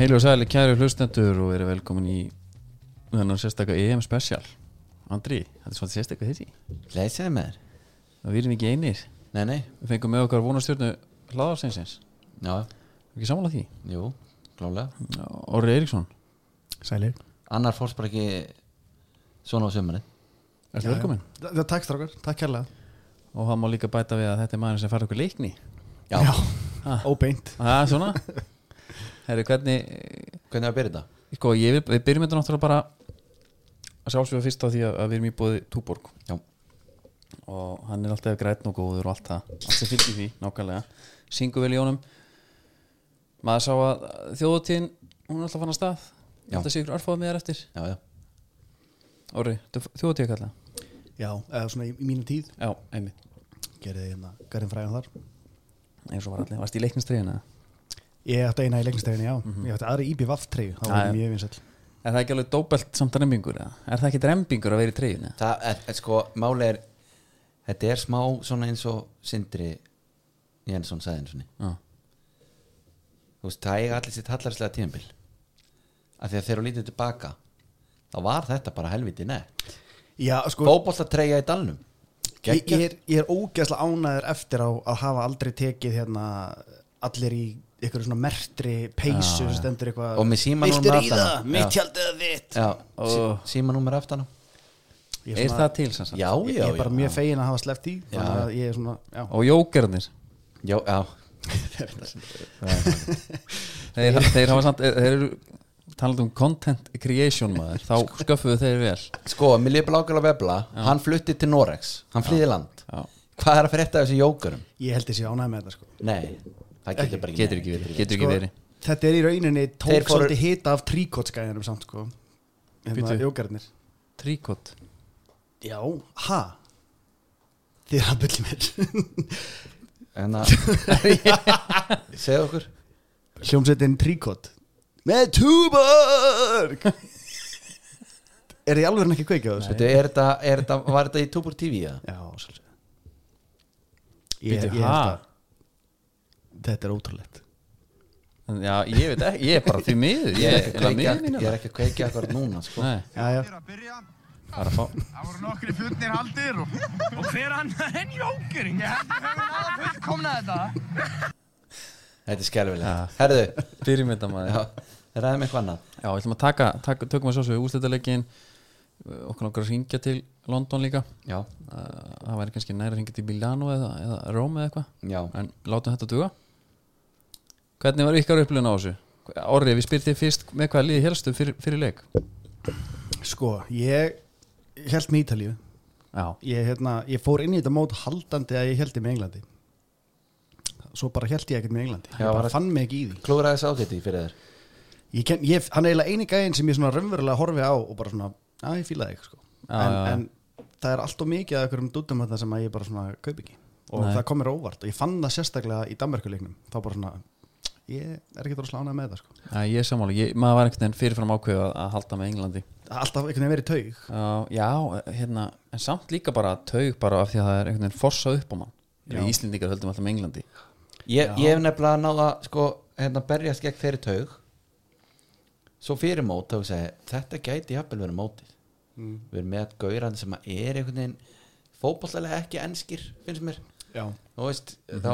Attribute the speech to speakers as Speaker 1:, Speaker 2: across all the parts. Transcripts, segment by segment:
Speaker 1: Heilu og sæli, kæru hlustendur og verið velkomin í þennan sérstakka EM special Andri, þetta er svona sérstakka þessi
Speaker 2: Leysaði með þér?
Speaker 1: Við erum ekki einir,
Speaker 2: Nei, nei,
Speaker 1: við fengum með okkar vonastjörnu hlaðarsinsins
Speaker 2: já,
Speaker 1: Ekki samanlega því?
Speaker 2: jú, klálega
Speaker 1: Orri Eiríksson
Speaker 3: Sælir
Speaker 2: Annar fórst bara ekki svona á sömurinn
Speaker 1: Ertu velkomin?
Speaker 3: Það takk strákar, takk kærlega
Speaker 1: Og það má líka bæta við að þetta er maður sem fær okkur leikni
Speaker 2: Já,
Speaker 1: Ah.
Speaker 3: Óbeint
Speaker 1: Það er svona Herri, hvernig,
Speaker 2: hvernig er að byrja þetta?
Speaker 1: sko, ég, vil- við byrjum þetta náttúrulega bara að sjálfsögja fyrst á því að, að við erum í bóði Túborg
Speaker 2: Já,
Speaker 1: og hann er alltaf grætn og góður og allt það allt sem fylgir því, nákvæmlega syngu vel í honum maður sá að þjóðutíðin hún er alltaf fann að stað
Speaker 2: Já.
Speaker 1: þetta sé ykkur örfáð með þér eftir
Speaker 2: já, já
Speaker 1: orri, þjóðutíða kalla
Speaker 3: Já, eða svona í, í mínu tíð
Speaker 1: já, einmitt,
Speaker 3: Gerði ég hérna Garðin fræðan þar
Speaker 1: eins og var allir varst í leiknistriðina
Speaker 3: Ég ætti eina í leiknistæðinni, já Ég ætti aðra íbjöf aft treyju Það
Speaker 1: Já, já.
Speaker 3: var mjög vinsall
Speaker 1: er það ekki alveg dóbelt samt rembingur eða? er það ekki rembingur að vera í treyjuna
Speaker 2: Það er, er sko, máli er Þetta er smá svona eins og Sindri Jensson sagði eins og
Speaker 1: já,
Speaker 2: Þú veist, það eiga allir sitt hallarslega tímabil Af því að þegar þú lítið tilbaka Þá var þetta bara helviti nett
Speaker 3: Já, sko
Speaker 2: Fótbolta treyja í dalnum
Speaker 3: ég, ég,
Speaker 2: Geggjað.
Speaker 3: er, ég er ógeðslega ánæður eftir á að hafa aldrei tekið hérna Allir í ykkur svona mertri peysu sem Stendur eitthvað
Speaker 2: Og með símanúmer
Speaker 3: Viltu
Speaker 2: aftan á.
Speaker 3: ríða?
Speaker 2: Já.
Speaker 3: Mitt hjaldið að þitt
Speaker 2: Já,
Speaker 1: Ó.
Speaker 2: sí, símanúmer aftan á
Speaker 3: Ég
Speaker 1: er
Speaker 3: svona-
Speaker 1: það til sem sagt
Speaker 2: Já,
Speaker 3: Ég
Speaker 2: já,
Speaker 3: ég er bara
Speaker 2: já.
Speaker 3: mjög fegin að hafa sleppt í
Speaker 2: Já.
Speaker 3: Þannig að ég er svona, já
Speaker 1: og jókernir
Speaker 2: Já, já,
Speaker 1: þeir, þeir hafa samt, þeir eru talað um content creation maður þá sköffuðu þeir vel
Speaker 2: Sko, mér liði bara ákveðlega vefla Hann flutti til Norex, hann flýði land
Speaker 1: já.
Speaker 2: Hvað er að frétta af þessum jókurum?
Speaker 3: Ég held þessi ánæður með þetta sko
Speaker 2: Nei, það getur bara ekki
Speaker 1: getur ekki verið, getur ekki
Speaker 3: Sko,
Speaker 1: verið.
Speaker 3: Þetta er í rauninni
Speaker 2: Þeir
Speaker 3: tók
Speaker 2: fóru-
Speaker 3: svolítið hita af tríkotskæðinum samt sko Hérna
Speaker 1: Bíddu.
Speaker 3: jókarnir
Speaker 1: tríkott
Speaker 3: Já, ha? Þið er að byrja mér
Speaker 2: En að Hérna- Segðu okkur
Speaker 3: Hljómsveitin tríkot Með túborg Er þið alveg ekki kveikið á þessu?
Speaker 2: Veitu, er þetta, er þetta, var þetta í Tupur TV eða?
Speaker 3: Já, svolítið Ég,
Speaker 1: Bíddu,
Speaker 3: ég held
Speaker 1: ha?
Speaker 3: að Þetta er ótrúlegt
Speaker 1: Já, ég veit ekki, ég er bara því miður Ég er ekki
Speaker 2: Kveikja-
Speaker 1: miður mín
Speaker 2: Ég er ekki að kveikja akkur núna sko.
Speaker 1: Nei,
Speaker 3: Já, já
Speaker 4: er að byrja
Speaker 1: það er að fá
Speaker 4: Það voru nokkri fullnir haldir og, og hver annar en jókering Ég held að við höfum aða fullkomna þetta
Speaker 2: Þetta er skelfilegt
Speaker 1: Ja.
Speaker 2: Herðu,
Speaker 1: Byrjum þetta maður
Speaker 2: já,
Speaker 1: Já,
Speaker 2: ræðum eitthvað annað
Speaker 1: við ætlum að taka, taka tökum að sjálfsög úrslitaleikin Okkur nokkar að ringja til London líka
Speaker 2: Já,
Speaker 1: Uh, Það væri kannski næri að ringja til Milano eða, eða Rome eða eitthvað
Speaker 2: já
Speaker 1: En látum þetta duga Hvernig var ykkar upplifun á þessu? Orri, við spyrir þig fyrst með hvaða liði helstu fyrir, fyrir leik
Speaker 3: Sko, ég held með Ítalíu
Speaker 1: Já,
Speaker 3: ég, hérna, ég fór inn í þetta mót haldandi að ég held í með Englandi svo bara held ég ekkert með Englandi ég
Speaker 2: Já, var
Speaker 3: bara
Speaker 2: það-
Speaker 3: fann mig ekki í því
Speaker 2: Klúraði þessu ágæti fyrir þér
Speaker 3: ég ken, ég, hann er eiginlega eini gæðin sem ég svona raunverulega horfi á og bara svona, að ég fílaði ekki sko.
Speaker 1: Já, já,
Speaker 3: en,
Speaker 1: já.
Speaker 3: en það er allt og mikið af einhverjum dúttum þarna sem að ég bara svona kaup ekki og
Speaker 1: Nei.
Speaker 3: það kom mér á óvart og ég fann það sérstaklega í Danmarkuleiknum þá bara svona, ég er ekki að slána með það sko.
Speaker 1: Já, ég er sammála, ég, maður var einhvern veginn fyrirfram ákveðu að, að halda með Englandi
Speaker 3: alltaf einhvern veginn verið taug
Speaker 1: Já, já, hérna, en samt líka bara taug bara af því að það er einhvern veginn forsað upp á mann Við Íslendingar höldum alltaf með Englandi
Speaker 2: Ég, ég hef nefnilega náða sko, hérna berjast gegn þeirri taug svo fyrir mót þá ég segi, þetta gæti jafnvel verið mótið
Speaker 3: Mm,
Speaker 2: við erum með gauran sem að er einhvern veginn fótbollega ekki enskir finnst mér,
Speaker 3: já,
Speaker 2: þú veist þá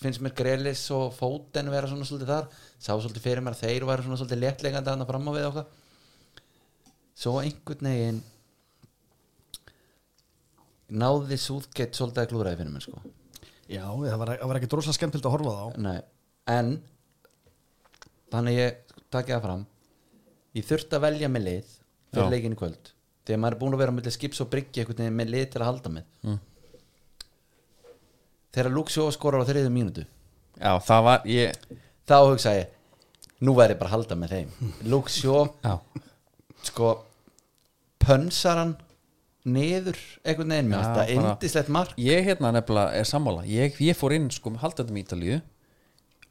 Speaker 2: finnst mér Grelis og Fóten vera svona svolítið þar, sá svolítið fyrir mér að þeir væru svona svolítið léttlegandi hann að fram á við okkar svo einhvern veginn náði Súðgeitt svolítið að klúraði fyrir mér sko
Speaker 3: já það var, það var ekki droslega skemmtild að horfa á það á.
Speaker 2: Nei, en þannig ég takja það fram ég þurfti að velja með lið fyrir
Speaker 1: Já.
Speaker 2: leikin í kvöld þegar maður er búin að vera með skips og bryggja einhvern veginn með lið til að halda með
Speaker 1: Mm.
Speaker 2: þegar Luxjó skorar á þriðu mínútu
Speaker 1: Já, það var, ég
Speaker 2: þá hugsa ég nú verð ég bara að halda með þeim Luxjó,
Speaker 1: Já,
Speaker 2: sko pönsar hann niður einhvern veginn
Speaker 1: Já,
Speaker 2: með þetta
Speaker 1: bara-
Speaker 2: indislegt mark
Speaker 1: ég hérna nefnilega er sammála Ég, ég fór inn sko með haldandum í Ítalíu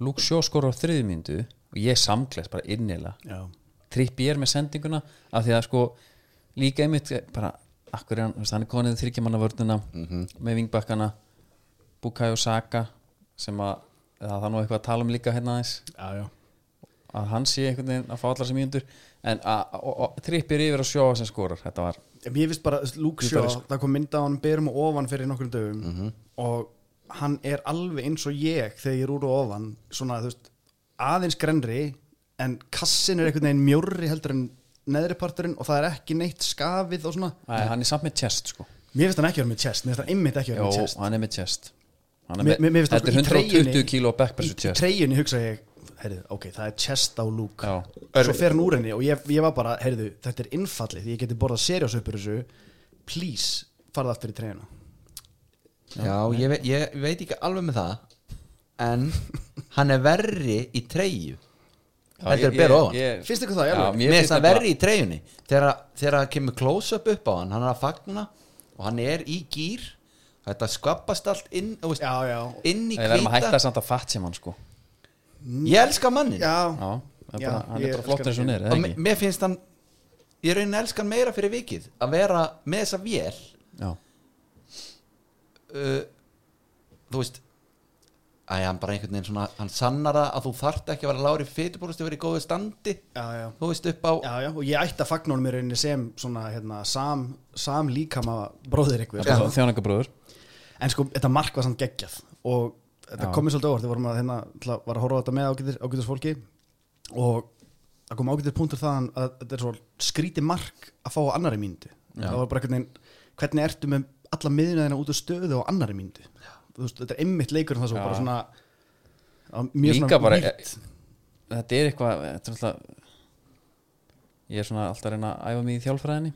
Speaker 1: Luke Shaw skorur á þriði myndu og ég samklæst bara innilega
Speaker 3: já,
Speaker 1: Trippi er með sendinguna af því að sko líka einmitt eh, bara, akkur er hann, þú veist, hann er konið þryggjamannavörnuna mm -hmm. með vingbakkana Bukayo Saka sem að það er nú eitthvað að tala um líka hérna aðeins
Speaker 3: já, já
Speaker 1: að hann sé einhvern veginn að fá allar sem mínundur en að og- og trippir yfir að sjóa sem skorar þetta var
Speaker 3: Ég veist bara, Luke
Speaker 1: Jú, það
Speaker 3: Shaw,
Speaker 1: er
Speaker 3: það kom mynda á hann berum og ofan fyrir nokkrum dögum og hann er alveg eins og ég þegar ég er úr og ofan svona, þú veist, aðeins grenri en kassin er einhvern veginn mjórri heldur en neðriparturinn og það er ekki neitt skafið og svona
Speaker 1: Æ, hann er samt með chest sko
Speaker 3: Mér finnst hann ekki verið með chest, mér finnst hann einmitt ekki verið
Speaker 1: Jó,
Speaker 3: með chest
Speaker 1: hann er með chest Hann
Speaker 3: Mér-
Speaker 1: er
Speaker 3: mér- mér
Speaker 1: með,
Speaker 3: finnst það
Speaker 1: þetta er
Speaker 3: sko í
Speaker 1: 120
Speaker 3: treyjunni-
Speaker 1: kíló backpressu
Speaker 3: Í
Speaker 1: chest
Speaker 3: treyjunni hugsa ég, heyrðu, ok, það er chest á Luke
Speaker 1: Já.
Speaker 3: Svo fer hann úr henni og ég, ég var bara, heyrðu, þetta er innfallið Ég geti borðað seriós upp úr þessu Please, farða aftur í treyjuna
Speaker 2: Já, ég, ve ég veit ekki alveg með það En hann er verri í treyju Heldur að bera ofan
Speaker 3: Finnst ykkur það, alveg?
Speaker 2: Mér finnst hann verri í treyjunni Þegar þegar það kemur close-up upp á hann Hann er að fagna og hann er í gýr Þetta skvappast allt inn þú veist,
Speaker 3: Já, já.
Speaker 2: Inn í
Speaker 1: Við verðum að
Speaker 2: hvíta
Speaker 1: hætta samt að fatt sem hann sko
Speaker 2: Ég elska mannin
Speaker 3: Já,
Speaker 1: Já, það er
Speaker 3: Já,
Speaker 1: bara, hann
Speaker 3: ég
Speaker 1: er bara flott eins
Speaker 3: elska
Speaker 1: og
Speaker 3: hann.
Speaker 1: neður,
Speaker 2: Og
Speaker 1: eða
Speaker 2: me-
Speaker 1: ekki?
Speaker 2: mér finnst hann Ég raunin elska hann meira fyrir vikið Að vera með þessa vél
Speaker 1: Já,
Speaker 2: uh, Þú veist Æ, hann bara einhvern veginn svona Hann sannar það að þú þarft ekki að vera lári fytubúrust Að vera í góðu standi
Speaker 3: já, já
Speaker 2: Þú veist upp á
Speaker 3: Já, já, og ég ætti að fagna honum í rauninni sem svona, hérna, sam, sam líkama bróðir ykkur
Speaker 1: já. þjóningabróður
Speaker 3: En sko, þetta mark var samt geggjað og þetta
Speaker 1: Já.
Speaker 3: komið svolítið óvart, við vorum að hérna, til að- var að horfa á þetta með ágætis, ágætis fólki og það kom ágætis punktur þaðan að þetta er svo skríti mark að fá á annari mínútu. Það var bara einhvern veginn, hvernig ertu með alla miðjunæðina út af stöðu á annari mínútu? Þú veist, þetta er einmitt leikur um það svo bara svona, það var mjög
Speaker 1: Líka bara eh,
Speaker 3: vírt.
Speaker 1: Þetta er eitthvað þetta er alltaf, Ég er svona alltaf að reyna að æfa mig í þjálfræðinni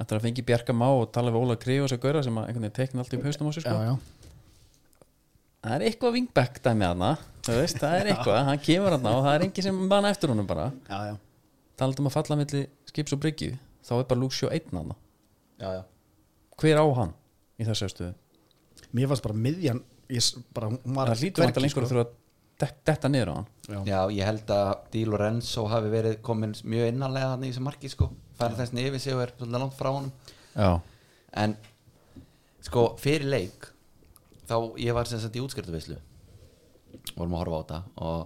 Speaker 1: Þetta er að fengi Bjarka Má og tala við Óla Kríu og sér gauðra sem að einhvern veginn teikna allt í haustum á sér sko.
Speaker 3: Já, já.
Speaker 1: Það er eitthvað wingback dæmi hana veist, Það er eitthvað, hann kemur hana og það er engin sem manna eftir honum bara
Speaker 3: Já, já.
Speaker 1: Talandi um að falla milli skips og bryggju þá er bara Luke Shaw einn hana
Speaker 2: já, já.
Speaker 1: Hver á hann í þessu stöðu?
Speaker 3: Mér fannst bara miðjan, ég, s- bara, hún var
Speaker 1: Það lítur
Speaker 3: hvergi,
Speaker 1: hann lengur
Speaker 3: sko.
Speaker 1: að þurfa að dek- detta niður á hann
Speaker 2: Já, ég held að Di Lorenzo hafi verið komin mjög innanlega hann í þessu marki sko, færi þess nefið sig og er svolítið langt frá honum
Speaker 1: Já,
Speaker 2: en sko, fyrir leik þá ég var sem sagt í útskriftavislu vorum að horfa á þetta og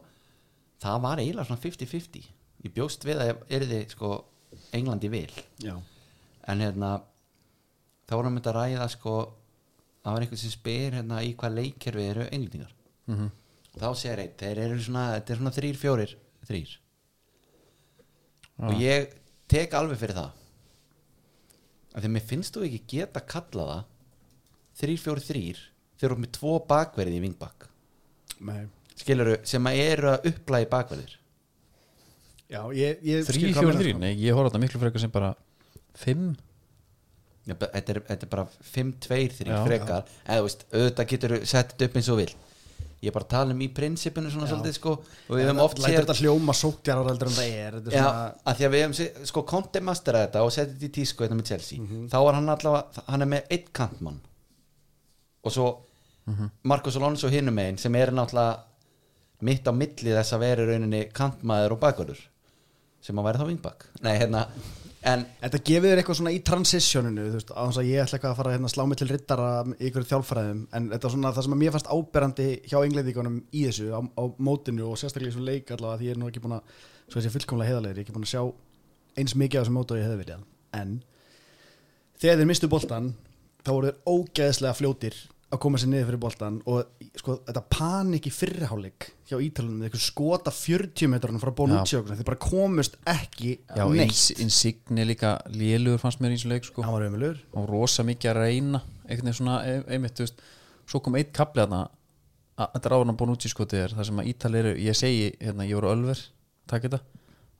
Speaker 2: það var eiginlega svona 50-50 ég bjóst við að er þið sko Englandi vil
Speaker 3: Já.
Speaker 2: en hérna þá vorum við að ræða sko það var einhver sem spyr hérna í hvað leikkerfi eru englendingar þá segir einn, þeir eru svona þetta er svona þrýr, fjórir, þrýr og ég tek alveg fyrir það af því að mér finnst þú ekki geta kalla það þrýr, fjórir, þrýr þeir eru með tvo bakverði í vingbak
Speaker 3: Nei.
Speaker 2: skilur sem að eru að upplægi bakverðir
Speaker 3: Já, ég, ég
Speaker 1: þrý,
Speaker 3: skil hvað
Speaker 1: fjóri,
Speaker 3: meinar,
Speaker 1: þrý
Speaker 3: sko.
Speaker 1: Nei, ég horf á þetta miklu frekar sem bara fimm
Speaker 2: Já, bara- þetta er, þetta er bara 5-2-3
Speaker 1: Já.
Speaker 2: frekar eða þú veist, auðvitað getur sett þetta upp eins og vil ég er bara að tala um í prinsipinu svona svolítið sko og við höfum oft
Speaker 3: Lætur
Speaker 2: séð
Speaker 3: þetta hljóma sótjarar heldur en það er Þetta er
Speaker 2: Já,
Speaker 3: svona
Speaker 2: að því að við höfum séð, sko Conte masteraði þetta og setti þetta í tísku þetta með Chelsea þá er hann allavega, hann er með eitt kantmann og svo Marcos Alonso hinum megin sem er náttúrulega mitt á milli þess að vera í rauninni kantmaður og bakvörður sem að væri þá vingbak nei hérna, en
Speaker 3: Þetta gefið þér eitthvað svona í transitioninu þú veist, á þess að ég ætla eitthvað að fara hérna, slá mig til rittara í ykkur þjálfræðum, en þetta er svona það sem að mér fannst áberandi hjá englendingunum í þessu á, á mótinu og sérstaklega í svona leik allavega því ég er nú ekki búin að, svo þessi fullkomlega heiðarlegur, ég er ekki búin að sjá eins mikið á þessum mótu og ég hefði viljað, en þegar þeir mistu boltan þá voru þeir ógeðslega fljótir að koma sér niður fyrir boltan og sko, þetta panik í fyrriháleik hjá Ítalunum, þeir skota 40 metrunum frá Bonucci og svona, þeir bara komust ekki
Speaker 1: Já,
Speaker 3: neitt,
Speaker 1: Ins- Insigne líka lélugur fannst mér eins og leik sko
Speaker 3: hann var ömulegur
Speaker 1: og rosa mikið að reyna einhvern veginn svona, e- einmitt, þú veist svo kom eitt kapli þarna að þetta ráðan að bóna út í skotið er það sem að Ítal eru, ég segi, hérna, ég voru ölver takk þetta,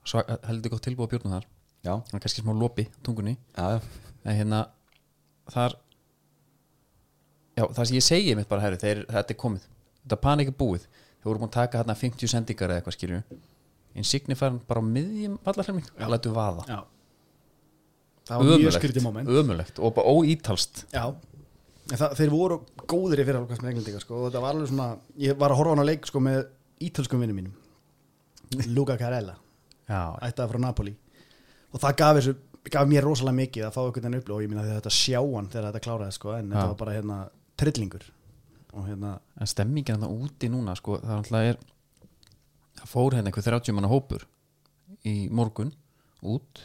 Speaker 1: svo heldur gott tilbúið að bjórnum þar,
Speaker 2: já,
Speaker 1: það er kannski smá lopi á tungunni,
Speaker 2: já,
Speaker 1: en hérna þar já, það sem ég segi mitt bara, herri, þeir, þetta er komið þetta panik er búið, þeir voru búin að taka hérna 50 sendingar eða eitthvað skilju Insigne fær hann bara á miðjum vallarhelming, hann lætur vaða
Speaker 3: Já Það var mjög
Speaker 1: Ömurlegt,
Speaker 3: skrítið moment
Speaker 1: ömurlegt og bara óítalst
Speaker 3: Já En það, Þeir voru góðir í fyrirhálfkast með englendinga sko, og þetta var alveg svona Ég var að horfa á hana leik sko, með ítölskum vinnum mínum Luca Carella
Speaker 1: já,
Speaker 3: Ættaði frá Napoli Og það gaf, þessu, gaf mér rosalega mikið að fá einhvern veginn upplöf og ég minna þetta sjá hann þegar þetta kláraði sko, en þetta
Speaker 1: Já.
Speaker 3: var bara hérna trillingur og hérna
Speaker 1: en stemmingin hann úti núna sko, það er alltaf er það fór hérna einhver 30 manna hópur í morgun út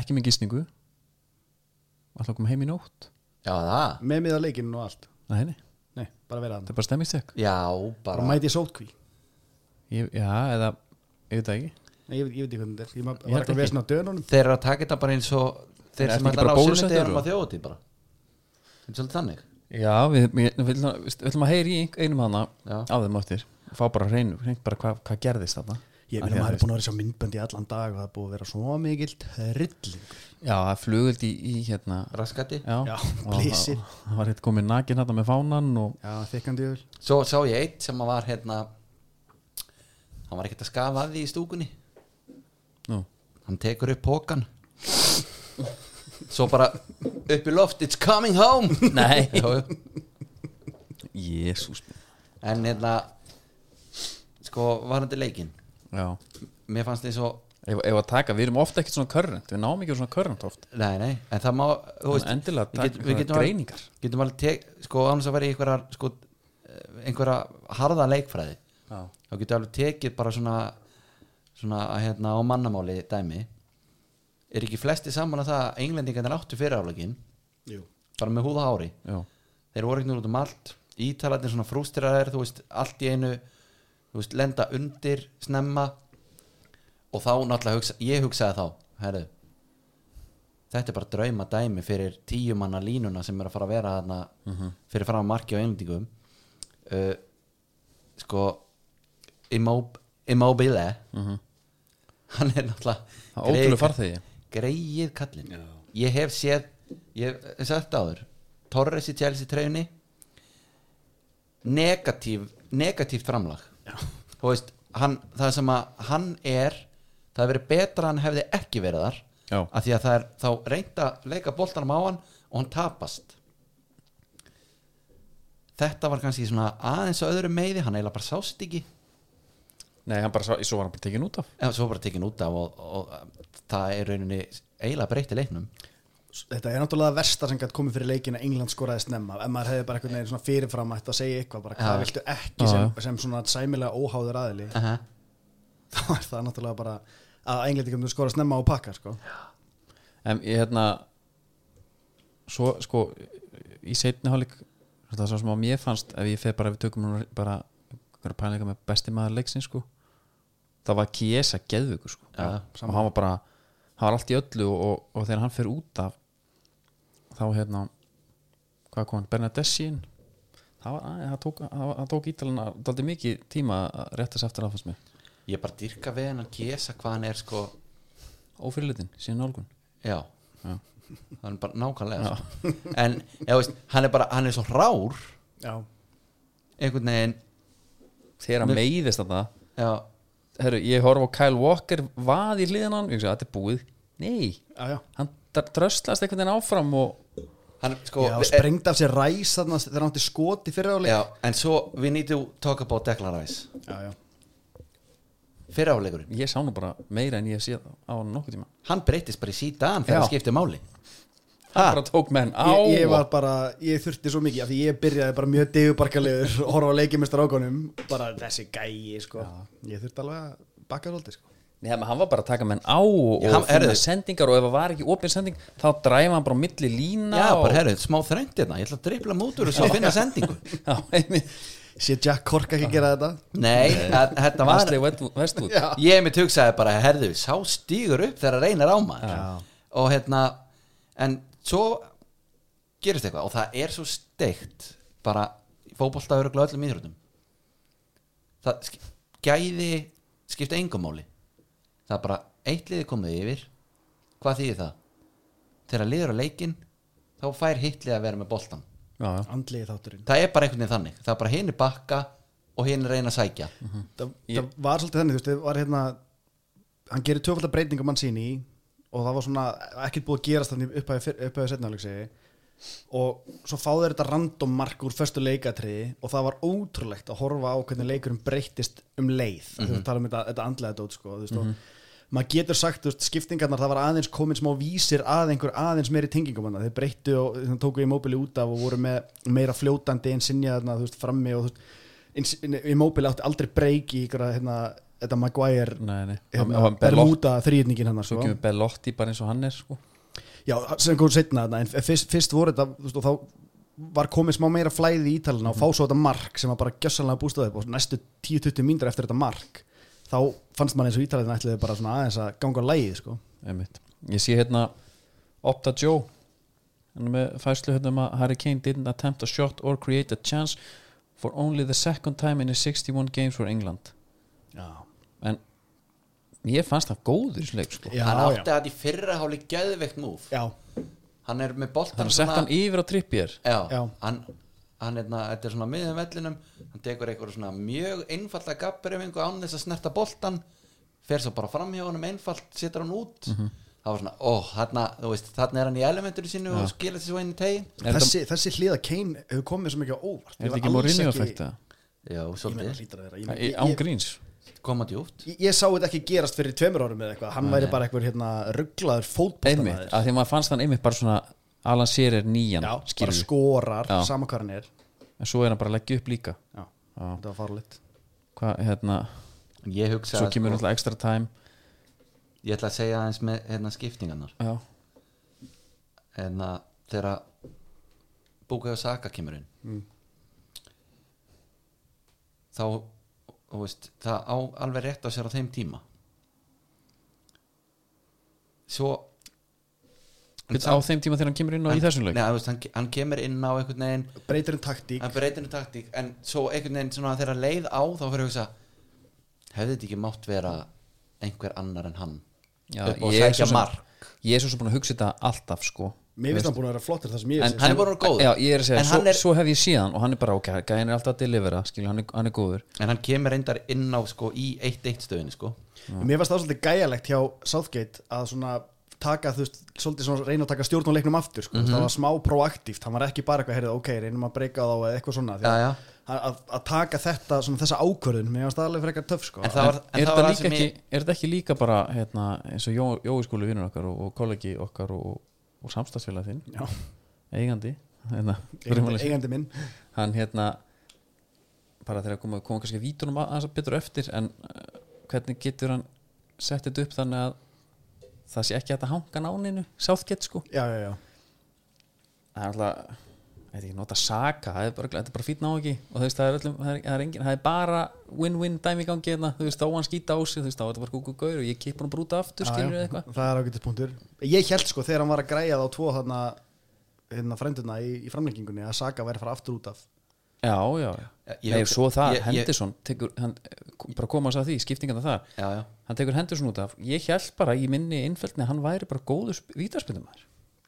Speaker 1: ekki með gisningu alltaf kom heim í nótt
Speaker 2: Já, það
Speaker 3: með miða leikinn og allt
Speaker 1: Nei, nei,
Speaker 3: nei, bara vera
Speaker 1: það
Speaker 3: hann
Speaker 1: er bara stemmistek
Speaker 2: Já,
Speaker 3: bara
Speaker 2: bara
Speaker 3: mæti í sótkví
Speaker 1: Já, eða, ég veit það ekki
Speaker 3: nei, ég, veit- ég veit ekki hvernig þetta er ég ma-
Speaker 1: Ég
Speaker 3: var
Speaker 1: held
Speaker 3: ekki að
Speaker 1: ekki.
Speaker 3: vesna á dönunum
Speaker 2: Þeir eru að taka þetta bara eins og
Speaker 1: Ertu
Speaker 2: Þeir sem
Speaker 1: ekki
Speaker 2: ætla
Speaker 1: bara
Speaker 2: að
Speaker 1: bólusettur,
Speaker 2: rásunni Þeir eru
Speaker 1: eða?
Speaker 2: að þjóða því bara Þeim svolítið þannig
Speaker 1: Já, við, við, við, ætlum að- við ætlum að heyri í einum hana
Speaker 2: Já.
Speaker 1: á þeim áttir fá bara hreinu, hreint bara hvað hva gerðist þarna
Speaker 3: ég
Speaker 1: Af
Speaker 3: meina
Speaker 1: því að
Speaker 3: maður
Speaker 1: þú
Speaker 3: er búin að vera svo myndbönd í allan dag og það er búið að vera svo mikil trilling
Speaker 1: veist- Já, það er flugöld í, í hérna
Speaker 2: Raskati
Speaker 1: Já,
Speaker 3: Já,
Speaker 1: og
Speaker 3: blysið.
Speaker 1: það- Það var hitt komið nakin hérna með fánan og
Speaker 3: já, þykkandi yfir
Speaker 2: Svo sá ég eitt sem var hérna Hann var ekkert að skafa að því í stúkunni
Speaker 1: nú,
Speaker 2: Hann tekur upp pókan Svo bara upp í loft It's coming home Nei Jó, jú.
Speaker 1: jésús
Speaker 2: En hérna Sko varandi leikinn
Speaker 1: Já,
Speaker 2: Mér fannst eins og
Speaker 1: ef, ef að taka, við erum ofta ekkert svona körrent við náum ekki úr svona körrent oft
Speaker 2: Nei, nei, en það má þú
Speaker 1: En endilega
Speaker 2: við
Speaker 1: taka
Speaker 2: getum- við
Speaker 1: einhverjar
Speaker 2: getum alveg-
Speaker 1: greiningar.
Speaker 2: Getum alveg tek, sko annars að vera í einhverja sko, eh, einhverja harða leikfræði
Speaker 1: Já.
Speaker 2: þá getum við alveg tekið bara svona svona að hérna á mannamáli dæmi er ekki flesti saman að það að englendingarnir áttu fyrir álegin
Speaker 3: jú
Speaker 2: bara með húða hári
Speaker 1: Já,
Speaker 2: þeir voru ekki nú út um allt ítalarnir svona frústiraðir þú veist allt í einu þú veist lenda undir snemma og þá náttúrulega hugsa, ég hugsaði þá herru þetta er bara drauma dæmi fyrir tíu manna línuna sem er að fara að vera þarna
Speaker 1: Mhm.
Speaker 2: fyrir fram að marki á einlendingum uh, sko Immob Immobile hann er náttúrulega
Speaker 1: Mhm. það er ótrúlega
Speaker 2: greið-
Speaker 1: farþegi
Speaker 2: greið kallinn ég hef séð ég hef sagt áður Torres í Chelsea treyjunni negatív negatívt framlag þú veist, hann, það sem að hann er það hefur verið betra að hann hefði ekki verið þar
Speaker 1: Já.
Speaker 2: af því að það er þá reynt að leika boltanum á hann og hann tapast þetta var kannski svona aðeins á öðru meiði, hann eiginlega bara sást ekki
Speaker 1: Nei, hann bara, sá- svo var hann bara tekin út af
Speaker 2: eða svo bara tekin út af og, og, og það er rauninni eiginlega breytti leiknum
Speaker 3: þetta er náttúrulega versta sem gætt komið fyrir leikin að England skoraði snemma ef maður hefði bara einhvern veginn svona fyrirfram ætti að segja eitthvað bara hvað
Speaker 2: Já.
Speaker 3: viltu ekki
Speaker 1: Já,
Speaker 3: sem, sem svona sæmilega óháður aðili
Speaker 2: uh -huh.
Speaker 3: þá er það náttúrulega bara að englendingum skora snemma og pakka sko.
Speaker 1: En ég hérna Svo sko Í seinni hálfleik Það er svo sem á mér fannst Ef ég feð bara við tökum núna bara einhverja pælinga með besti maður leiksins sko Það var Kiesa geðvöku sko
Speaker 2: Já,
Speaker 1: Og hann var bara Hann var allt í öllu og, og, og þegar hann fer út af Þá hérna Hvað kom hann? Bernadessi inn Það, var, að, það, tók, það, var- það tók ítalina daldi mikið tíma að rétta sér eftir aðfans með
Speaker 2: ég bara dyrka við hennan kesa hvað hann er sko
Speaker 1: ófyrirlitin, síðan nálgun
Speaker 2: já,
Speaker 1: Já.
Speaker 2: það er bara nákvæmlega sko. en já, veist, hann er bara hann er svo rár
Speaker 3: já,
Speaker 2: einhvern veginn
Speaker 1: þegar hann
Speaker 2: Mér-
Speaker 1: meiðist þarna
Speaker 2: já,
Speaker 1: herru, ég horf á Kyle Walker vað í hliðan hann, ég sagði, þetta er búið nei,
Speaker 3: já, já.
Speaker 1: hann dr- dröslast einhvern veginn áfram og
Speaker 2: hann sko
Speaker 3: já
Speaker 2: við-
Speaker 3: sprengt af sér ræs þarna þegar hann átti skoti fyrir áleik
Speaker 2: já, en svo we need to talk about Declan Rice
Speaker 3: já, já.
Speaker 2: fyrir áleikurinn,
Speaker 1: ég sá nú bara meira en ég hef séð á hann nokkuð tíma
Speaker 2: hann breytist bara í síðan þegar
Speaker 1: Já.
Speaker 2: hann skipti máli
Speaker 1: hann
Speaker 2: Ah.
Speaker 1: bara tók menn á
Speaker 3: Ég, ég
Speaker 1: og-
Speaker 3: var bara, ég þurfti svo mikið af því ég byrjaði bara mjög degubarkalegur og horfa á leikjumistar ákonum bara þessi gæi sko. ég þurfti alveg að bakka svolítið sko.
Speaker 1: Nei, menn, hann var bara að taka menn á og,
Speaker 2: Já, hann-
Speaker 1: og finna
Speaker 2: herru.
Speaker 1: sendingar og ef það var ekki opin sending þá dræfa hann bara á milli lína
Speaker 2: já,
Speaker 1: og,
Speaker 2: bara herru, smá þröngt hérna ég ætla að drippla mótur og svo finna sendingu
Speaker 1: já, einmitt.
Speaker 3: sé Jack Kork ekki gera þetta
Speaker 2: nei, að- þetta var
Speaker 1: Ashley Wed- Westwood
Speaker 3: Já.
Speaker 2: ég mitt hugsaði bara, herðu, sá stígur upp þegar reynar á maður og hérna, en svo gerist eitthvað og það er svo steikt bara fótbolta öruglega öllum íþrótum það sk gæði skipta engumáli það er bara eitt liði komið yfir hvað þýðir það? þegar liður á leikin þá fær hitlið að vera með boltan
Speaker 1: Já, já.
Speaker 3: andliði þátturinn
Speaker 2: það er bara einhvern veginn þannig það er bara hinn bakka og hinn reyna að sækja
Speaker 3: það, það var svolítið þannig, þú veist, það var hérna hann gerir tvöfaldar breyting á mann síni og það var svona, ekkert búið að gerast þannig upphæðu upphæðu setnaðalegsi og svo fá þeir þetta random mark úr föstu leikatriði og það var ótrúlegt að horfa á hvernig leikurinn breyttist um leið, mm -hmm. þú tala um þetta, þetta andlega dót sko, þú veist, og maður getur sagt, þú veist, skiptingarnar, það var aðeins komin smá vísir að einhver aðeins meiri tengingum hann, þeir breyttu og þeir tóku í móbili út af og voru með meira fljótandi en sinja þarna, þú veist, frammi og þú veist Immobile átti aldrei breyk í ykkur að hérna, þetta Maguire
Speaker 1: Nei, nei Hann-
Speaker 3: hérna,
Speaker 1: hann Bellotti-
Speaker 3: Bermuda þrýðningin hennar
Speaker 1: Svo
Speaker 3: sko.
Speaker 1: kemur Bellotti bara eins og hann er sko.
Speaker 3: Já, sem kom setna þarna, en fyrst, fyrst voru þetta þú veist, og þá var komið smá meira flæði í
Speaker 1: Mhm.
Speaker 3: ítalina og fá svo þetta mark sem að bara gjössalega bústaði upp og næstu 10-20 mínútur eftir þetta mark þá fannst mann eins og ítalina ætliði bara svona aðeins að ganga á lægið sko.
Speaker 1: Einmitt. Ég sé hérna Opta Joe hann er með fæslu hérna um að Harry Kane didn't attempt a shot or create a chance for only the second time in his 61 games for England
Speaker 3: Já,
Speaker 1: en ég fannst það góður í þessu leik sko.
Speaker 3: já,
Speaker 2: hann átti
Speaker 3: já.
Speaker 2: þetta í fyrra hálik geðveikt múf
Speaker 3: já.
Speaker 2: hann er með boltan
Speaker 1: hann sett hann yfir á trippjér
Speaker 2: já,
Speaker 3: Já.
Speaker 2: hann hann er, þetta er svona miðum vellinum hann tekur eitthvað svona mjög einfalda gabbrefingu án þess að snerta boltan fer svo bara fram hjá honum einfalt setur hann út
Speaker 1: Mhm.
Speaker 2: það var svona, ó, þarna, þú veist, þarna er hann í elementinu sínu og skilur þessi svo inn í tegin
Speaker 3: Þessi, þessi hliða Kane hefur komið svo mikið á óvart
Speaker 1: er þetta ekki Mourinho effekta
Speaker 2: já,
Speaker 3: Ég meina,
Speaker 2: svolítið,
Speaker 3: hlýtur að vera. Ég meina,
Speaker 1: án
Speaker 3: ég-
Speaker 1: gríns
Speaker 2: koma djúpt
Speaker 3: ég- ég sá þetta ekki gerast fyrir tveimur árum eða eitthvað, hann væri bara eitthvað hérna, rugglaður
Speaker 1: einmitt,
Speaker 3: fótballtamaður
Speaker 1: af því að maður fannst hann einmitt bara svona Alan Shearer er nýjan
Speaker 3: Já, bara sko-
Speaker 1: skilur við.
Speaker 3: skorar,
Speaker 1: Já.
Speaker 3: sama hvað hann er
Speaker 1: en svo er hann bara að leggja upp líka
Speaker 3: Já, þetta var farlegt
Speaker 1: hvað hérna,
Speaker 2: ég hugsa,
Speaker 1: svo kemur
Speaker 2: sko,
Speaker 1: náttúrulega extra time
Speaker 2: ég ætla að segja aðeins með hérna skiptingarnar
Speaker 1: já,
Speaker 2: en að þegar Búkaðu Saka kemur inn þá þú veist, það á alveg rétt á sér á þeim tíma svo En
Speaker 1: Bíddu, á
Speaker 2: samt-
Speaker 1: þeim tíma þegar hann kemur inn á í þessum leik
Speaker 2: Nei, þú veist, hann, hann kemur inn á einhvern veginn
Speaker 3: Breytir um taktík
Speaker 2: hann breytir um taktík en svo einhvern veginn svona þegar leið á þá fyrir að hugsa hefði þetta ekki mátt vera einhver annar en hann
Speaker 1: Já,
Speaker 2: upp á að
Speaker 1: ég er
Speaker 2: sækja
Speaker 1: svo sem-
Speaker 2: mark
Speaker 1: ég er svo sem búin að hugsa þetta alltaf sko
Speaker 3: Mér finnst hann búin að vera flottir það sem ég
Speaker 1: En-
Speaker 3: sé
Speaker 2: hann er bara góður.
Speaker 1: já, ég er að segja,
Speaker 2: En
Speaker 1: svo,
Speaker 2: hann er-
Speaker 1: svo hef ég síðan og hann er bara ok, hann er alltaf að delivera skilur, hann, er, hann er góður
Speaker 2: en hann kemur reyndar inn á sko í 1-1 stöðinu sko
Speaker 3: Mér finnst það svolítið gæjalegt hjá Southgate að svona taka, þú veist, svolítið svona reyna að taka stjórn á leiknum aftur, sko, það var smá proaktíft hann var ekki bara eitthvað, heyrðu, ok, reynum að breyka þá eða eitthvað svona, því
Speaker 2: Já,
Speaker 3: að-
Speaker 2: já.
Speaker 3: að- að að taka þetta, svona þessa ákvörðun mér finnst það alveg frekar töff, sko
Speaker 2: En það
Speaker 1: er,
Speaker 2: var- það var
Speaker 1: þetta
Speaker 2: það
Speaker 1: líka
Speaker 2: sem
Speaker 1: ekki,
Speaker 2: ég-
Speaker 1: er þetta ekki líka bara hérna, eins og Jó, Jói skúli vinnur okkar og, og kollegi okkar og, og samstagsfélag þinn
Speaker 3: Já.
Speaker 1: eigandi, hérna,
Speaker 3: eigandi,
Speaker 1: eigandi.
Speaker 3: eigandi minn
Speaker 1: hann hérna bara þegar koma, koma kannski vítunum að- aðeins betur á eftir en uh, hvernig getur hann sett þetta upp þannig að það sé ekki hægt að hanga náninu sáþgett sko
Speaker 3: já, já, já,
Speaker 1: það er alltaf ég veit ekki, nota Saka, það er bara, þetta er bara fýtna á ekki og þú veist, það er, öllum, það er, það er, engin, það er bara win-win dæmi í gangi hérna, þú veist, þá á hann skýta á sig þú veist, þá er þetta bara kúku gaur og ég kipp hann bara út aftur
Speaker 3: Já,
Speaker 1: skilur
Speaker 3: já.
Speaker 1: eitthvað
Speaker 3: það er ágætis punktur ég held sko þegar hann var að græja þá tvo þarna hérna frenduna í, í framlengingunni að Saga væri að fara aftur út af
Speaker 1: já, já,
Speaker 2: Já,
Speaker 1: já,
Speaker 2: ég
Speaker 1: nei,
Speaker 2: hugsa-
Speaker 1: svo það,
Speaker 2: ég- ég-
Speaker 1: Henderson tekur, hann, bara koma þess að því, skiptingan það
Speaker 2: já, já.
Speaker 1: hann tekur Henderson út af, ég held bara í minni innfjöldni að hann væri bara góður vítarspindumar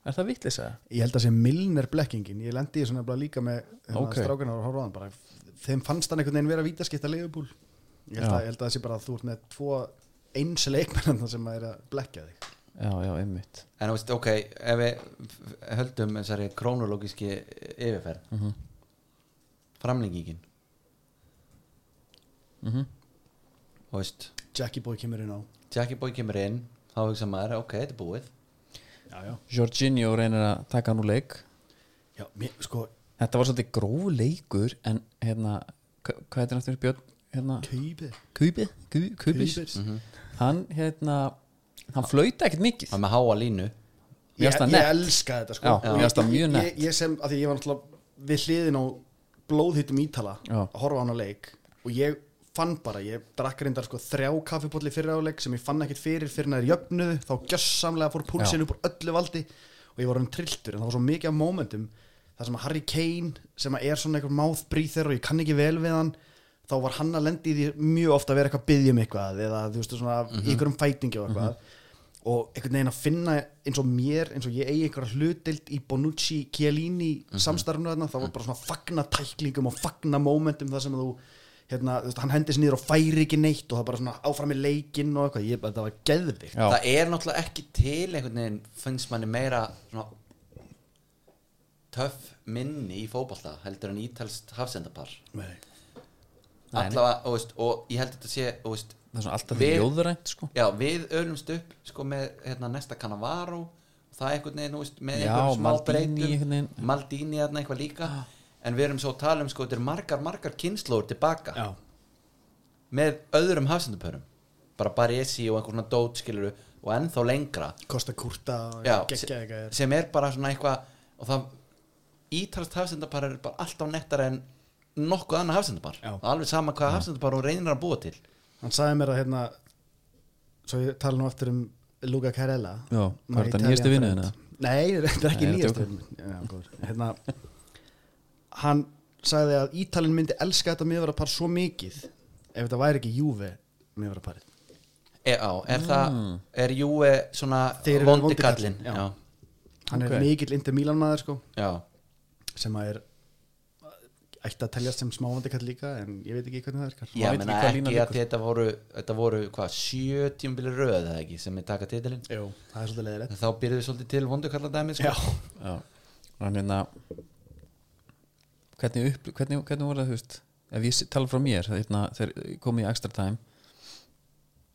Speaker 1: er það vitleisa?
Speaker 3: ég held að sé Milner blekkingin ég lendi í svona bara líka með hérna,
Speaker 1: Ok.
Speaker 3: okay. strákunar og horfaðan bara þeim fannst hann einhvern veginn vera vítaskipta leifupúl ég held,
Speaker 1: Já.
Speaker 3: að, ég held að það sé bara að þú ert með tvo eins leikmennan sem að er að blekja þig
Speaker 1: já, já, einmitt
Speaker 2: En þú veist, ok, ef við höldum þessari krónologíski yfirferð
Speaker 1: Mhm.
Speaker 2: framlengingin
Speaker 1: Mhm.
Speaker 2: Þú veist,
Speaker 3: Jackie Boy kemur inn á
Speaker 2: Jackie Boy kemur inn þá hugsa maður, ok, þetta er búið
Speaker 3: já, já.
Speaker 1: Jorginho reynir að taka hann úr leik
Speaker 3: Já, mér, sko,
Speaker 1: þetta var svolítið gróf leikur en hérna, hva- hvað heitir hann eftir Björn? Hérna,
Speaker 3: kaupið
Speaker 1: Kubi, Kubi, Kubis
Speaker 3: Kubis.
Speaker 1: hann hérna hann flauta ekkert mikið
Speaker 2: hann með háa línu
Speaker 1: Mér
Speaker 3: ég,
Speaker 1: finnst það
Speaker 3: ég
Speaker 1: nett.
Speaker 3: elska þetta sko
Speaker 1: Já,
Speaker 3: Og
Speaker 1: já.
Speaker 3: ég-
Speaker 1: Mér finnst það mjög
Speaker 3: ég-
Speaker 1: nett.
Speaker 3: ég, ég sem, af því ég var náttúrulega við hliðin á blóðhittum ítala
Speaker 1: Já.
Speaker 3: að horfa á hann á leik og ég fann bara, ég drakk reyndar sko þrjá kaffipolli fyrir áleik sem ég fann ekkert fyrir fyrir næður jöfnuðu, þá gjössamlega fór púlsin upp úr öllu valdi og ég var hann trilltur en það var svo mikið af momentum þar sem að Harry Kane sem að er svona einhver mouthbreather og ég kann ekki vel við hann þá var hann að lendi í því mjög ofta að vera eitthvað að biðja um eitthvað eða þú veist svona mm
Speaker 1: Mhm.
Speaker 3: -hmm. ykkur um fætingi og eitthvað og einhvern veginn að finna eins og mér eins og ég eigi einhverja hlutild í Bonucci Chiellini samstarfnu þarna það var bara svona fagna tæklingum og fagna momentum þar sem þú hérna, þú veist, hann hendis niður og færi ekki neitt og það bara svona áfram í leikinn og eitthvað ég, þetta var geðvikt
Speaker 1: Já.
Speaker 2: það er náttúrulega ekki til einhvern veginn finnst manni meira svona, töff minni í fótballta heldur en ítalst hafsendapar
Speaker 1: Nei, nei.
Speaker 2: allavega, þú veist, og ég held að þetta sé þú veist,
Speaker 1: það er svona alltaf því
Speaker 2: Við-
Speaker 1: ljóðurænt sko.
Speaker 2: Já, við ölumst upp sko með hérna, næsta Cannavaro það er einhvern veginn, þú veist, með
Speaker 1: Já,
Speaker 2: einhverjum smá
Speaker 1: Maldini
Speaker 2: breytum
Speaker 1: einhvern veginn. Ah.
Speaker 2: Maldini þarna eitthvað líka en við erum svo að tala um sko, þetta er margar, margar kynnslóður tilbaka
Speaker 3: Já,
Speaker 2: með öðrum hafsendupörum bara Baresi og einhvern svona dót skilur og ennþá lengra
Speaker 3: Kosta Kurta
Speaker 2: Já,
Speaker 3: geggja eitthvað
Speaker 2: sem er bara svona eitthvað og það ítalst hafsendapar er bara alltaf nettara en nokkuð annað hafsendapar
Speaker 3: Já.
Speaker 2: alveg sama hvað hafsendapar hún reynir að búa til
Speaker 3: Hann sagði mér að hérna Svo ég tala nú aftur um Luca Carella
Speaker 1: Já,
Speaker 3: My
Speaker 1: var þetta
Speaker 3: Italian
Speaker 1: nýjastu vinnu
Speaker 3: friend.
Speaker 1: þina?
Speaker 3: Nei, þetta er ekki
Speaker 1: Nei, ég
Speaker 3: nýjastu
Speaker 1: djóka.
Speaker 3: vinnu minn. Já, góður. Hérna Hann sagði að Ítalinn myndi elska þetta miðvarapar svo mikið ef þetta væri ekki Juve miðvaraparið
Speaker 2: e, á, er það,
Speaker 1: Mm.
Speaker 2: er Júe svona
Speaker 3: Þeir eru vondi
Speaker 2: vondikallin
Speaker 3: kallinn,
Speaker 2: já.
Speaker 3: já. Hann
Speaker 1: Ok.
Speaker 3: er mikill Inter Milan maður sko
Speaker 2: Já.
Speaker 3: sem að er ætti að teljast sem smávandikall líka en ég veit ekki hvernig það virkar
Speaker 2: ég
Speaker 1: veit
Speaker 2: meina
Speaker 1: ekki hvað línan
Speaker 2: ekki að
Speaker 1: liggur.
Speaker 2: þetta voru þetta voru hvað, sjö tímbili röð eða ekki sem er taka titilin
Speaker 3: Jú, það er svolítið leiðilegt
Speaker 2: þá byrjuðu svolítið til vondukalladæmi sko.
Speaker 1: Já, hann hérna hvernig, upp, hvernig, hvernig voru það, þú veist ef ég s- tala frá mér, þegar, þegar komið í extra time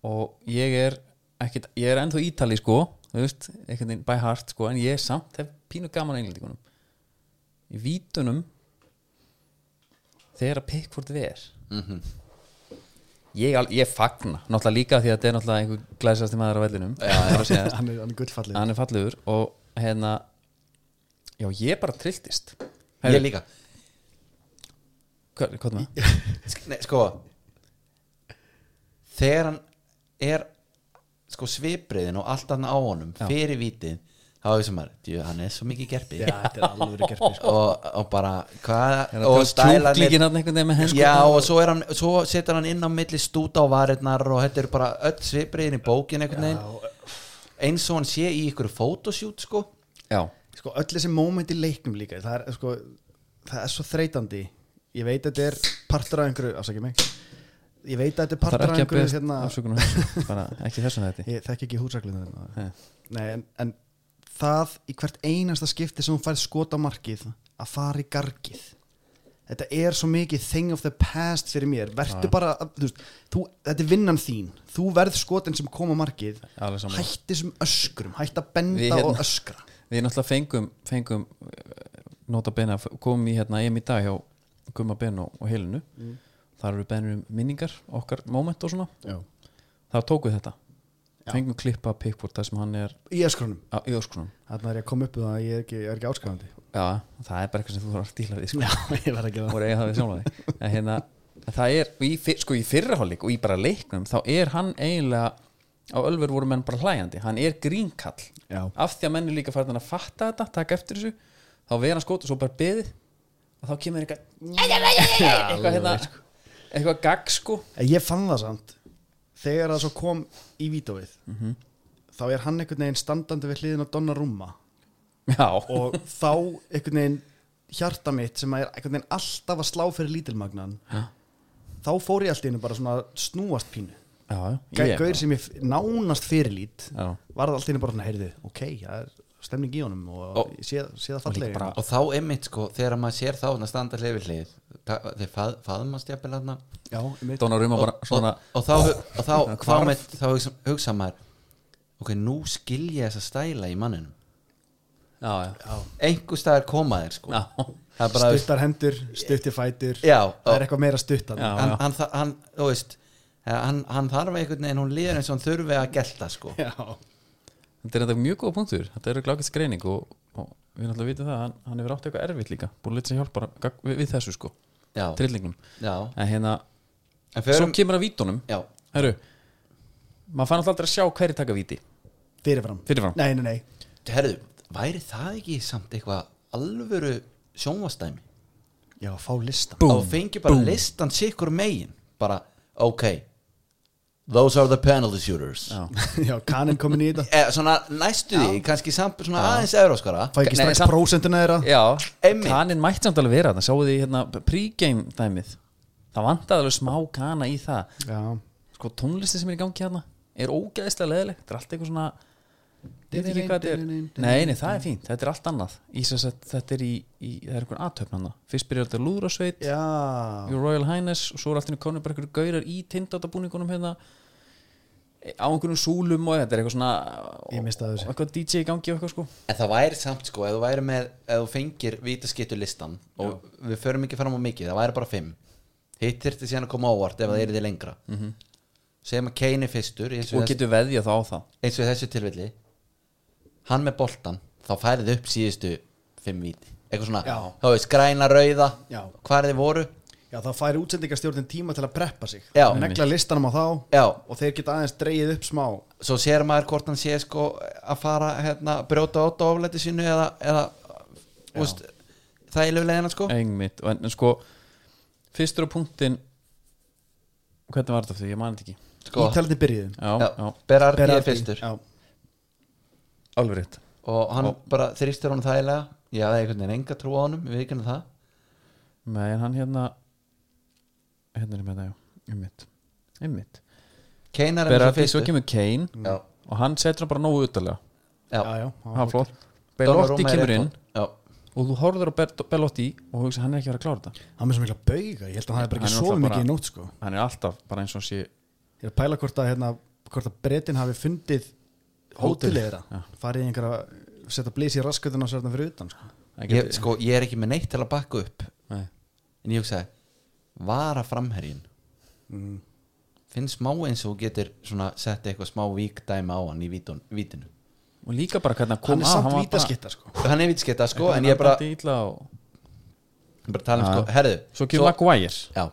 Speaker 1: og ég er ekkit, ég er ennþá ítali sko, þú veist, einhvern veginn by heart sko, en ég samt hef pínu gaman englendingunum í vítunum þegar að Pickford ver Mhm. ég, al- ég fagna náttúrulega líka því að þetta er náttúrulega einhver glæsasti maður á vellinum það er að segja
Speaker 3: Hann er, hann er gullfallið
Speaker 1: hann er fallegur og hérna já ég bara trilltist
Speaker 2: ég líka
Speaker 1: hvað, hvað með?
Speaker 2: Sk- Nei, sko þegar hann er sko svipriðin og allt hann á honum fyrir vítið þá er sem að djú, hann er svo mikið gerpið
Speaker 3: Já, þetta er sko. alveg verið gerpi
Speaker 2: og, og bara hvað
Speaker 1: og stjúklíkin hann Hérna, einhvern veginn með henn sko.
Speaker 2: já og svo, er hann, svo setur hann inn á milli stúta á varirnar og þetta er bara öll svipriðin í bókin einhvern veginn eins og hann sé í ykkur fótosjút sko
Speaker 1: já,
Speaker 3: sko öll þessi moment í leiknum líka það er, sko, það er svo þreytandi ég veit að þetta er partur af einhverju afsakið mig ég veit að þetta er
Speaker 1: það
Speaker 3: partur
Speaker 1: er ekki
Speaker 3: af
Speaker 1: að
Speaker 3: einhverju
Speaker 1: beðast
Speaker 3: hérna,
Speaker 1: afsökunum þessu, bara ekki þessum þetta
Speaker 3: ég þekki ekki húsaklið hérna.
Speaker 1: Nei.
Speaker 3: nei en, en það í hvert einasta skipti sem hún færð skota markið að fara í gargið þetta er svo mikið thing of the past fyrir mér, verður bara að- þú veist, þú, þetta er vinnan þín þú verð skotin sem koma markið
Speaker 1: Alveg sammála.
Speaker 3: hætti sem öskrum, hætti að benda
Speaker 1: Við hérna-
Speaker 3: og öskra
Speaker 1: við náttúrulega fengum, fengum eh, nota bena, komum í hérna EM í dag hjá Gumma Ben og, og Helinu þar eru benur um minningar okkar moment og svona,
Speaker 3: Já.
Speaker 1: það tókuð þetta fengum klippa Pickford þar sem hann er
Speaker 3: í öskrunum
Speaker 1: á, í öskunum
Speaker 3: Þannig er ég að koma upp um það að ég er ekki, ég er ekki áskrifandi
Speaker 1: já, það er bara eitthvað sem þú þarf að díla við sko.
Speaker 3: ég verð ekki
Speaker 1: voru eiga það við sjálfa þig en hérna, en það er, og í, fyr- sko í fyrraháleik og í bara leiknum, þá er hann eiginlega á Ölver voru menn bara hlæjandi hann er grínkall,
Speaker 3: Já.
Speaker 1: af því að menn er líka farin að fatta þetta, taka eftir þessu þá vera hann skot og svo bara beðið og þá kemur eitthvað eitthvað hérna, eitthvað gagg sko
Speaker 3: En ég fann það samt Þegar það svo kom í vítóið
Speaker 1: Mhm.
Speaker 3: Þá er hann einhvern veginn standandi við hliðin á Donnarumma
Speaker 1: já,
Speaker 3: Og þá einhvern veginn hjarta mitt sem er einhvern veginn alltaf að slá fyrir lítilmagnan
Speaker 1: Já.
Speaker 3: Þá fór ég allt í hennu bara svona að snúast pínu
Speaker 1: já, já, ég,
Speaker 3: Gauður sem ég f- nánast fyrirlít
Speaker 1: Já.
Speaker 3: Varð allt í hennu bara svona, heyrðu, ok, það er stemning í honum Og,
Speaker 2: Og-
Speaker 3: og sé, sé það fallega
Speaker 1: bara-
Speaker 2: og þá einmitt sko þegar maður sér þá hann að standa hlið við hlið ta- þeir fað, faðmast jafnvel hann
Speaker 3: Já, einmitt.
Speaker 1: Dónar um að bara svona
Speaker 2: og, og þá, og þá, þá, með, þá hugsa, hugsa maður ok, nú skilja þessa stæla í manninum
Speaker 1: já, já,
Speaker 2: einhver staðar koma þér sko
Speaker 1: já,
Speaker 2: það er bara,
Speaker 3: Stuttar hendur, stuttir fætur
Speaker 2: já,
Speaker 3: Það er
Speaker 2: og,
Speaker 3: eitthvað meira stuttan
Speaker 1: já,
Speaker 2: hann,
Speaker 1: já.
Speaker 2: hann, þa- hann, þú veist hann, hann þarf einhvern veginn, hún líður eins og hann þurfi að gelta sko
Speaker 3: Já,
Speaker 1: þetta er þetta mjög góða punktur þetta eru glákist greining og, og við náttúrulega vitum það, hann, hann hefur átt eitthvað erfitt líka búin litið sem hjálpar gagg- við, við þessu sko
Speaker 2: já,
Speaker 1: trillingnum
Speaker 2: já
Speaker 1: en hérna,
Speaker 2: en förum,
Speaker 1: svo kemur að vítunum
Speaker 2: já,
Speaker 1: herru, maður fann alltaf aldrei að sjá hverju taka víti
Speaker 3: fyrirfram
Speaker 1: Fyrirfram.
Speaker 3: Nei, nei, nei
Speaker 2: herðu, væri það ekki samt eitthvað alvöru sjónvastæmi
Speaker 3: Já, fá listan
Speaker 1: Bú.
Speaker 2: og fengi bara listan sikkur megin bara, ok those are the penalty shooters
Speaker 1: Já.
Speaker 3: Já, kaninn komin í þetta
Speaker 2: eh, svona næstu því, kannski samt svona aðeins euróskara
Speaker 3: Fá ekki
Speaker 1: Nei,
Speaker 3: strax
Speaker 1: samt-
Speaker 3: prósentuna þeirra
Speaker 1: já,
Speaker 2: Einmitt.
Speaker 1: kanin mætt samt alveg vera það sáu því hérna pregame dæmið það vantaði alveg smá kana í það
Speaker 3: Já,
Speaker 1: sko tónlisti sem er í gangi hérna er ógeðslega leðilegt, þetta er allt eitthvað svona ég veit ekki hvað þetta er nei, nei, það er fínt, þetta er allt annað í, sem sagt, þetta er í, í, það er einhvern aðtöfn hann fyrst byrjar þetta lúðrasveit
Speaker 3: já.
Speaker 1: Your Royal Highness og svo er allt henni konur bara einhverju gaurar í tindátabúningunum hérna á einhvernum súlum og þetta er eitthvað svona
Speaker 3: Ég mistaði þessu.
Speaker 1: og eitthvað DJ í gangi og eitthvað sko
Speaker 2: En það væri samt sko, ef þú væri með ef þú fengir vítaskittu listan og við förum ekki fram á mikið, það væri bara fimm hitt þyrfti síðan að koma á óvart ef það er þið lengra mm -hmm. segjum að Kane er fyrstur eins og,
Speaker 1: og
Speaker 2: þess,
Speaker 1: getur veðjað þá á það
Speaker 2: eins og í þessu tilfelli hann með boltan, þá færið upp síðustu fimm víti, eitthvað svona
Speaker 3: Já.
Speaker 2: þá veist græna rauða,
Speaker 3: Já.
Speaker 2: hvað þið voru
Speaker 3: Já, það færi útsendingastjórnin tíma til að preppa sig
Speaker 2: Já.
Speaker 3: Negla listanum á þá
Speaker 2: Já.
Speaker 3: Og þeir geta aðeins dreigið upp smá
Speaker 2: svo sér maður hvort hann sé sko að fara hérna, brjóta át á oflæti sínu eða, eða úst, það er lögulegina sko
Speaker 1: Einmitt, og en, en sko fyrstur á punktin hvernig var þetta aftur, ég mani þetta ekki
Speaker 2: sko,
Speaker 3: Ítalandi byrjuðu
Speaker 1: já,
Speaker 2: já,
Speaker 1: já,
Speaker 2: Berardi er
Speaker 3: Berardi.
Speaker 2: fyrstur
Speaker 3: Já.
Speaker 1: alveg rétt
Speaker 2: og hann bara þrýstur honum þægilega ég hafði einhvern veginn enga trú á honum við ekki það
Speaker 1: Nei, en hann hérna hérna er með það, já, einmitt einmitt,
Speaker 2: Kane er
Speaker 1: Berardi,
Speaker 2: einhvern
Speaker 1: svo kemur Kane
Speaker 2: já,
Speaker 1: og hann setur hann bara nógu utalega
Speaker 2: já,
Speaker 3: Já, já,
Speaker 1: það var flott,
Speaker 2: Donnarumma
Speaker 1: Belotti
Speaker 2: er
Speaker 1: kemur
Speaker 2: rétt
Speaker 1: inn
Speaker 2: hann. já,
Speaker 1: og þú horfður á Ber- Belotti og hugsa hann er ekki að vera að klára þetta
Speaker 3: Hann er svo mikla bauga, ég held að hann er bara
Speaker 1: Hann er
Speaker 3: ekki svo
Speaker 1: náttúrulega
Speaker 3: mikið
Speaker 1: bara-
Speaker 3: í nótt sko
Speaker 1: hann er alltaf bara eins og sé
Speaker 3: Ég er að pæla hvort að, hérna, hvort að bretin hafi fundið
Speaker 1: Hótel.
Speaker 3: hótelið þeirra Farið í einhverja, setja blís í raskutin og sérna fyrir utan sko.
Speaker 1: hann
Speaker 2: ég,
Speaker 1: getur-
Speaker 2: sko, ég er ekki með neitt til að bakka upp
Speaker 1: Nei.
Speaker 2: en ég hugsaði, vara framherjin finn smá eins og þú getur svona sett eitthvað smá víkdæmi á hann í vítun, vítinu
Speaker 1: og líka bara hvernig að
Speaker 3: Hann
Speaker 1: koma
Speaker 3: er samt vítaskittar sko
Speaker 2: hann er vitskita sko, en ég er bara,
Speaker 1: og...
Speaker 2: bara að tala um sko, herðu
Speaker 1: svo kemur Maguire
Speaker 2: já,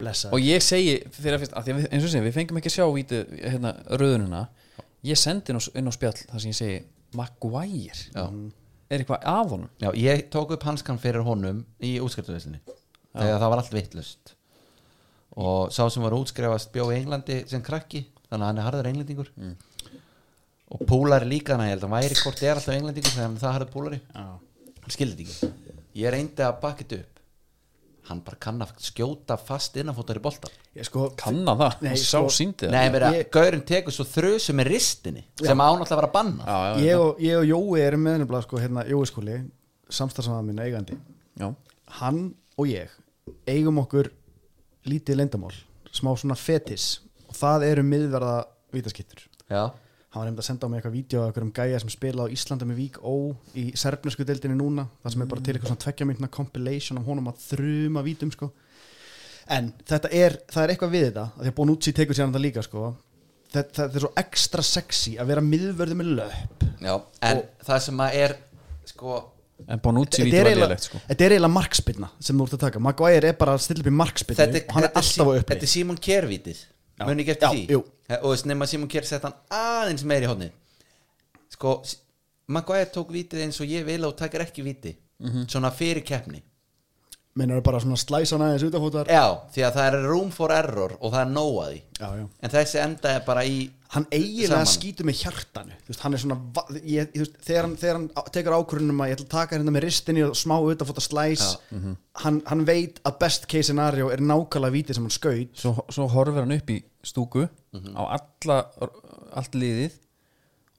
Speaker 3: Blessa
Speaker 1: og ég segi fyrir að fyrst, að því að við, eins og sem við fengum ekki að sjá víti, hérna, röðunina ég sendi inn á, inn á spjall þar sem ég segi Maguire
Speaker 2: já,
Speaker 1: er eitthvað af honum
Speaker 2: já, ég tók upp hanskan fyrir honum í útskriftuveislinni þegar það var allt vittlust og sá sem var að útskrifast bjó í Englandi sem krakki þannig að hann er harður englendingur og púlar er líka hann að ég held að hann væri hvort er alltaf englendingur þegar hann er það harður púlari hann skildi þetta ekki ég reyndi að bakka þetta upp hann bara kann að skjóta fast innanfótar í boltan
Speaker 3: Ég sko
Speaker 1: kannan það,
Speaker 3: Nei,
Speaker 1: Nei, sá
Speaker 3: sko-
Speaker 1: síndi það
Speaker 2: Nei, meira,
Speaker 3: ég-
Speaker 2: gaurin tekur svo þrösu með ristinni sem ánáttúrulega var að banna
Speaker 1: já, já,
Speaker 3: ég og, ég og Jói erum með nefnilega sko, hérna, Jói skóli, samstarfsamaða minn eigandi
Speaker 1: já,
Speaker 3: hann og ég eigum okkur lítið leyndamál smá svona fetis og það eru miðverða vítaskittur
Speaker 2: já,
Speaker 3: hann var nefnd að senda á mig eitthvað vídeo af einhverjum gæja sem spila á Íslanda með Vík Ó í serbnesku deildinni núna það sem er bara til eitthvað svona tveggja myndna compilation af honum að þruma vítum sko en þetta er, það er eitthvað við þetta af því að búin útsýt tekur sér hann það líka sko þetta, þetta er svo ekstra sexy að vera miðverði með löp
Speaker 2: já en það sem að er sko,
Speaker 1: en Bonucci
Speaker 3: Þetta
Speaker 1: víti
Speaker 3: er
Speaker 1: var
Speaker 3: eiginlega-
Speaker 1: liðlegt sko.
Speaker 3: þetta er eiginlega markspinna sem þú ert að taka Maguire er bara að stilla upp í markspinnu
Speaker 2: þetta,
Speaker 3: og hann er
Speaker 2: þetta
Speaker 3: alltaf á
Speaker 2: Sí-
Speaker 3: uppri
Speaker 2: þetta er Simon Kjær vítið muni ekki eftir
Speaker 3: Já,
Speaker 2: því
Speaker 3: jú.
Speaker 2: og þess nema Simon Kjær sett hann aðeins meiri hodni sko S- Maguire tók vítið eins og ég vil og takar ekki víti
Speaker 3: Mhm.
Speaker 2: svona fyrir keppni
Speaker 3: minn er bara svona slæsan aðeins utafótar
Speaker 2: já, því að það er room for error og það er nóg að því
Speaker 3: já, já.
Speaker 2: en þessi enda er bara í
Speaker 3: hann eiginlega
Speaker 2: Saman.
Speaker 3: skýtur með hjartanu þú veist, hann er svona va- ég, þú veist, þegar, hann, þegar hann á- tekur ákvörunum að ég ætla að taka hérna með ristinni og smá utafótar slæs
Speaker 2: mhm.
Speaker 3: hann, hann veit að best case scenario er nákvæmlega vítið sem hann skaut
Speaker 1: svo, svo horfir hann upp í stúku
Speaker 2: Mhm.
Speaker 1: á alla, allt liðið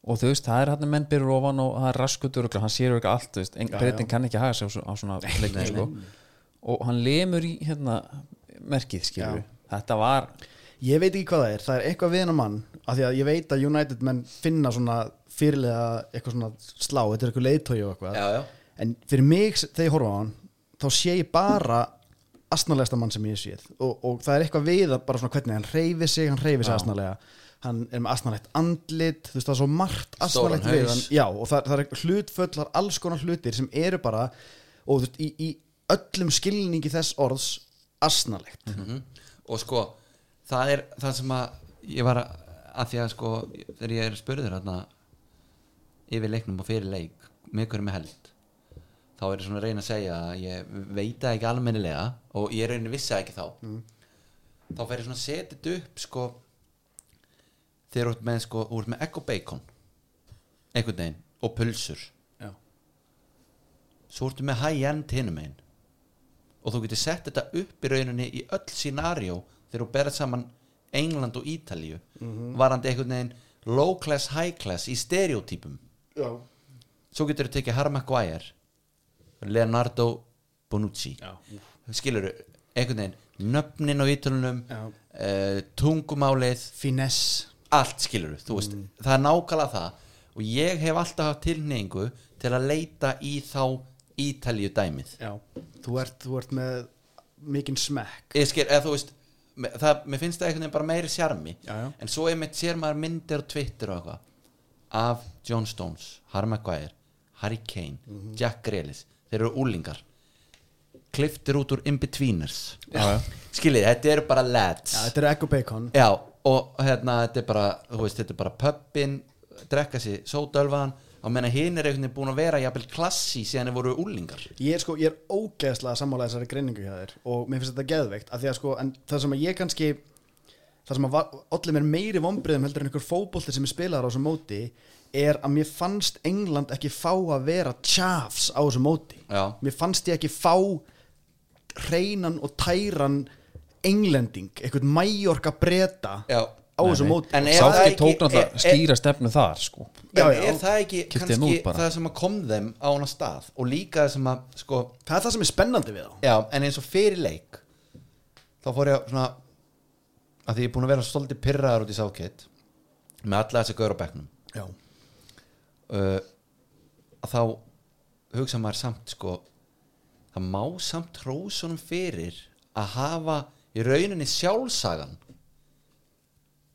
Speaker 1: og þú veist, það er hann menn byrjur ofan og það er raskutur og hann sér eitthvað allt, þú veist, en breytin kann ekki haga sig á, svo- á svona leikum, sko og hann lemur í, hérna merkið, skilur þetta var,
Speaker 3: ég veit ekki hvað það er, það er eitthvað við hennar mann af því að ég veit að United menn finna svona fyrirlega eitthvað svona slá þetta er eitthvað leiðtói og eitthvað
Speaker 2: já, já,
Speaker 3: en fyrir mig þegar ég horfa á hann þá sé ég bara astnalegasta mann sem ég hef séð og, og það er eitthvað við að bara svona hvernig hann reyfi sig hann reyfi sig astnalega hann er með astnalegt andlit, þú veist það er svo margt
Speaker 2: Stóran
Speaker 3: astnalegt við
Speaker 2: haus.
Speaker 3: hann, já og það, það er hlutföllar alls konar hlutir sem eru bara og þú veist í, í öllum skilningi þess orðs astnalegt
Speaker 2: Mhm. og sko það er það sem að ég var að, að því að sko þegar ég er spurður hérna yfir leiknum og fyrir leik með hverjum er held þá er ég svona að reyna að segja að ég veit það ekki almennilega og ég reyna að vissi það ekki þá þá fer ég svona að setja þetta upp sko þegar þú ert með sko, þú ert með egg og bacon einhvern veginn og pulsur
Speaker 3: Já.
Speaker 2: svo ertu með high-end hinum einn og þú getur sett þetta upp í rauninni í öll scenario þegar þú berð saman England og Ítalíu
Speaker 3: Mhm.
Speaker 2: varandi einhvern veginn low class, high class í stereotypum
Speaker 3: já,
Speaker 2: svo getur þú tekið Harry Maguire Leonardo Bonucci skilur þú, einhvern veginn nöfnin á Ítalunum
Speaker 3: Já.
Speaker 2: uh, eh, tungumálið
Speaker 3: finess
Speaker 2: allt skilur þú veist,
Speaker 3: Mm.
Speaker 2: það er nákvæmlega það og ég hef alltaf haft tilneyingu til að leita í þá Ítalíu dæmið
Speaker 3: Já, þú ert, þú ert með mikinn smekk
Speaker 2: ég skil, eða þú veist me- það, mér finnst það einhvern veginn bara meiri sjarmi
Speaker 3: Já, já.
Speaker 2: en svo einmitt sér maður myndir og Twitter og eitthvað af John Stones, Harry Maguire Harry Kane,
Speaker 3: Mhm.
Speaker 2: Jack Grealis þeir eru úlingar kliftir út úr in-betweeners skiljið, þetta eru bara lads
Speaker 3: Já, þetta er egg og bacon
Speaker 2: Já, og hérna, þetta er bara, þú veist, þetta er bara pöppin, drekka sér sótölvaðan og menna hinn er einhvern veginn búin að vera jafnvel klassi síðan þeir voru úlingar
Speaker 3: Ég er sko, ég er ógeðslega sammála þessari greiningu hjá þér og mér finnst þetta geðveikt af því að sko, en það sem að ég kannski það sem að var- olli mér meiri vombriðum heldur en einhver fótbolti sem ég spilaði á þessu móti er að mér fannst England ekki fá að vera tjafs á þessu móti
Speaker 2: Já.
Speaker 3: mér fannst ég ekki fá hreinan og tæran englending, einhvern mæjorka breta
Speaker 2: Já.
Speaker 3: á þessu
Speaker 1: Nei, nei.
Speaker 3: móti
Speaker 2: En
Speaker 3: Og
Speaker 2: er
Speaker 3: það-
Speaker 2: það
Speaker 1: Sátti
Speaker 2: ekki- e-
Speaker 1: tók
Speaker 2: er- er-
Speaker 1: náttúrulega skýra stefnu þar sko
Speaker 3: Já,
Speaker 2: En
Speaker 3: já.
Speaker 2: er það
Speaker 1: Kipti
Speaker 2: ekki
Speaker 1: þeim
Speaker 2: kannski
Speaker 1: út bara.
Speaker 2: það sem að kom þeim á hana stað og líka það sem að, sko,
Speaker 3: það er það sem er spennandi við þá
Speaker 2: já, en eins og fyrir leik þá fór ég að svona að því ég er búin að vera svolítið pirraðar út í sákett með alla þessi gaur á bekknum
Speaker 3: Já,
Speaker 2: uh, að þá hugsa maður samt sko það má samt hrósunum fyrir að hafa í rauninni sjálfsagan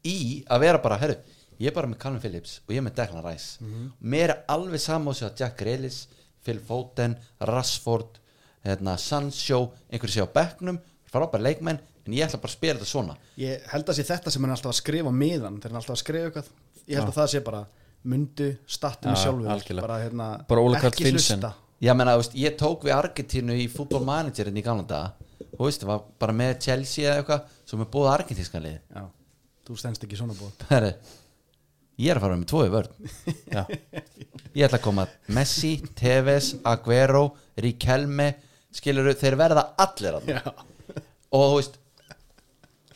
Speaker 2: í að vera bara, herru ég er bara með Calvin Phillips og ég er með Declan Rice mér er alveg saman á sig að Jack Grealis Phil Foden, Rashford hérna, Sancho, einhverju sé á bekknum frábær leikmenn, en ég ætla bara að spila þetta svona
Speaker 3: Ég held að sé þetta sem hann er alltaf að skrifa miðan þegar hann er alltaf að skrifa eitthvað Ég held að það sé bara mundu stattu mig
Speaker 1: Já,
Speaker 3: sjálfur
Speaker 1: algjörlega.
Speaker 3: bara, hérna,
Speaker 1: Bara Ole Karl
Speaker 3: ekki
Speaker 1: Finnsen.
Speaker 3: hlusta.
Speaker 2: Já, menna, veist, ég tók við Argentínu í fútbolmanagerin í gamla daga og veist, var bara með Chelsea eða eitthvað sem er búið argentískan lið
Speaker 3: Já, þú stendst ekki svona búið
Speaker 2: Herri, ég er að fara með tvo í vörn
Speaker 1: Já.
Speaker 2: ég ætla að koma Messi, Tevez, Aguero Riquelme, skilur þeir verða allir að og þú veist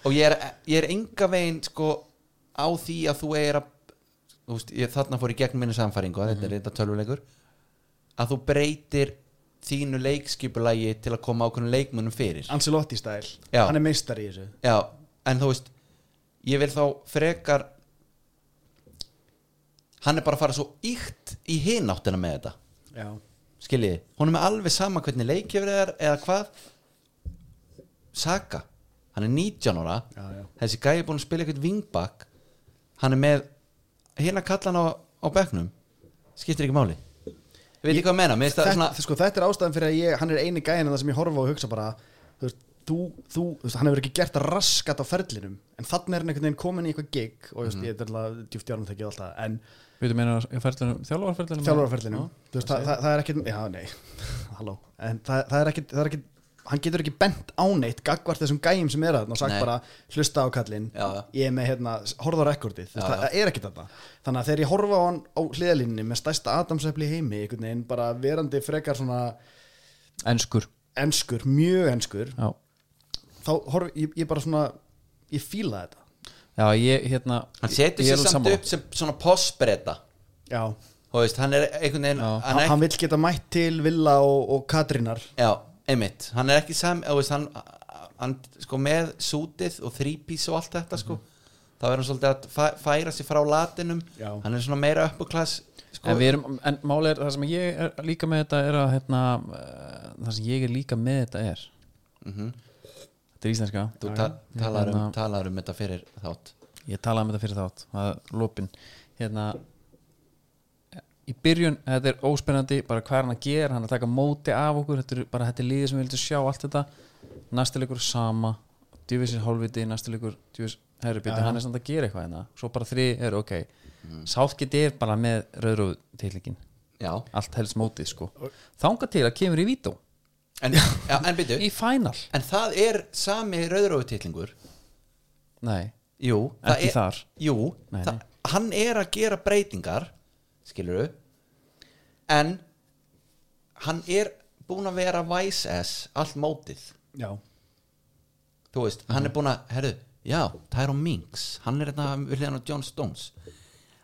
Speaker 2: og ég er, ég er enga veginn sko á því að þú er að þú veist, ég, þarna fór í gegnum minni samfæringu að þetta er reynda tölvuleikur að þú breytir þínu leikskipulagi til að koma ákveðnum leikmunum fyrir
Speaker 3: Ancelotti stæl,
Speaker 2: Já.
Speaker 3: hann er meistar í þessu
Speaker 2: já, en þú veist ég vil þá frekar hann er bara að fara svo íkt í hináttina með þetta
Speaker 3: Já,
Speaker 2: skiljiði, hún er með alveg sama hvernig leikjöfrið er eða hvað Saka, hann er 19 ára
Speaker 3: Já, já.
Speaker 2: þessi gæi er búin að spila eitthvað vingbak hann er með hérna kallan á, á bekknum skiptir ekki máli ég veit ekki hvað að menna, mér finnst það
Speaker 3: þetta,
Speaker 2: svona
Speaker 3: sko, þetta er ástæðan fyrir að ég, hann er eini gæðin það sem ég horfa á og hugsa bara þú, veist, þú, þú, þú veist, hann hefur ekki gert að raskat á ferlinum en þannig er hann einhvern veginn komin í eitthvað gig og
Speaker 1: Mhm.
Speaker 3: just, mm. ég er alltaf djúft í árum þekkið alltaf en
Speaker 1: Við veitum einu á ferlinum, þjálfarferlinum
Speaker 3: þjálfarferlinu það, það, það, það er ekkit, já nei halló, en það, það er ekkit, það er ekkit hann getur ekki bent á neitt gagvart þessum gæjum sem er að og sagt
Speaker 2: Nei.
Speaker 3: bara hlusta á kallinn
Speaker 2: Já, já.
Speaker 3: ég er með hérna, horfa á rekordið þú veist,
Speaker 2: Já, já.
Speaker 3: það er ekkit þetta þannig að þegar ég horfa á hann á hliðalínni með stærsta Adamsefli í heimi einhvern veginn bara verandi frekar svona
Speaker 1: Enskur
Speaker 3: enskur, mjög enskur
Speaker 1: Já,
Speaker 3: þá horf, ég, ég bara svona ég fíla þetta
Speaker 1: já ég hérna
Speaker 2: hann setur
Speaker 1: ég er
Speaker 2: sér
Speaker 1: alveg
Speaker 2: samt
Speaker 1: sammála.
Speaker 2: upp sem svona postbreyta
Speaker 3: já,
Speaker 2: þú veist, hann er einhvern veginn
Speaker 1: Já.
Speaker 2: hann er
Speaker 3: hann vill geta mætt til Villa og, og Katrínar
Speaker 2: Já, einmitt, hann er ekki sam þú veist, hann, hann sko með sútið og þrípís og allt þetta sko þá er hann svolítið að fæ- færa sig frá latinum
Speaker 3: Já.
Speaker 2: hann er svona meira uppuklass sko,
Speaker 1: En, við erum, en máli er það sem ég er líka með þetta er að hérna, eh, það sem ég er líka með þetta er Þetta er íslenska
Speaker 2: þú ta talar, um,
Speaker 1: Hérna-
Speaker 2: talar um þetta fyrir þátt
Speaker 1: Ég talaði um þetta fyrir þátt það er lopin hérna, Í byrjun, þetta er óspennandi bara hvað er hann að gera, hann er að taka móti af okkur þetta er bara þetta er liðið sem við vildum sjá allt þetta næstilegur sama djúfisir hálfviti, næstilegur djúfis herrubjöti, hann er samt að gera eitthvað hérna svo bara þri er ok mm. sáttgeti er bara með rauðróð tilíkin
Speaker 2: Já,
Speaker 1: allt helst mótið sko þanga til að kemur í vító
Speaker 2: en, já, en byrju
Speaker 1: í final
Speaker 2: en það er sami rauðrófutitlingur
Speaker 1: nei,
Speaker 2: Jú, það
Speaker 1: Ekki
Speaker 2: er,
Speaker 1: þar.
Speaker 2: Jú,
Speaker 1: Nei,
Speaker 2: það, hann er að gera breytingar skilur en hann er búin að vera vice ass allt mótið
Speaker 3: já,
Speaker 2: þú veist, hann er búin að herru, já, Tyrone Minks hann er hérna við hliðan á John Stones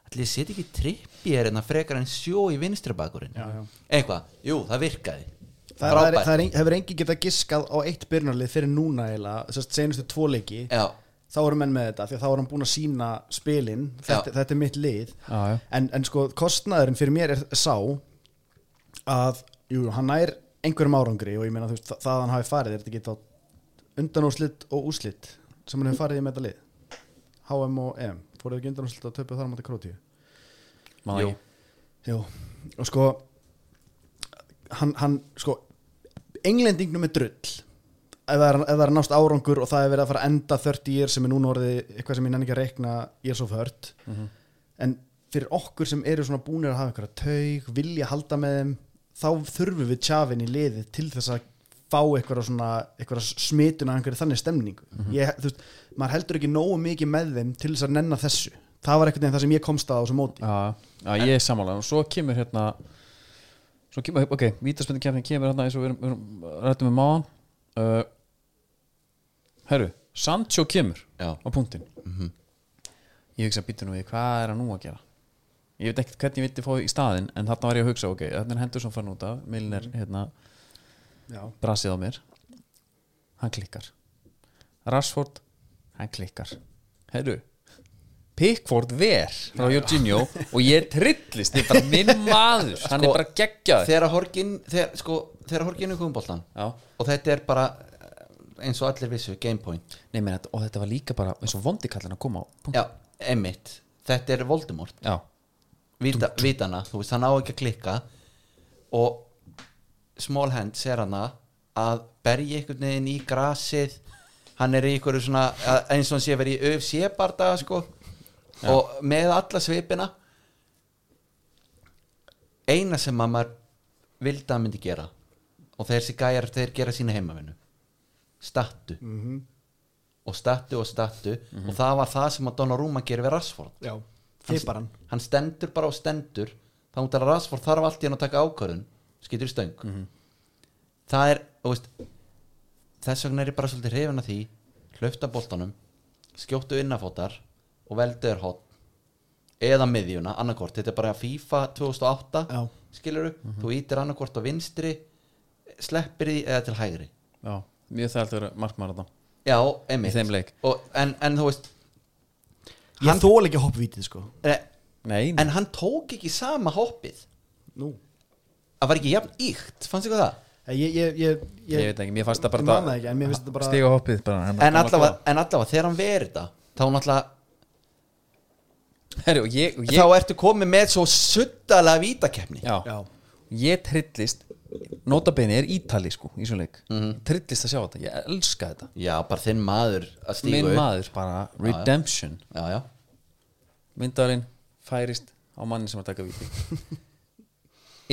Speaker 2: allir setja ekki trippi er hérna frekar en sjó í vinstri bakurinn
Speaker 3: Já, já.
Speaker 2: eitthvað, jú, það virkaði
Speaker 3: Það, er, það, er,
Speaker 2: Frábært.
Speaker 3: það er, ein- hefur engin getað giskað á eitt byrjunarlið fyrir núna eiginlega, sérst, senustu tvo leiki
Speaker 2: já,
Speaker 3: þá eru menn með þetta því að þá er hann búin að sína spilin þetta, þetta er mitt lið
Speaker 1: Já, já.
Speaker 3: En, en sko kostnaðurinn fyrir mér er sá að jú, hann nær einhverjum árangri og ég meina þú veist, þa- það að hann hafi farið er þetta ekki þá undanúrslit og úrslit sem hann hefur farið í með þetta lið HM og EM, fóruðu ekki undanúrslit að töpu þar á móti Krótíu
Speaker 1: Man
Speaker 2: Jú.
Speaker 1: ekki.
Speaker 3: Jú, og sko hann, hann sko englendingnum er drull ef það er, ef það er að nást árangur og það er verið að fara að enda 30 years sem er núna orðið eitthvað sem ég nenni ekki að reikna years of hurt en fyrir okkur sem eru svona búnir að hafa einhverja taug, vilja halda með þeim þá þurfum við tjafin í liðið til þess að fá einhverja svona einhverja smitun af einhverju þannig stemningu ég, þú veist, maður heldur ekki nógu mikið með þeim til þess að nenna þessu það var eitthvað það sem ég komst að á þessu móti
Speaker 1: Já, já, ég er sammála og svo kemur hérna svo kemur, ok, vítaspendikefnin kemur hérna eins og við erum, við erum rættum með máðan uh, Herru, Sancho kemur
Speaker 2: Já.
Speaker 1: á punktin Ég hugsa, býtu nú við, hvað er hann nú að gera? Ég veit ekkert hvernig ég vildi fá í staðinn en þarna var ég að hugsa, ok, þarna er Henderson fann út af Milner, hérna,
Speaker 3: Já.
Speaker 1: brasið á mér hann klikkar Rashford, hann klikkar herru Pickford ver frá Jorginho og ég trillist, ég er bara minn maður hann er bara geggjaður
Speaker 2: þegar horgin þegar, sko, þegar horgin er komum boltan
Speaker 1: Já.
Speaker 2: og þetta er bara eh, eins og allir vissu, game point
Speaker 1: Nei, meni, og þetta var líka bara eins og vondikallin að koma á punkt.
Speaker 2: já, emitt, þetta er Voldemort
Speaker 1: já,
Speaker 2: Vita, vitana, þú veist, hann á ekki að klikka og small hands er hana að berja einhvern veginn í grasið hann er í einhverju svona að- eins og hann sé verið í UFC bardaga sko og með alla svipina eina sem að maður vildi að hann myndi gera og þessi gæjar þeir gera sína heimavinu stattu og stattu og stattu og það var það sem að Donnarumma gerir við Rassford
Speaker 3: Já, teipar hann
Speaker 2: hann stendur bara og stendur þá hún talar Rashford þarf allt í hann að taka ákvörðun skýtur í stöng
Speaker 1: Mhm.
Speaker 2: það er, þú veist þess vegna er ég bara svolítið hrifin að því hlöfta boltanum, skjóttu innafótar og veldu er hot eða miðjuna, annarkort þetta er bara FIFA 2008
Speaker 3: Já.
Speaker 2: skilur
Speaker 1: Mhm.
Speaker 2: þú ítir annarkort á vinstri sleppir því eða til hægri
Speaker 1: já, mjög það alltaf verið markmaður þarna.
Speaker 2: já, einmitt
Speaker 1: Í þeim leik.
Speaker 2: Og, en, en þú veist
Speaker 3: Ég hann... þól ekki hoppvítið sko
Speaker 2: eh,
Speaker 1: nei,
Speaker 2: en hann tók ekki sama hoppið
Speaker 3: Nú
Speaker 2: það var ekki jafn íkt, fannst ykkur það?
Speaker 3: Ég, ég, ég,
Speaker 1: ég, veit ekki, mér fannst það
Speaker 3: Ég
Speaker 1: bara
Speaker 3: man það ekki, en mér finnst þetta bara-
Speaker 1: stiga hoppið bara, hann-
Speaker 2: en
Speaker 1: hann var
Speaker 2: allavega,
Speaker 1: klár.
Speaker 2: en allavega þegar hann verið þetta þá, náttúrulega-
Speaker 1: herru, og ég, og ég
Speaker 2: þá ertu komið með svo suttalega vítakeppni
Speaker 1: já.
Speaker 3: Já.
Speaker 1: ég trillist notabene er ítali sko í svo leik trillist að sjá þetta, ég elska þetta
Speaker 2: já, bara þinn maður að stígu
Speaker 1: minn maður bara redemption
Speaker 2: já, já.
Speaker 1: myndarinn færist á manni sem að taka viti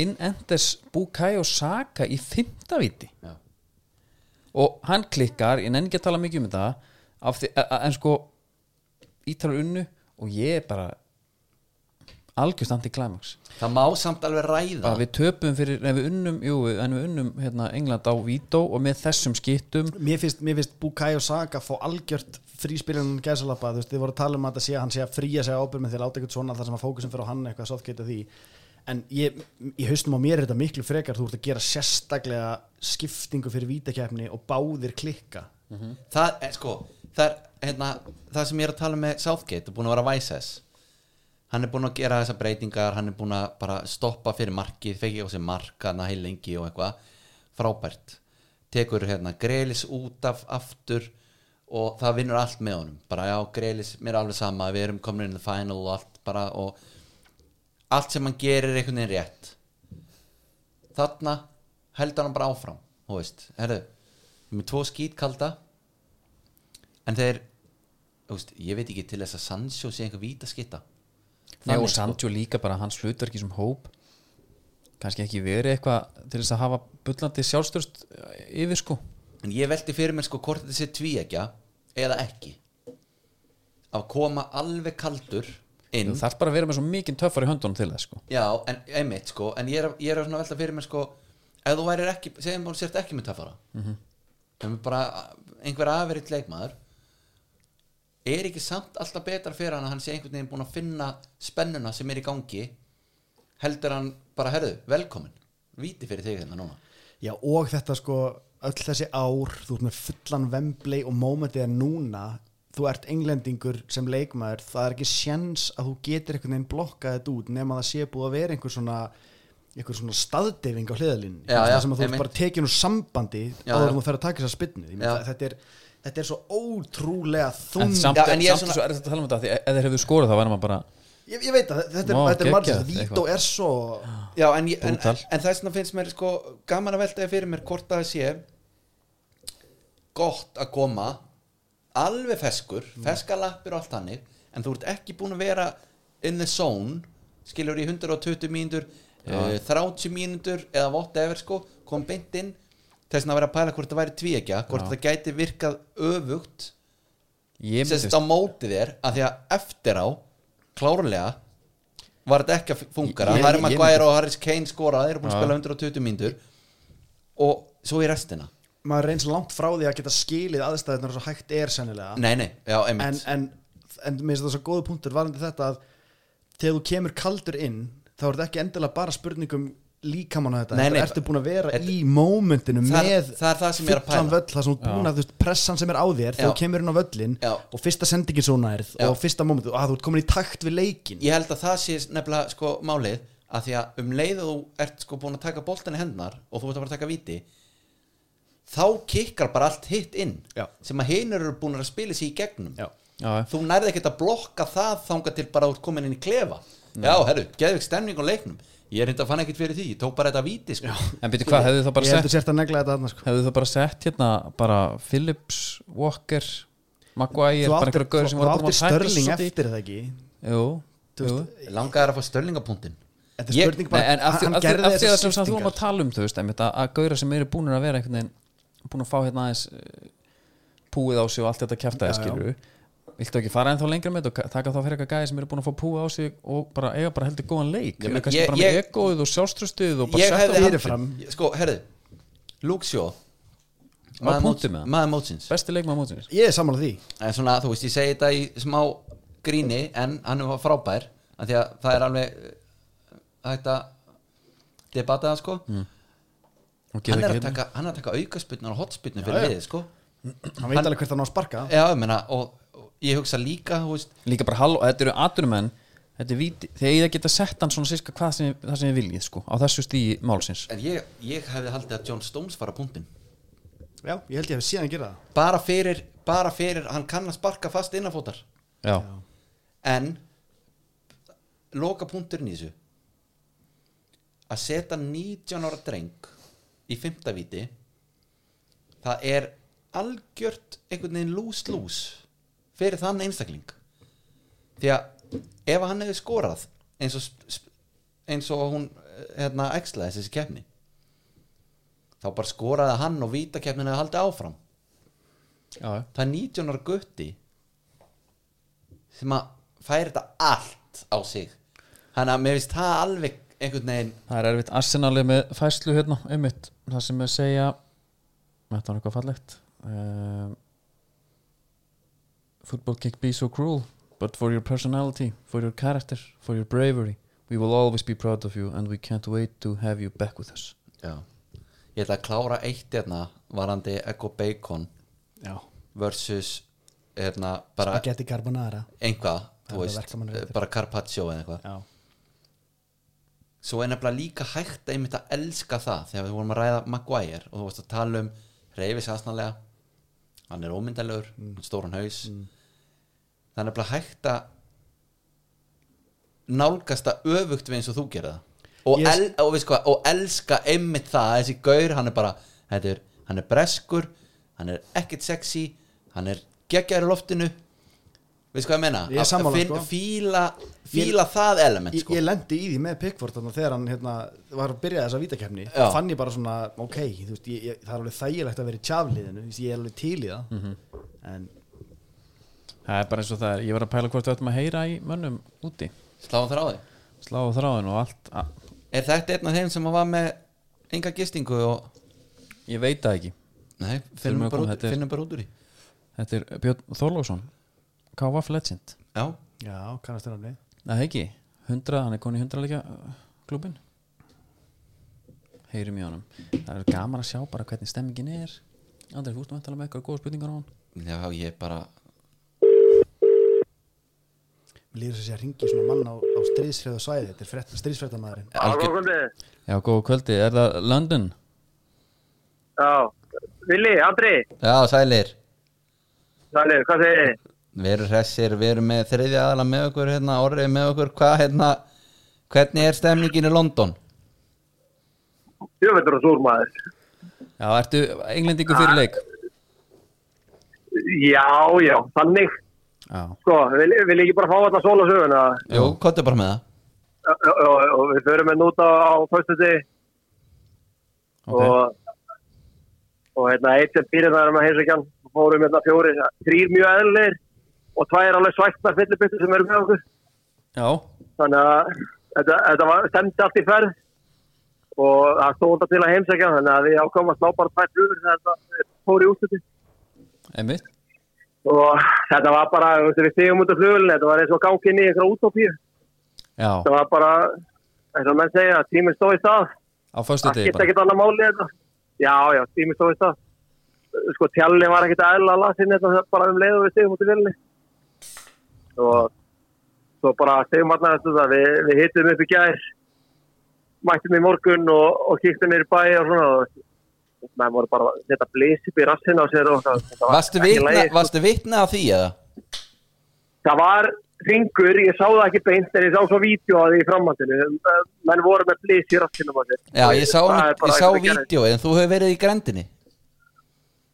Speaker 1: inn enders Bukayo Saka í fymta viti
Speaker 2: Já.
Speaker 1: og hann klikkar, ég nenni ekki að tala mikið um þetta af því, a- a- en sko ítalur unnu og ég er bara algjörst anti-climax
Speaker 2: það má samt alveg ræða
Speaker 1: að við töpum fyrir, en við unnum jú, en við unnum hérna England á Vító og með þessum skittum
Speaker 3: Mér finnst, mér finnst Bukai og Saga fá algjört fríspilin gæsalappa, þú veist, þið voru að tala um að þetta sé að hann sé að fríja sig ábyrð með því að láta eitthvað svona þar sem að fókusum fyrir á hann eitthvað soft geta því en ég, í haustum á mér er þetta miklu frekar þú ert að gera sérstaklega skiptingu fyrir vítakefni og báðir klikka
Speaker 2: það, er, sko, það, er, hérna, það sem ég er að tala um með Southgate er búin að vera væsess hann er búin að gera þessar breytingar hann er búin að bara stoppa fyrir markið fekk ég á sig markana heil lengi og eitthvað frábært tekur hérna greilis út af aftur og það vinnur allt með honum bara já greilis, mér er alveg sama við erum komin inn í the final og allt bara og allt sem hann gerir er einhvern veginn rétt þarna heldur hann bara áfram þú veist, herðu, ég er með tvo skítkalda en þeir þú veist, ég veit ekki til þess að Sancho sé einhver víta skita
Speaker 1: Nei,
Speaker 3: sko.
Speaker 1: og Sancho líka bara hans hlutverki sem hóp kannski ekki verið eitthvað til þess að hafa bullandi sjálfstörst yfir sko
Speaker 3: Mm.
Speaker 2: en ég velti fyrir mér sko hvort þetta sé tvíegja eða ekki að koma alveg kaldur inn
Speaker 1: þú þarf bara að vera með svo mikinn töffar í höndunum til þess sko
Speaker 2: já, en einmitt sko en ég er, ég er að svona velta fyrir mér sko ef þú værir ekki, segjum þú sért ekki með tafara mm -hmm. bara einhver aferitt leikmaður er ekki samt alltaf betra fyrir hann að hann sé einhvern veginn búin að finna spennuna sem er í gangi heldur hann bara, herðu, velkomin víti fyrir þig hérna núna
Speaker 3: Já, og þetta sko, öll þessi ár, þú ert með fullan Wembley og mómentið er núna þú ert englendingur sem leikmaður það er ekki sjens að þú getur einhvern veginn blokkað þetta út nema það sé búið að vera einhver svona einhver svona staðdeyfing á hliðalínu
Speaker 2: Já, já,
Speaker 3: sem að þú ert
Speaker 2: einmitt.
Speaker 3: bara tekin úr sambandi
Speaker 2: Já,
Speaker 3: áður
Speaker 2: já.
Speaker 3: en þú fer að taka þess að spynnu
Speaker 2: Já.
Speaker 3: þetta er, þetta er svo ótrúlega
Speaker 1: en
Speaker 3: þung
Speaker 1: samt,
Speaker 2: Já, en ég er
Speaker 1: samt
Speaker 2: svona-
Speaker 1: svo er þetta að tala um þetta af því ef þeir hefðu skorað þá væri maður bara
Speaker 3: ég, ég veit að þetta er,
Speaker 1: Vá,
Speaker 3: þetta er margir
Speaker 1: geggjað,
Speaker 3: Vító
Speaker 1: eitthvað.
Speaker 3: er svo
Speaker 2: Já, en, ég- en,
Speaker 1: Brútal.
Speaker 2: en þess vegna finnst mér sko gaman að veltaði fyrir mér hvort það sé gott að koma alveg feskur, feska lappir og allt hannig en þú ert ekki búin að vera in the zone, skilur í 120 mínútur, uh, 30 mínútur eða whatever sko, kom beint inn þess vegna að vera að pæla hvort það væri tvíekja hvort
Speaker 1: Já.
Speaker 2: það gæti virkað öfugt
Speaker 1: ég myndi,
Speaker 2: sérst á móti þér að því að eftir á klárlega var þetta ekki að fungara
Speaker 1: Ég- ég-
Speaker 2: Harry
Speaker 1: ég
Speaker 2: Maguire
Speaker 1: myndi-
Speaker 2: og Harris Kane skora þeir eru búin að
Speaker 1: Já.
Speaker 2: spila 120 mínútur og svo í restina
Speaker 3: maður reyns langt frá því að geta skilið aðstæðunar svo hægt er sennilega
Speaker 2: nei nei, já,
Speaker 3: en,
Speaker 2: einmitt
Speaker 3: en, en mér finnst það svo góðu punktur varandi þetta að þegar þú kemur kaldur inn þá er þetta ekki endilega bara spurningum líkamann að þetta,
Speaker 2: Nei,
Speaker 3: Þetta
Speaker 2: nei,
Speaker 3: ertu búin að vera
Speaker 2: þetta-
Speaker 3: í mómentinu
Speaker 2: Það er-
Speaker 3: með
Speaker 2: það er það sem ég er að
Speaker 3: fullan
Speaker 2: pæla.
Speaker 3: völl, það sem þú ert búin að þú veist, pressan sem er á þér þegar
Speaker 2: Já.
Speaker 3: þú kemur inn á völlin
Speaker 2: Já.
Speaker 3: og fyrsta sendingin svo nærð
Speaker 2: Já.
Speaker 3: og fyrsta momentu, að þú ert komin í takt við leikin
Speaker 2: ég held að það sé nefnilega sko málið að því að um leið og þú ert sko búin að taka boltan í hendnar og þú ert að bara taka viti þá kikkar bara allt hitt inn
Speaker 3: Já.
Speaker 2: sem að hinur eru búin að spila sér í gegnum
Speaker 3: Já.
Speaker 1: já, já.
Speaker 2: þú nærði ekkert að blokka það þanga til bara út komin inn í klefa já, herru, geðvik stemning á leiknum ég er hindi að fann ekkert fyrir því, ég tók bara þetta víti sko.
Speaker 1: en byrju hvað, hefðu þá
Speaker 3: ég
Speaker 1: bara
Speaker 3: heldur
Speaker 1: sett
Speaker 3: sért að negla þetta annars sko.
Speaker 1: hefðu þá bara sett hérna bara Phillips, Walker Maguire,
Speaker 3: þú
Speaker 1: bara
Speaker 3: áttir,
Speaker 1: einhverja gaur
Speaker 3: þú-
Speaker 1: sem
Speaker 3: þú
Speaker 1: voru búin
Speaker 3: áttir
Speaker 1: að tækla
Speaker 3: störling
Speaker 1: svolítið.
Speaker 3: eftir það ekki
Speaker 1: jú,
Speaker 3: Þú
Speaker 1: jú
Speaker 3: veist,
Speaker 2: langaðar að fá störlingapunktin
Speaker 3: þetta er
Speaker 1: Ég-
Speaker 3: spurning bara,
Speaker 1: Nei, en af því-
Speaker 3: hann
Speaker 1: af því-
Speaker 3: gerði
Speaker 1: af því að
Speaker 3: þessar
Speaker 1: sem sagt þú varum
Speaker 3: skiptingar
Speaker 1: að tala um þú veist, einmitt, að, að gauðra sem eru búin að vera einhvern veginn búin að fá hérna aðeins eh, púið á sig og allt þetta kjaftaði
Speaker 3: Já, já.
Speaker 1: skilur viltu ekki fara ennþá lengra með þetta og ka- taka þá fyrir eitthvað gæði sem eru búin að fá púið á sig og bara eiga bara heldur góðan leik
Speaker 2: Ég
Speaker 1: ég,
Speaker 2: meina,
Speaker 1: kannski
Speaker 2: ég-
Speaker 1: bara með
Speaker 2: ég-
Speaker 1: egoið og sjálfströstuð og bara
Speaker 2: ég
Speaker 1: sett
Speaker 2: hefði
Speaker 1: á
Speaker 3: fyrir
Speaker 2: haldið-
Speaker 3: fram.
Speaker 2: sko, herru, Luke Shaw
Speaker 1: Á punkti með hann.
Speaker 2: maður mótsins
Speaker 1: besti leikmaður mótins
Speaker 3: ég er sammála því
Speaker 2: en svona, þú veist, ég segi þetta í smá gríni en hann var frábær af því að það er alveg uh, hægt að debata það sko
Speaker 1: Mm,
Speaker 2: hann,
Speaker 1: hérna
Speaker 2: er að taka, hann er að taka aukasputnar og hotsputnar fyrir
Speaker 3: Já, já.
Speaker 2: liðið sko
Speaker 3: hann veit alveg hvert hann á að sparka
Speaker 2: já, ég meina, og, og ég hugsa líka, þú veist
Speaker 1: líka bara hall og þetta eru aturumenn þetta er víti, þegar ég geta sett hann svona síska hvað sem, það sem ég viljið sko á þessu stíi málsins
Speaker 2: En ég, ég hefði haldið að John Stones var að punktin
Speaker 3: já, ég held ég hef síðan að gera það
Speaker 2: bara fyrir, bara fyrir hann kann að sparka fast innanfótar
Speaker 1: já,
Speaker 2: en loka punkturinn í þessu að setja 19 ára dreng í fymta viti það er algjört einhvern veginn lús-lús fyrir þann einstakling því að ef hann hefði skorað eins og, sp- sp- eins og hún eh, hérna, æxlaði þessi keppni þá bara skoraði hann og vítakeppnin hefði haldið áfram
Speaker 1: já, já.
Speaker 2: það er 19 ára gutti sem að færi þetta allt á sig þannig að mér finnst það alveg einhvern veginn
Speaker 1: Það er erfitt arsenalið með fæslu hérna einmitt, það sem er segja þetta var eitthvað fallegt um, Football can't be so cruel but for your personality, for your character for your bravery, we will always be proud of you and we can't wait to have you back with us
Speaker 2: Já. ég ætla að klára eitt hérna varandi Ego Bacon
Speaker 3: já,
Speaker 2: versus hérna bara
Speaker 3: spagetti carbonara
Speaker 2: einhvað,
Speaker 3: Það
Speaker 2: þú
Speaker 3: er
Speaker 2: veist,
Speaker 3: verkamannréttur.
Speaker 2: bara Carpaccio eða eitthvað
Speaker 3: já
Speaker 2: svo er nefnilega líka hægt einmitt að elska það þegar við vorum að ræða Maguire og þú varst að tala um reyfis aðsnalega hann er ómyndalegur, mm. stóran haus það er nefnilega hægt að nálgast að öfugt við eins og þú gerða og,
Speaker 3: Ég-
Speaker 2: el, og, við sko, og elska einmitt það, þessi gaur hann er bara, þetta er, hann er breskur hann er ekkert sexy hann er geggjær í loftinu við sko að menna
Speaker 3: Ég er sammála, sko.
Speaker 2: fíla, fíla það element
Speaker 3: Ég,
Speaker 2: sko.
Speaker 3: ég lendi í því með Pickford þannig, þegar hann hérna, var að byrja þessa vítakefni
Speaker 2: Já.
Speaker 3: fann ég bara svona, ok þú veist, ég, ég, það er alveg þægilegt að vera í tjafliðinu ég er alveg til í það en
Speaker 1: Það er bara eins og það er, ég var að pæla hvort við ættum að heyra í mönnum úti,
Speaker 2: sláðum þar á þig
Speaker 1: slá á þráðin og allt a-
Speaker 2: Er þetta einn af þeim sem var með enga gistingu og
Speaker 1: ég veit það ekki
Speaker 2: Nei,
Speaker 1: Þurfum
Speaker 2: finnum,
Speaker 1: við að
Speaker 2: bara,
Speaker 1: koma,
Speaker 2: út,
Speaker 1: þetta er-
Speaker 2: finnum bara út úr í
Speaker 1: þetta er Björn Þorlóksson K.V. Legend,
Speaker 2: Já,
Speaker 3: já, kannast þér nafni
Speaker 1: það ekki 100, hann er komin í 100 leikja klubin heyrum í honum það er gaman að sjá bara hvernig stemmingin er Andrið, þú ertum að tala með eitthvað góða spurningar á hann
Speaker 2: já ég bara
Speaker 3: líður þess að ringi svona mann á, á stríðsfreðu svæði þetta er frett, stríðsfrettamæðurinn
Speaker 1: Algjör- Já, góða kvöldi, er það London?
Speaker 5: Já, Vili, Andri,
Speaker 2: Já, sælir
Speaker 5: Sælir, hvað segir þið?
Speaker 2: Við erum hressir, við erum með þriðja aðla með okkur hérna, orðið með okkur Hvað hérna, hvernig er stemningin í London?
Speaker 5: Jöfnvetur og súrmaður.
Speaker 1: Já, ertu englendingu fyrir leik?
Speaker 5: Já, já, þannig,
Speaker 1: Já,
Speaker 5: sko, vil, vil ekki bara fá þetta sól og söguna.
Speaker 2: Jú, kottu bara með það
Speaker 5: Og, og við förum enn út á, á föstuti
Speaker 1: ok
Speaker 5: og, og hérna, eitt sem býrið það er með heimsækjan, fórum hérna fjóri, þrýr mjög eðlir og tvær alveg svættar fyllibittu sem eru með okkur.
Speaker 1: Já,
Speaker 5: Þannig að þetta, þetta var, stemdi allt í ferð og það stóð þetta til að heimsækja, þannig að við ákvæmum að slá bara tvær fjóri þegar þetta fór í útstuti.
Speaker 1: einmitt
Speaker 5: og þetta var bara, þú veist, við stigum út af flugulinn, þetta var eins og gangi inn í einhverja útópíu.
Speaker 1: Já,
Speaker 5: Þetta var bara, eins og menn segja, tíminn stóð í stað.
Speaker 1: á föstu
Speaker 5: Það
Speaker 1: degi
Speaker 5: skipta
Speaker 1: bara
Speaker 5: ekkert annað máli þetta. Já, já, tíminn stóð í stað. Sko, tjallin var ekkert aðla lasinn þetta bara um leiðu við stigum út í vilni. Og svo bara stigum alltaf þetta, við, við hittum upp í gær, mættum í morgun og, og kíktum niður í bæ og svona og menn voru bara að setja blís upp í rassinn á sér og það, það var
Speaker 2: Varstu
Speaker 5: ekki í
Speaker 2: vitna,
Speaker 5: lagi, sko.
Speaker 2: varstu vitna að því eða?
Speaker 5: það var ringur, ég sá það ekki beint en ég sá svo vídeo að því í framhaldinu Eh, menn voru með blís í rastinum á sér
Speaker 2: Já, ég sá,
Speaker 5: Það er bara
Speaker 2: ég sá
Speaker 5: ekki að gera.
Speaker 2: vídjóið en þú hefur verið í grendinni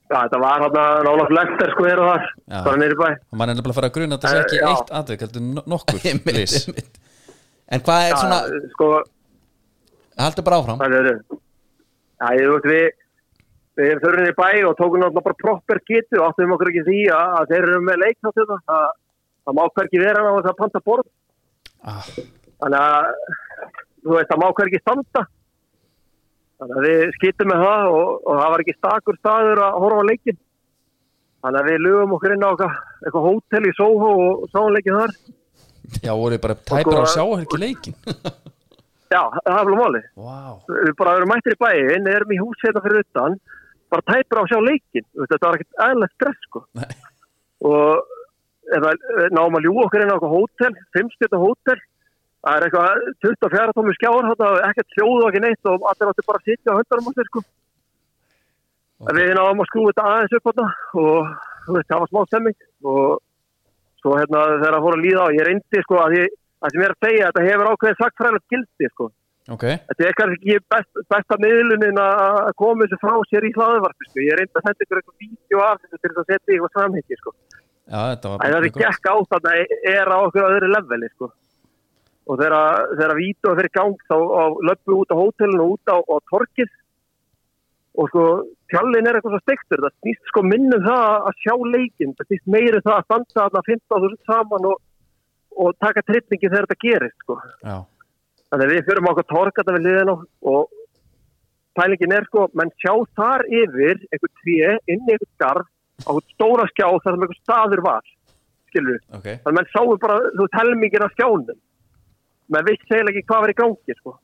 Speaker 5: Já, þetta var hann að Ólaf Lester sko er og þar,
Speaker 1: Já.
Speaker 5: bara niður í bæ
Speaker 1: Og maður er nefnilega að fara að gruna að það sé ekki
Speaker 5: Eh, já.
Speaker 1: eitt atvik, heldur no- nokkur
Speaker 2: Einmitt,
Speaker 1: lýs
Speaker 2: einmitt. En hvað er svona,
Speaker 5: Það, sko,
Speaker 2: haldur bara áfram
Speaker 5: það er Já, ég veist við við förum niður í bæ og tókum náttúrulega bara proper getu og áttum okkur ekki því að, að þeir eru með leik þá til það það, það má hvergi vera á þess að panta borð
Speaker 1: ah,
Speaker 5: þannig að þú veist, það má hvergi standa þannig að við skýttum með það og, og það var ekki stakur staður að horfa á leikin þannig að við lögum okkur inn á eitthvað, eitthvað hótel í Soho og sáum leikin þar
Speaker 1: Já, voru bara tæpar á að
Speaker 5: sko-
Speaker 1: sjá ekki leikin
Speaker 5: já, það er vel máli
Speaker 1: Vá,
Speaker 5: við bara erum mættir í bæin, erum í hús hérna fyrir utan, bara tæpur á að sjá leikin Þú veist, þetta var ekkert aðlega stress sko.
Speaker 1: Nei.
Speaker 5: og eða, náum að ljúa okkur inn á eitthvað hótel fimmstjöta hótel það er eitthvað 24 tómi skjáður þarna, ekkert hljóð og ekki neitt og allir áttu bara að sitja á höndanum á sér sko. við náum að skrúfa þetta aðeins upp þarna, og þú veist, það var smá stemming og svo hérna þegar það fór að líða á ég reyndi sko að ég, að sem ég er að segja þetta hefur ákveðið sagfræðilegt gildi sko
Speaker 1: ok
Speaker 5: þetta er kannski ekki best, besta miðlunin að að koma þessu frá sér í hlaðvarpi sko. ég reyndi að senda ykkur eitthvað vídeo af þessu til þess að setja í eitthvað samhengi sko.
Speaker 1: Já, þetta var
Speaker 5: en
Speaker 1: bara
Speaker 5: það er gekk á þarna er á okkur öðru leveli sko. og þegar þegar vídeo fyrir gang þá löpum við út á hótelinu og út á, á torkið og sko tjallin er eitthvað svo steiktur það snýst sko minnum það að sjá leikin það snýst meiri það að standa þarna 15.000 saman og, og taka trippningi þegar þetta gerist sko.
Speaker 1: Já,
Speaker 5: Þannig að við fyrum okkur torkata við liðin og, og pælingin er sko, menn sjá þar yfir einhver tré, inn í einhver garð á einhvern stóra skjá þar sem einhver staður var skilur,
Speaker 1: ok
Speaker 5: þannig að menn sáu bara þú telmingin af skjánum menn vissi eiginlega ekki hvað var í gangi sko.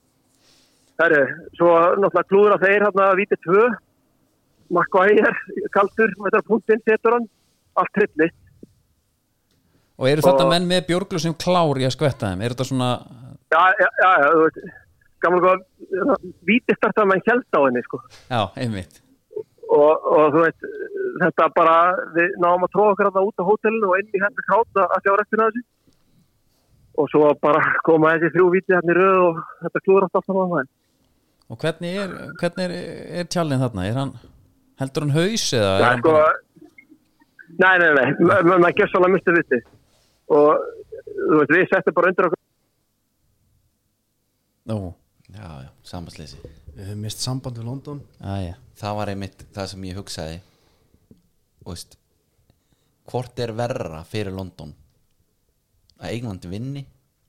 Speaker 5: það eru, svo náttúrulega klúður að þeir hérna að víti tvö Marko Ægir, kaldur þetta er punktinn, setur hann, allt trillist
Speaker 1: Og eru þetta
Speaker 5: Og-
Speaker 1: menn með björglu sem klár í að skvetta þeim? Er þetta svona,
Speaker 5: já, já, já, já, þú veit gaman góð, víti startaði menn held á henni sko
Speaker 1: já, einmitt
Speaker 5: og, og þú veit, þetta bara, við náum að tróða okkar þarna út á hótelinu og inn í hérna krátt að að sjá restina af þessu. Og svo bara koma þessi þrjú viti hérna í röð og þetta klúður allt alltaf maður.
Speaker 1: Og hvernig er, hvernig er, er tjallinn þarna? Er hann, heldur hann haus eða?
Speaker 5: Það
Speaker 1: er
Speaker 5: er
Speaker 1: hann
Speaker 5: sko,
Speaker 1: bara-
Speaker 5: nei, nei, nei, ma- ma- maður gerst alveg mistið viti. Og þú veit, við settum bara undir okkur.
Speaker 1: Nú,
Speaker 2: Já, já, samansleysi
Speaker 3: við höfum mist samband við London
Speaker 1: aðja
Speaker 2: það var einmitt það sem ég hugsaði Þú veist hvort er verra fyrir London að England vinni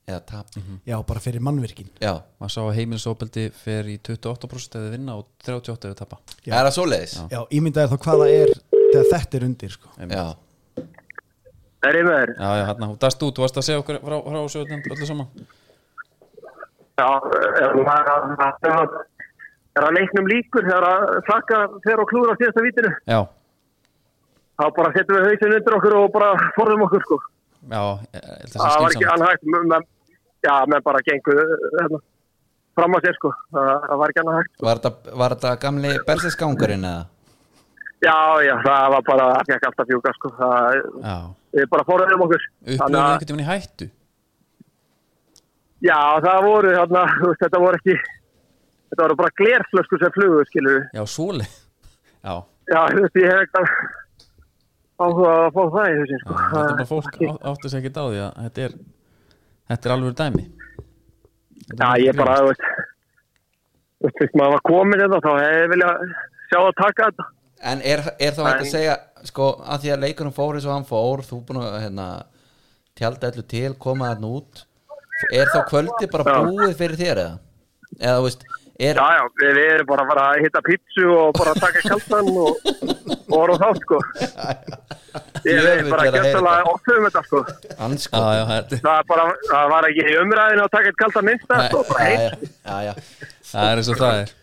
Speaker 2: eða tapi
Speaker 3: já, bara fyrir mannvirkin
Speaker 2: já,
Speaker 1: Maður sá að heimilisofbeldi fer í 28% ef þið vinna og 38% ef þið tappa
Speaker 3: Já.
Speaker 2: er það svoleiðis?
Speaker 3: já, ímyndaði þá hvað það er þegar þetta er undir sko.
Speaker 2: já,
Speaker 5: Það er yfir þeir.
Speaker 1: Já, já, hérna, þú dast út, þú varst að segja okkur frá, frá sögurnum öllu saman
Speaker 5: Já, ef maður að- að- að- er að leiknum líkur þegar að flakka fer og klúður á síðasta vitinu.
Speaker 1: Já,
Speaker 5: Þá bara settum við hausin undir okkur og bara forðum okkur sko.
Speaker 1: Já, ég held að það
Speaker 5: það
Speaker 1: sé
Speaker 5: var ekki
Speaker 1: skynsamt
Speaker 5: annað hægt men, men, já, menn bara gengu hérna, fram að sér sko það það var ekki annað hægt
Speaker 2: Var þetta, var þetta gamli bersiskangurinn eða?
Speaker 5: já, já, það var bara, það fekk alltaf fjúka sko það,
Speaker 1: Já,
Speaker 5: við bara fóruðum okkur
Speaker 1: upplöfum einhvern
Speaker 5: að-
Speaker 1: veginn í hættu
Speaker 5: já, það voru þarna, þú veist, þetta voru ekki þetta voru bara glerflösku sem flugu skilur
Speaker 1: Já, svoleið Já,
Speaker 5: já, þú veist, ég hef eitthvað áhuga á að fá það í þessin sko
Speaker 1: þetta er bara fólk á- áttu sér ekkert á því að þetta er þetta er alveg dæmi Þetta
Speaker 5: Já,
Speaker 1: er
Speaker 5: ég
Speaker 1: ekki
Speaker 5: bara,
Speaker 1: grínast.
Speaker 5: þú veist, þú veist, fyrst maður var komin þetta, þá hefði ég viljað sjá það taka þetta.
Speaker 2: En er, er þá hægt að
Speaker 5: Nei.
Speaker 2: segja sko, að því að leikunum fór eins og hann fór þú búin að hérna, tjálta allu til, koma þarna út er þá kvöldi bara
Speaker 5: Já.
Speaker 2: búið fyrir þér eða? Eða þú veist er,
Speaker 5: Já, já, við, við erum bara að fara að hitta pítsu og bara að taka kaltan og, og vorum þá, sko. Ég
Speaker 2: Jöfull
Speaker 5: er bara
Speaker 2: er að heyra þetta.
Speaker 5: gjössalega ofta um þetta, sko.
Speaker 1: Já,
Speaker 2: anskot
Speaker 1: já, þetta
Speaker 5: Það, er bara, það var ekki í umræðinu að taka eitt kaltan minnsta,
Speaker 1: Nei.
Speaker 5: sko, bara heitt.
Speaker 2: já, já, já.
Speaker 1: Það er eins og það er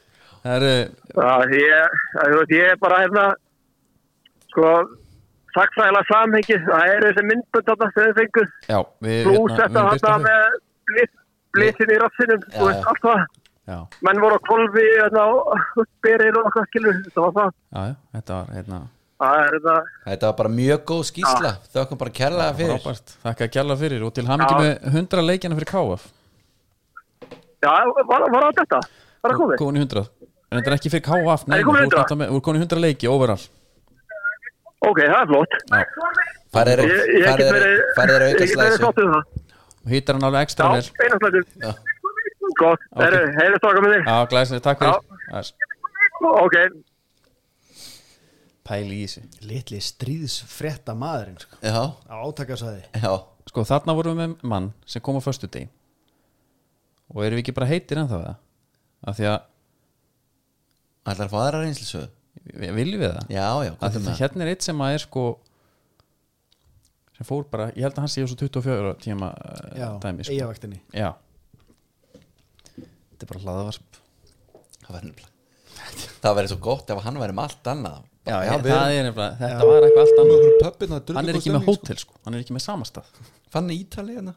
Speaker 1: Það er,
Speaker 5: Það, ég, það, þú veist, ég er bara, hérna, sko, þakkfræðilega samhengið, það eru þessi myndbönd þarna sem þau fenguð.
Speaker 1: já, við hérna,
Speaker 2: hérna,
Speaker 5: Plus þetta
Speaker 1: birtum
Speaker 5: þarna
Speaker 1: þau.
Speaker 5: með blit- blitin í rassinum,
Speaker 2: Já,
Speaker 5: þú veist,
Speaker 2: já.
Speaker 5: allt það.
Speaker 1: Já,
Speaker 5: menn voru á kolfi hérna, og berir og eitthvað skilur þetta var það
Speaker 1: já, já, þetta var hérna
Speaker 5: það er þetta
Speaker 2: Þetta var bara mjög góð skýsla þökkum bara kærlega fyrir
Speaker 1: frábært, þakka að gjalla fyrir og til hamingi
Speaker 5: Já.
Speaker 1: með 100 leikjana fyrir KF
Speaker 5: já, var, var það þetta var það komið
Speaker 1: Komin í 100 En þetta er ekki fyrir KF, nei,
Speaker 5: Er ég
Speaker 1: þú
Speaker 5: komin í
Speaker 1: ert
Speaker 5: 100?
Speaker 1: alltaf með- þú ert komin í 100 leiki overall
Speaker 5: ok, það er flott
Speaker 2: Farið
Speaker 5: ég,
Speaker 2: er-
Speaker 5: ég
Speaker 2: farið
Speaker 5: get
Speaker 2: er
Speaker 5: verið
Speaker 2: farið er að
Speaker 5: ég
Speaker 2: auka
Speaker 5: get verið
Speaker 2: slæsu
Speaker 5: sátt um það
Speaker 1: og hýttar hann alveg ekstra vel
Speaker 5: já, einaslættur gott,
Speaker 1: Ok.
Speaker 5: okay. heiðu stokka með þig
Speaker 1: Já, glæslega, takk fyrir Aðeins.
Speaker 5: ok,
Speaker 1: Pæli í þessu
Speaker 3: Litli stríðsfrétta maðurinn sko.
Speaker 2: Já,
Speaker 3: á átakasæði
Speaker 2: já
Speaker 1: Sko, þarna vorum við með mann sem kom á föstudegi og erum við ekki bara heitir ennþá það af því að,
Speaker 2: Ætlar að fá aðra reynslisöðu
Speaker 1: vi- viljum við það
Speaker 2: Já, já,
Speaker 1: Af
Speaker 2: hvað
Speaker 1: því
Speaker 2: er
Speaker 1: að
Speaker 2: það?
Speaker 1: hérna er eitt sem að er sko sem fór bara, ég held að hann sé á svo 24 tíma eh,
Speaker 3: Já,
Speaker 1: dæmi sko.
Speaker 3: eigavaktinni
Speaker 1: Já Þetta er bara hlaðavarp
Speaker 2: Það verður nefnilega Það verður svo gott ef hann væri með allt annað
Speaker 1: Já,
Speaker 2: Bara,
Speaker 1: já,
Speaker 2: við
Speaker 1: það er nefnilega, þetta var eitthvað allt annað
Speaker 2: erum pöppin og
Speaker 1: Hann er ekki með hótel sko, hann er ekki með samastað
Speaker 2: Fann Ítali hérna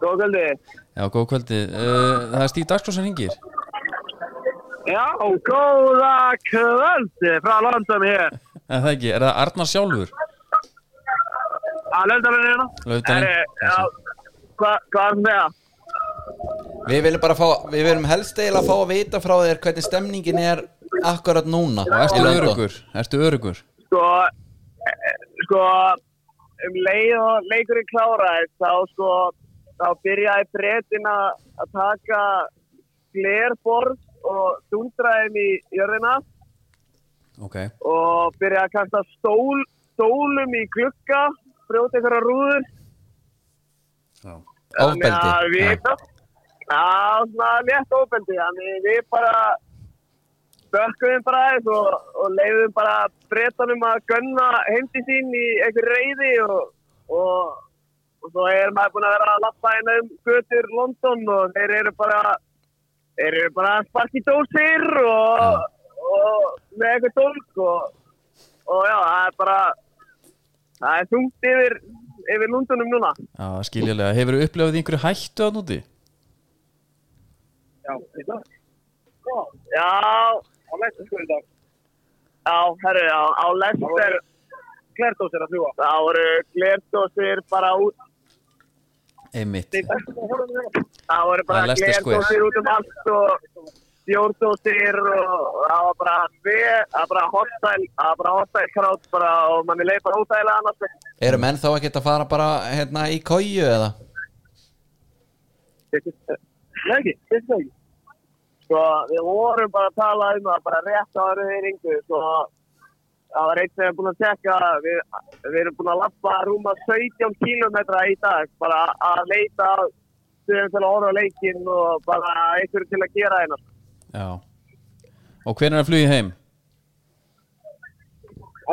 Speaker 5: góða kvöldi
Speaker 1: Já, góð kvöldi, uh, það er Stíf Dagskró sem hringir
Speaker 5: já, góða kvöldi frá landum hér
Speaker 1: En það ekki, er það Arnar sjálfur?
Speaker 5: að löndalinn hérna
Speaker 1: Laugardalinn.
Speaker 5: Herri, já, hvað hva er með það?
Speaker 2: Við viljum bara fá, við viljum helst eiginlega fá að vita frá þér hvernig stemningin er akkurat núna
Speaker 1: Og ertu
Speaker 2: Í London.
Speaker 1: örugur, ertu örugur
Speaker 5: sko, eh, sko um leið og leikurinn kláraðist þá sko þá byrjaði breytin að að taka glerborð og dundraðum í jörðina
Speaker 1: Ok,
Speaker 5: og byrjaði að kasta stól, stólum í glugga brjóti einhverja rúður
Speaker 1: já
Speaker 2: Ofbeldi.
Speaker 5: Þannig að við Já, svona létt ofbeldi Þannig að við bara bökkum bara aðeins og, og leiðum bara breytanum að gunna heimdi sín í einhver reyði og, og, og svo er maður búin að vera að lappa hérna um götur London og þeir eru bara þeir eru bara að sparki dósir og, og með einhver dólk og, og já, það er bara það er þungt yfir, yfir Londonum núna
Speaker 1: Já, skiljulega, hefur þú upplöfðið einhverju hættu að núti?
Speaker 5: Já, í dag. Já, á lestur sko í dag. Já, herru, á, á lestur. Glertósir að fljúa. Það voru glertósir bara út.
Speaker 1: Einmitt,
Speaker 5: Það voru
Speaker 1: Það er
Speaker 5: bara
Speaker 1: Leicester Square.
Speaker 5: glertósir út um allt og stjórntósir og það var bara við, það var bara hostæl, það var bara hostæl krátt bara og manni leið bara óþægilega annars.
Speaker 2: Eru menn þá ekkert að fara bara hérna í kóju eða?
Speaker 5: Nei ekki, finnst það ekki. Sko, við vorum bara að tala um það, bara rétt á þeirri ringu, sko. Það var eitt sem er búin að tekka, við, við erum búin að lappa rúma 17 kílometra í dag, bara að leita að stöðum til að orða leikinn og bara einhverju til að gera hérna.
Speaker 1: já Og hvernig er að flugið heim?
Speaker 5: 11.40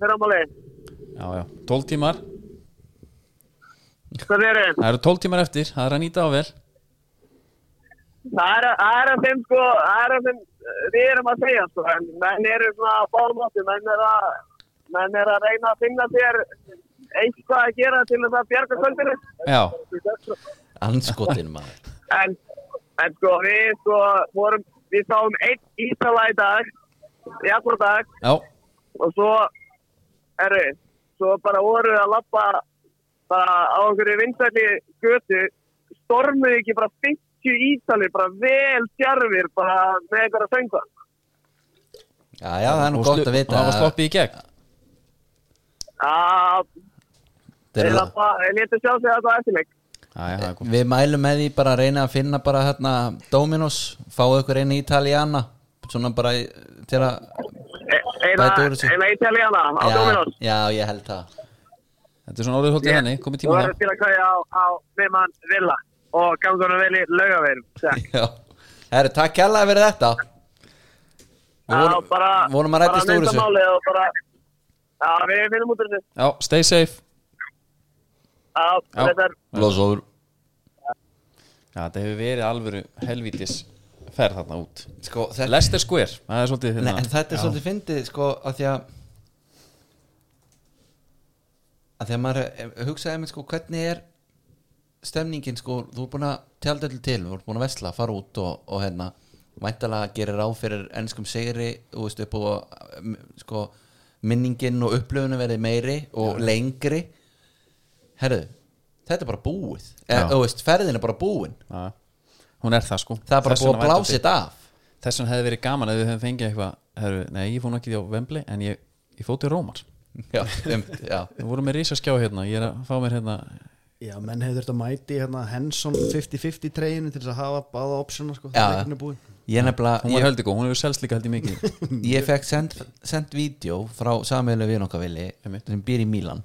Speaker 5: fyrramáli.
Speaker 1: Já, já, 12 tímar
Speaker 5: Hvað er þeim?
Speaker 1: Það eru 12 tímar eftir, það er að nýta á vel
Speaker 5: Það er, það er að þeim, sko, það er að þeim við erum að segja sko, en menn eru svona á bármátti, menn er að menn er að reyna að finna sér eitthvað að gera til þess að bjarga kvöldinu
Speaker 1: Já,
Speaker 2: anskotin maður
Speaker 5: en, en sko við sko vorum, við sáum einn ísala í dag í allra dag
Speaker 1: já,
Speaker 5: og svo eru, svo bara voru að lappa bara á einhverju vinsæli götu stormuðu ekki bara 50 ísali bara vel sjarfir bara með einhverja söngu
Speaker 2: já, já, það er nú
Speaker 1: og slu-
Speaker 2: gott að
Speaker 1: og
Speaker 2: vita
Speaker 1: það var sloppið í gegn
Speaker 5: að
Speaker 2: Þetta er-
Speaker 5: Ég leti sjá sig þetta eftir mig.
Speaker 1: Já, já, það er gott
Speaker 2: Við mælum með því bara að reyna að finna bara hérna Dominos, fáu ykkur einu Italiana svona bara í- til að
Speaker 5: E-, Eina,
Speaker 2: Bæta úr þessu.
Speaker 5: eina italiana á
Speaker 2: já,
Speaker 5: Dominos.
Speaker 2: já, ég held það
Speaker 1: Þetta er svona orðið hóttið henni, komið
Speaker 5: Þú
Speaker 1: tíma
Speaker 5: verður
Speaker 1: það
Speaker 5: til að kvæja á, á Vimann Villa og gangunum vel í laugaveginum. Takk.
Speaker 2: Já, herru, takk kærlega fyrir þetta Við
Speaker 5: Já,
Speaker 2: vorum,
Speaker 5: bara,
Speaker 2: vorum að rættist úr þessu
Speaker 5: bara mynda málið og bara, já, við finnum út úr þessu.
Speaker 1: Já, stay safe
Speaker 5: Já,
Speaker 1: Já.
Speaker 5: þetta er,
Speaker 2: Blóðsóður
Speaker 1: Já, þetta hefur verið alvöru helvítis ferð þarna út
Speaker 2: Sko, þetta,
Speaker 1: Leicester Square, það er svolítið
Speaker 2: nei,
Speaker 1: hérna
Speaker 2: en þetta er svolítið fyndið sko, að því að að því að maður eh, hugsaði með sko, hvernig er stemningin sko, þú er búin að tjálda allir til, þú er búin að vesla, fara út og, og hérna, væntalega gerir ráð fyrir ennskum segri, þú veist upp og mm, sko, minningin og upplöfunu verið meiri og lengri herðu, þetta er bara búið,
Speaker 1: Já.
Speaker 2: eða, þú veist, ferðin er bara búin
Speaker 1: Já, hún er það sko
Speaker 2: það er bara
Speaker 1: Þess
Speaker 2: búið
Speaker 1: vegna
Speaker 2: að
Speaker 1: var
Speaker 2: blása
Speaker 1: þetta-
Speaker 2: þetta af
Speaker 1: Þess vegna hefði verið gaman að við höfum fengið eitthvað herru, Nei, ég fór nú ekki á Vembli en ég, ég fór til Rómar
Speaker 2: já, einmitt, já
Speaker 1: Við vorum með risaskjá hérna, ég er að fá mér hérna
Speaker 3: Já, menn hefur þurft að mæti hérna Henson 50-50 treyinu til þess að hafa báða optiona sko,
Speaker 2: Já.
Speaker 3: þegar leikurinn er búinn.
Speaker 2: Ég nefnilega,
Speaker 1: Hún var heldig og hún hefur selst líka heldig mikið
Speaker 2: ég, ég fekk send, send vídeo frá samveilu við nokkar villi
Speaker 1: Einmitt.
Speaker 2: sem býr í Mílan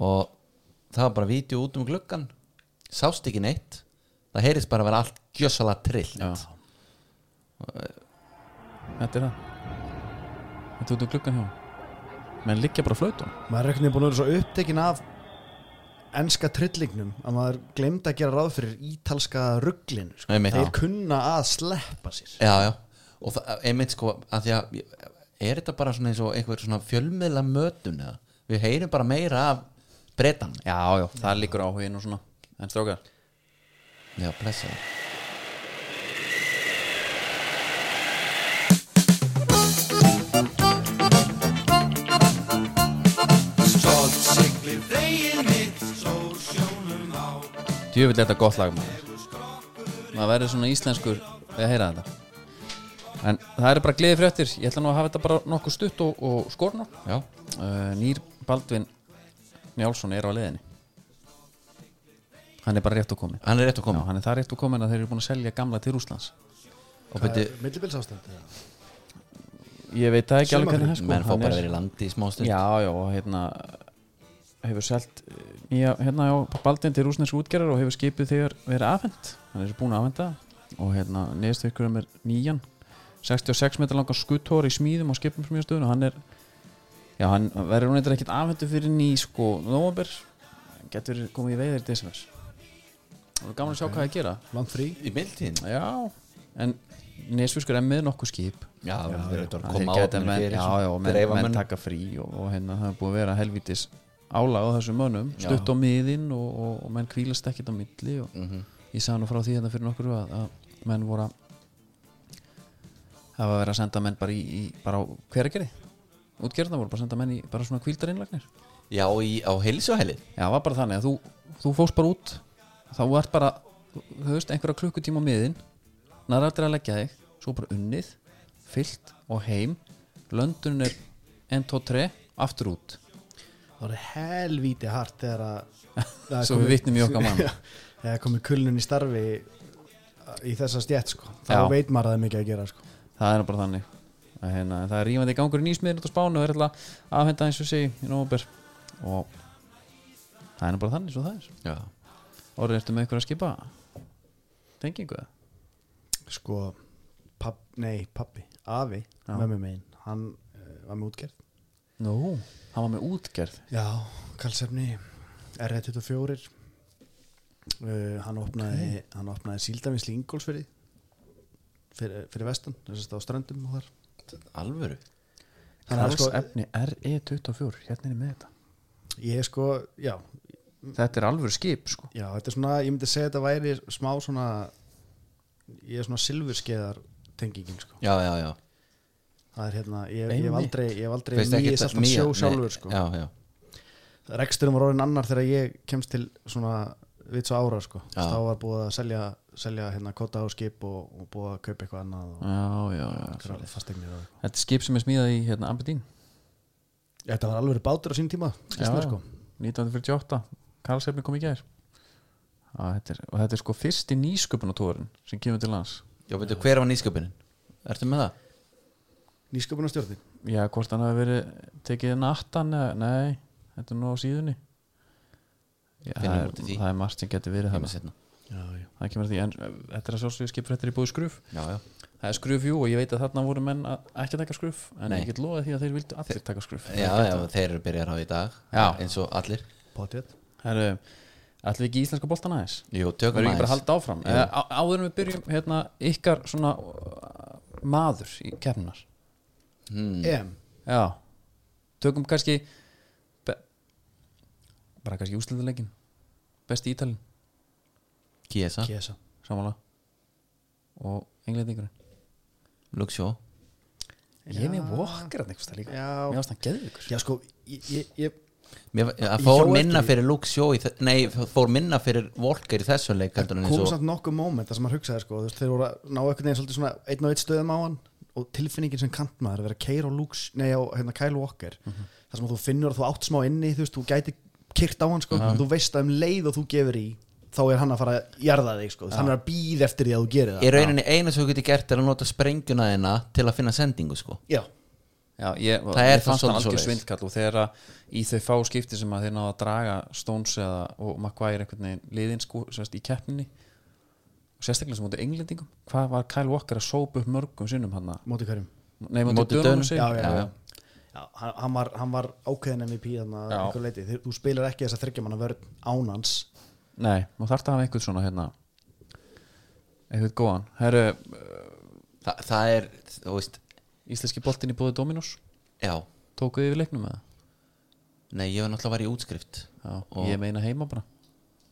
Speaker 2: og það var bara vídeo út um gluggan sást ekki neitt það heyrðist bara að vera allt gjössalega trillt
Speaker 1: Já Þetta er það Þetta er út um klukkan hjá honum. menn liggja bara á flautum
Speaker 3: Maður er ekkert búin að vera svo upptekinn af enska trillingnum að maður glemd að gera ráð fyrir ítalska rugglinu sko.
Speaker 2: Einmitt.
Speaker 3: Þeir
Speaker 2: Já.
Speaker 3: kunna að sleppa sér
Speaker 2: já, já, og það- einmitt sko að því að, er þetta bara svona eins og einhver svona fjölmiðla mötun eða við heyrum bara meira af breytan
Speaker 1: Já, já, það er líkur áhugin og svona En strókar
Speaker 2: já, blessa
Speaker 1: Djöfull er þetta gott lag maður Maður verður svona íslenskur við að heyra þetta En það eru bara gleði fréttir Ég ætla nú að hafa þetta bara nokkuð stutt og, og skorna
Speaker 2: já,
Speaker 1: uh, Nýr Baldvin Njálsson er á leiðinni Hann er bara rétt og komin
Speaker 2: hann er rétt að
Speaker 1: Já,
Speaker 2: koma
Speaker 1: hann er það rétt og komin að þeir eru búin að selja gamla til Rússlands
Speaker 2: og byrju,
Speaker 3: Millibilsástand Já,
Speaker 1: Ég veit það ekki alveg hvernig það er, sko
Speaker 2: menn fá
Speaker 1: Hann
Speaker 2: bara
Speaker 1: er-
Speaker 2: verið í landi í smástund
Speaker 1: Já, já, og hérna hefur selt eh, nýja, hérna já, Baldvin til rúsnesku útgerðar og hefur skipið þegar verið afhend hann er búin að afhenda það og hérna neðstu ykkur er nýjan 66 metra langan skuttóri í smíðum á skipum smíðastöðun og hann er já, hann verður hún eitthvað ekkert afhendu fyrir ný sko, nómabir getur komið í veiðir í desember og gaman að sjá hvað það gera
Speaker 3: langt frí
Speaker 2: í mildtíðin
Speaker 1: já, en Nesfiskur er með nokkuð skip
Speaker 2: Já, það er auðvitað að
Speaker 1: Þeir
Speaker 2: koma á
Speaker 1: geta
Speaker 2: þeim
Speaker 1: menn,
Speaker 2: fyrir
Speaker 1: já, já, menn,
Speaker 2: dreifa
Speaker 1: menn
Speaker 2: mönnum.
Speaker 1: taka frí og, og hérna það er búið að vera helvítis álag á þessum mönnum,
Speaker 2: Já.
Speaker 1: stutt á miðin og, og, og menn kvílast ekkert á milli og
Speaker 2: Mhm.
Speaker 1: ég sagði nú frá því þetta fyrir nokkur að, að menn voru að hafa verið að senda menn bara í, í bara á hveragerði útgerðna voru bara að senda menn í bara svona kvíldarinnlagnir
Speaker 2: Já, í, á heilsuhelið
Speaker 1: Já, það var bara þannig að þú, þú fórst bara út þá vart bara, þú þú veist, einhverja klukkutíma á miðin nær aldrei að leggja þig svo bara unnið, fyllt og heim löndun er 1, 2, 3 aftur út
Speaker 3: Það var helvíti hart þegar að það er
Speaker 1: Svo við
Speaker 3: komið-
Speaker 1: vitnum í okkar mann.
Speaker 3: Já, Þegar er komið kulnun í starfi í þessa stjætt sko. þá
Speaker 1: Já.
Speaker 3: veit maður að það er mikið að gera sko.
Speaker 1: það er nú bara þannig að, hérna, það er rífandi gangur í nýsmiðin út á spánu og er alltaf afhenda eins og sé í nóber og það er nú bara þannig svo það er
Speaker 2: Já,
Speaker 1: orðið ertu með einhverja að skipa tengingu það
Speaker 3: sko papp, nei, pappi, afi mömmu megin, hann uh, var með útgerð
Speaker 1: Nú, hann var með útgerð
Speaker 3: já, kalsefni R24 Eh, uh, hann opnaði hann opnaði síldavinnsli Ingolsfyrði fyrir, fyrir vestan, þess að á ströndum og þar
Speaker 2: alvöru
Speaker 3: Þannig að sko,
Speaker 1: efni E RE24 hérna er með þetta
Speaker 3: ég sko, já,
Speaker 1: þetta er alvöru skip sko
Speaker 3: já, þetta er svona ég myndi segja þetta væri smá svona ég er svona silfurskeiðar tengingin sko,
Speaker 2: já, já, já
Speaker 3: það er hérna ég, ég hef
Speaker 1: Einmitt.
Speaker 3: aldrei, ég hef aldrei
Speaker 2: Finnst
Speaker 3: mýið
Speaker 2: ekkert-
Speaker 3: selt að sjó
Speaker 2: mýja, nei,
Speaker 3: sjálfur sko
Speaker 2: já, já,
Speaker 3: reksturum var orðin annar þegar ég kemst til svona vits og ára sko
Speaker 2: Já.
Speaker 3: þá var búið að selja, selja hérna kota á skip og, og búið að kaupa eitthvað annað og
Speaker 1: já, já, já
Speaker 3: einhverjar fasteignir og eitthvað.
Speaker 1: þetta er skip sem er smíðað í hérna Aberdeen
Speaker 3: þetta var alveg bátur á sín tíma Kristna, sko.
Speaker 1: 1948 Karlsefni kom í gær Á, þetta er, og þetta er sko fyrsti nýsköpunatúrin sem kemur til lands
Speaker 2: já, veitu, hver var nýsköpunin? Ertu með það?
Speaker 3: nýsköpunarstjórnin
Speaker 1: já, hvort hann hafi verið tekið nattan eða, nei, þetta er nú á síðunni já, það,
Speaker 2: Finnum
Speaker 1: er,
Speaker 2: út í því.
Speaker 1: það er margt sem getur verið
Speaker 2: Ég með
Speaker 1: það
Speaker 2: seinna.
Speaker 3: já, já.
Speaker 1: það kemur að því, en uh, þetta er að sjálfsögur skipfréttir í búið skruf
Speaker 2: Já, já.
Speaker 1: það er skruf, jú, og ég veit að þarna voru menn að ekki að taka skruf, en
Speaker 2: Nei.
Speaker 1: ég get loðið því að þeir vildu allir taka skruf
Speaker 2: já, já, þeir eru byrjar á í dag
Speaker 1: Já.
Speaker 2: eins og allir
Speaker 3: Pottet.
Speaker 1: Herru, ætlum við ekki í íslenska boltan aðeins?
Speaker 2: Jú, tökum
Speaker 1: Verðum við ekki bara að
Speaker 2: aðeins.
Speaker 1: halda áfram?
Speaker 2: Jú.
Speaker 1: Eða, á, áður en við byrjum, hérna, ykkar svona uh, maður í kefnunar
Speaker 2: hmm.
Speaker 3: EM
Speaker 1: Já Tökum kannski be, bara kannski úslitaleikin besti ítalinn,
Speaker 2: Kiesa,
Speaker 3: Kiesa
Speaker 1: samanlega og englendingurinn
Speaker 2: Luxjó
Speaker 1: Ég er með vokkar hann eitthvað líka
Speaker 3: Já.
Speaker 1: Mér ást hann geðvíkur
Speaker 3: já sko ég, ég, ég,
Speaker 2: Mér,
Speaker 3: Ég
Speaker 2: að fór
Speaker 3: hjó
Speaker 2: minna
Speaker 3: eftir því.
Speaker 2: fyrir Luxjó Nei, fór minna fyrir Volker í þessu leik heldur en eins
Speaker 3: kom
Speaker 2: og-
Speaker 3: samt nokkuð moment þar sem maður hugsaði sko þú veist, þeir voru að ná einhvern veginn svolítið svona einn og eitt stöðum á hann og tilfinningin sem kantmaður að vera keira á Lux, nei á hérna Kyle Walker
Speaker 2: Mhm.
Speaker 3: þar sem að þú finnur að þú átt smá inni þú veist, þú gæti kyrt á hann sko þú veist að um leið og þú gefur í þá er hann að fara að jarða þig sko þannig að býð eftir því að þú gerir það
Speaker 2: Í rauninni eina sem þú getur gert er að nota sprengjuna þeina til að finna sendingu sko
Speaker 3: já,
Speaker 1: Já, ég,
Speaker 2: Það er
Speaker 1: ég fannst
Speaker 2: það
Speaker 1: hann
Speaker 2: svolítið
Speaker 1: algjör
Speaker 2: svoleiðis.
Speaker 1: svindkall og þegar að í þau fá skipti sem að þeir náða að draga Stones eða og Maguire einhvern veginn liðin sko, sem sagt, í keppninni og sérstaklega sem móti englendingum hvað var Kyle Walker að sópa upp mörgum sinnum hann
Speaker 3: móti hverjum
Speaker 1: Nei, móti,
Speaker 2: Móti
Speaker 1: móti dönum
Speaker 2: Dönum,
Speaker 3: já,
Speaker 2: Já,
Speaker 3: já, já,
Speaker 2: já.
Speaker 3: Já, hann, hann, var, hann var ákveðin MVP þannig að
Speaker 1: Já.
Speaker 3: einhver leiti Þeir- þú spilar ekki þess að þryggja manna vörn ánans
Speaker 1: Nei, nú þarf það að hafa einhvern svona hérna einhvern góðan Herru,
Speaker 2: Þa, Það er, þú veist,
Speaker 1: íslenski boltinn í búði Dominos
Speaker 2: já
Speaker 1: tókuðu yfir leiknum með það
Speaker 2: Nei, ég var náttúrulega var í útskrift
Speaker 1: Já,
Speaker 2: Og-
Speaker 1: ég meina heima bara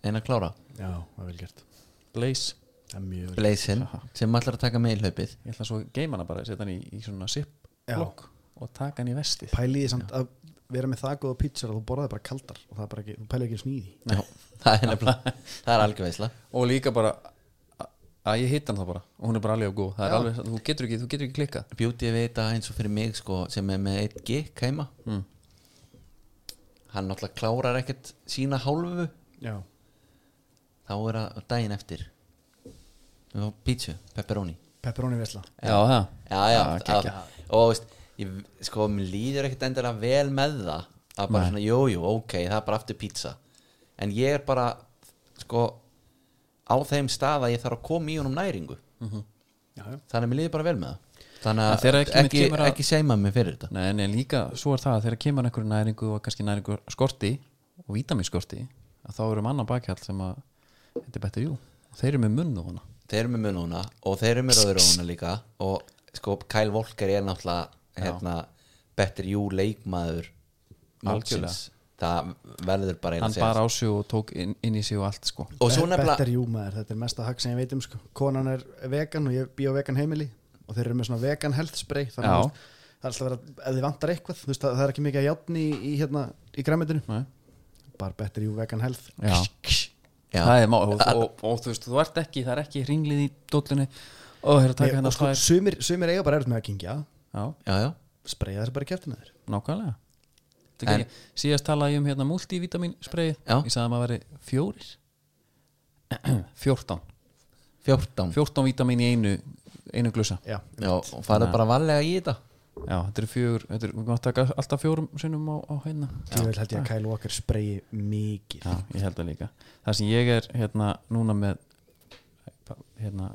Speaker 2: En að klára
Speaker 3: já, það er vel gert
Speaker 1: Blaze,
Speaker 3: það er mjög vel
Speaker 2: Blazin, sem ætlar að taka með í hlaupið
Speaker 1: ég ætla svo að geima hana bara setja hann í, í svona zip
Speaker 3: Já.
Speaker 1: blokk og taka hann í vestið
Speaker 3: pæliði samt að vera með það góða pítsur að þú borðaði bara kaldar og það er bara ekki, þú pæliði ekki sníði
Speaker 2: Já, það er nefnilega Það er algjör veisla
Speaker 1: og líka bara að- að ég hitt hann þá bara og hún er bara alveg og góð það er alveg, þú getur ekki, þú getur ekki klikkað
Speaker 2: Beauty við þetta eins og fyrir mig sko sem er með 1G keima
Speaker 1: Mm.
Speaker 2: Hann náttúrulega klárar ekkert sína hálfu
Speaker 3: já,
Speaker 2: Þá er að daginn eftir Og Pizza, pepperoni
Speaker 3: pepperoni vesla
Speaker 1: já, það,
Speaker 2: já, já,
Speaker 1: Já,
Speaker 2: já,
Speaker 1: geggjað.
Speaker 2: og veist, ég, sko, mér líður ekkert endilega vel með það að bara
Speaker 1: Nei.
Speaker 2: svona, jú, jú, ok, það er bara aftur pizza en ég er bara sko, á þeim stað að ég þarf að koma í honum næringu
Speaker 3: já, já.
Speaker 2: þannig að mér líður bara vel með það þannig
Speaker 1: Mhm. En þegar
Speaker 2: að
Speaker 1: ekki með
Speaker 2: ekki,
Speaker 1: kemur að-
Speaker 2: ekki seima mig fyrir þetta
Speaker 1: nei, nei, líka svo er það að þegar kemur einhverju næringu og kannski næringu skorti og vítamískorti að þá eru manna bakhjall sem að þetta er betur jú, og þeir eru með munn og hana
Speaker 2: þeir eru með mununa og þeir eru með röðuróna líka og sko Kyle Volker er náttúrulega hérna, betur jú leikmaður
Speaker 1: Algjörlega.
Speaker 2: mótsins. það verður bara eina
Speaker 1: hann bara á sig og tók inn, inn í sig og allt sko
Speaker 2: og svo
Speaker 3: þetta
Speaker 2: nefnilega
Speaker 3: er júmaður, þetta er mesta hagg sem ég veit um sko. konan er vegan og ég bý á vegan heimili og þeir eru með svona vegan health spray þannig
Speaker 1: Já.
Speaker 3: að þú veist, það er alltaf að vera, ef þið vantar eitthvað þú veist, það, það er ekki mikið að játni í, í, hérna, í græmitinu,
Speaker 1: Nei.
Speaker 3: bara better you vegan health
Speaker 1: já,
Speaker 2: Já.
Speaker 1: það er má og, og, og, þú veist, þú ert ekki, það er ekki ringlið í dóllunni og þeir eru að taka
Speaker 3: Ég,
Speaker 1: hérna
Speaker 3: og sko,
Speaker 1: sko,
Speaker 3: sumir, sumir eiga bara erut með að kingja
Speaker 1: já,
Speaker 2: já, já
Speaker 3: spraya þessi bara í kæftina þér
Speaker 1: nákvæmlega Þetta
Speaker 2: En-
Speaker 1: ekki- síðast talaði ég um hérna multivitamin spreið,
Speaker 2: Já.
Speaker 1: ég sagði að maður veri fjórir 14
Speaker 2: 14
Speaker 1: 14 vítamin í einu einu glusa
Speaker 3: já,
Speaker 2: Já, og farið bara varlega í þetta
Speaker 1: já, þetta er fjögur, þetta er, við mátt taka alltaf fjórum sinnum á, á hérna
Speaker 3: því vel held ég að Kyle Walker sprayi mikið
Speaker 1: já, ég held það líka það sem ég er hérna núna með hérna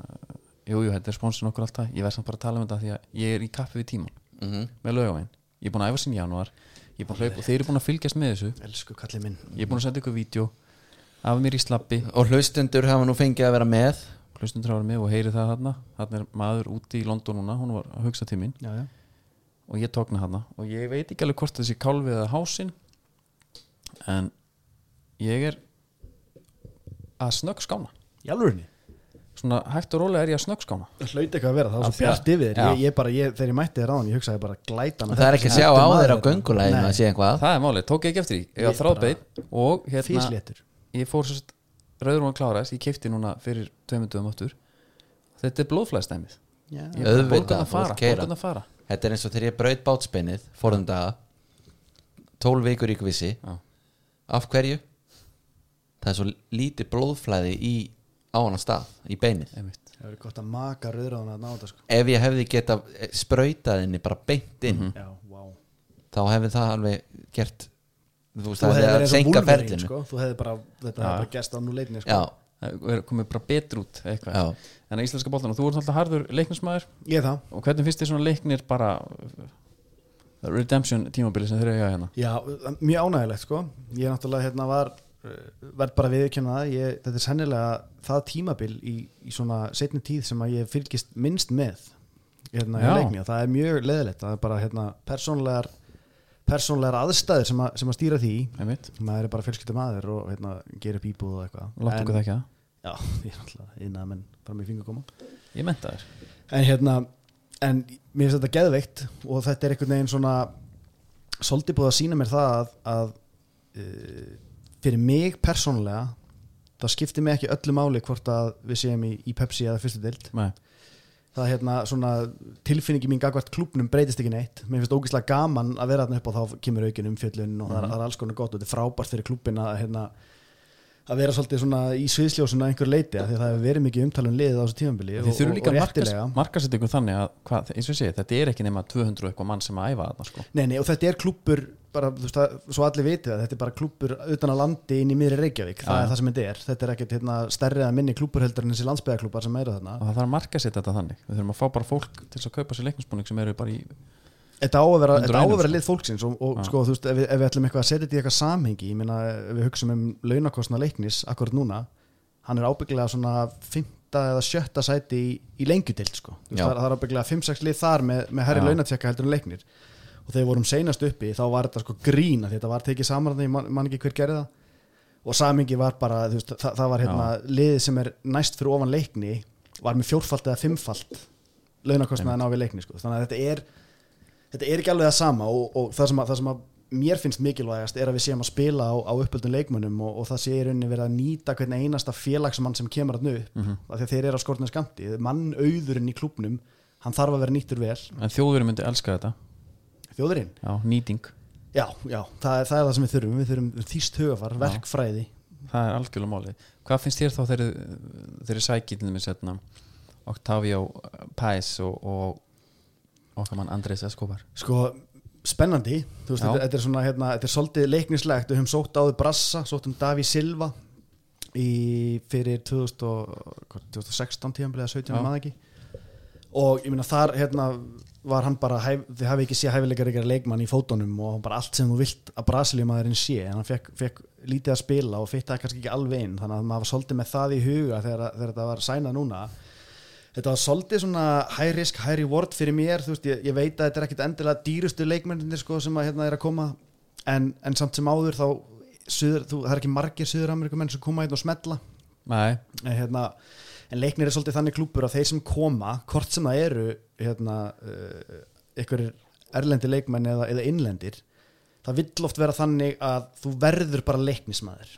Speaker 1: jújú, jú, þetta er sponsin okkur alltaf ég verð samt bara að tala um þetta því að ég er í kappi við tíman -hmm. með lögavæn, ég er búin að æfa sín í januar ég er búin að hlaupa og þeir eru búin að fylgjast með þessu
Speaker 3: elsku kallið minn
Speaker 1: ég er búin að senda ykkur vídeo af mér í slappi
Speaker 2: og hlustundur hafa nú fengið að vera með
Speaker 1: hlustundur ára mig og heyri það þarna þarna er maður úti í London núna hún var að hugsa til mín
Speaker 3: já, já.
Speaker 1: og ég tókna hana og ég veit ekki alveg hvort þessi kálfi eða hásin en ég er að snögg skána
Speaker 3: Í alvörinni?
Speaker 1: svona hægt og rólega er ég að snögg skána
Speaker 3: Það hlaut eitthvað að vera, það var svo
Speaker 1: Alltaf.
Speaker 3: bjart yfir þér
Speaker 1: Já.
Speaker 3: ég, ég bara, ég, Þegar ég mætti þér á ég hugsaði bara glætan
Speaker 2: það er ekki að sjá á þeir á göngulæðinu að sé eitthvað
Speaker 1: það er málið, tók ég ekki eftir því ég
Speaker 3: Ég
Speaker 1: var þráðbeinn og hérna
Speaker 3: Físléttur
Speaker 1: ég fór sérst rauður og kláraðist, ég kefti núna fyrir tveimundum áttur þetta er blóðflæðstæmið ég er bara
Speaker 2: Auðvitað,
Speaker 1: bótað að
Speaker 2: þú ert
Speaker 1: fara,
Speaker 2: keira.
Speaker 1: bótað að fara
Speaker 2: þetta er eins og þegar ég braut bátspinnið forðum daga 12 vikur í kvissi
Speaker 1: Já.
Speaker 2: af hverju það er svo lítið blóðflæði í á hann stað, í beinið
Speaker 1: einmitt,
Speaker 3: Það verður gott að maka rauðráðan að náta sko.
Speaker 2: ef ég hefði geta sprautaðinni bara beint inn
Speaker 3: Já, wow.
Speaker 2: þá hefði það alveg gert þú veist,
Speaker 3: Þú
Speaker 2: það
Speaker 3: hefði
Speaker 2: hefði
Speaker 3: verið
Speaker 2: að
Speaker 3: eins og
Speaker 2: senka
Speaker 3: Wolverine,
Speaker 2: ferlinu
Speaker 3: sko. Þú hefði bara, þetta hefði bara gest á nú leitni sko.
Speaker 2: já,
Speaker 1: það er komið bara betur út eitthvað,
Speaker 2: já,
Speaker 1: en að íslenska bóttan þú ert alltaf harður leiknismæður
Speaker 3: Ég það
Speaker 1: og hvernig finnst þér svona leiknir bara uh, redemption tímabili sem þeir eru að eiga hérna
Speaker 3: Já, mjög ánægilegt sko Ég náttúrulega hérna var eh, verð bara viðurkenna það ég, þetta er sennilega það tímabil í, í svona setni tíð sem að ég fylgist minnst með hérna í
Speaker 1: Já.
Speaker 3: leikni og það er mjög leðilegt það er bara hérna persónlegar persónlegar aðstæður sem að, sem að stýra því
Speaker 1: einmitt,
Speaker 3: maður er bara fjölskyldum aður og hérna, gerir upp íbúð og eitthvað
Speaker 1: látt okkur það ekki að
Speaker 3: Já, ég er alltaf innað menn fram í fingur koma
Speaker 1: ég menta þér
Speaker 3: en hérna en mér finnst þetta geðveikt og þetta er einhvern veginn svona svolítið búið að sína mér það að, að uh, fyrir mig persónulega það skiptir mig ekki öllu máli hvort að við séum í, í Pepsi eða fyrstu dild
Speaker 1: Nei.
Speaker 3: það er hérna svona tilfinningi mín gagvart klúbnum breytist ekki neitt mér finnst ógeðslega gaman að vera þarna upp og þá kemur aukin umfjöllun og það
Speaker 1: Mhm.
Speaker 3: er, það er alls konar gott og þetta er frábært fyrir klúbin að hérna að vera svolítið svona í sviðsljósun að einhver leiti af því að það hefur verið mikið umtalun liðið á þessu tímanbili
Speaker 1: þið þurfum líka að
Speaker 3: réttilega.
Speaker 1: markas- markasett ykkur þannig að hvað, eins og sé, þetta er ekki nema 200 eitthvað mann sem að æfa þarna sko.
Speaker 3: Nei, nei, og þetta er klúppur bara, þú veist, það, svo allir viti það, þetta er bara klúppur utan að landi inn í miðri Reykjavík það
Speaker 1: Já.
Speaker 3: er það sem þetta er, þetta er ekkert hérna, stærri að minni klúppur heldur en þessi landsbyðaklúppar sem eru
Speaker 1: og
Speaker 3: þarna
Speaker 1: það þarf að markasett þetta þannig við þurfum að fá bara fólk til þess að kaupa sér leiknisbúning sem eru bara í
Speaker 3: Þetta á að vera,
Speaker 1: Undir
Speaker 3: þetta á að
Speaker 1: einum,
Speaker 3: vera
Speaker 1: sko.
Speaker 3: lið fólksins og, og
Speaker 1: Já.
Speaker 3: sko, þú veist, ef við, ef við ætlum eitthvað að setja þetta í eitthvað samhengi ég meina, ef við hugsum um launakostna leiknis akkurat núna, hann er ábyggilega svona fymta eða sjötta sæti í, í lengjudild, sko Þú veist,
Speaker 2: Já.
Speaker 3: það, er- það er ábyggilega 5-6 lið þar með, með herri
Speaker 1: Já.
Speaker 3: launatjekka heldur en leiknir og þegar við vorum seinast uppi þá var þetta sko grín af því þetta var tekið saman þannig, ég man, man ekki hver gerði það og samingi var bara, þú veist, það, það var hérna liðið sem er næst fyrir ofan leikni var með fjórfalt eða fimmfalt launakostnaðan á við leikni, sko þannig að þetta er, þetta er ekki alveg það sama og, og það, sem að, það sem að mér finnst mikilvægast er að við séum að spila á, á uppöldum leikmönnum og, og það sé í rauninni verið að nýta hvern einasta félagsmann sem kemur að upp mm af því að þeir eru á skortinu skamti mannauðurinn í klubnum, hann þarf að vera nýttur vel
Speaker 1: en þjóðurinn myndi elska þetta,
Speaker 3: þjóðurinn
Speaker 1: já, nýting
Speaker 3: Já, já, það er það, er það sem við þurfum Við þurfum þýst höfar, verkfræði
Speaker 1: það er algjörlega málið hvað finnst þér þá þegar þeir sækið með sérna Octavio Pais og, og okkar mann Andrés Escobar
Speaker 3: Sko, spennandi Þú veist,
Speaker 1: Já.
Speaker 3: þetta, þetta er svona, hérna, þetta er svolítið leiknislegt Við höfum sótt áður Brassa, sótt um Daví Silva í, fyrir 2000 og, hvað, 2016 tíðanbilið eða 17
Speaker 1: Já.
Speaker 3: maður ekki og ég meina þar hérna var hann bara, hæf, þið hafi ekki sé hæfileikar ykkur leikmann í fótunum og bara allt sem þú vilt að Brasiliumadurinn sé en hann fekk, fekk lítið að spila og fyrtaði kannski ekki alveg inn þannig að maður var svolítið með það í huga þegar, þegar þetta var sænað núna þetta var svolítið svona high risk, high reward fyrir mér, þú veist, ég, ég veit að þetta er ekkit endilega dýrustu leikmennir sko sem að hérna er að koma en, en samt sem áður þá suður, þú, það er ekki margir Suður-Amerikumenn sem koma hérna og smetla
Speaker 1: nei,
Speaker 3: en, hérna, en leiknir er svolítið þannig klúpur að þeir sem koma, hvort sem það eru hérna, uh, einhverjir erlendi leikmenn eða, eða innlendir það vill oft vera þannig að þú verður bara leiknismæður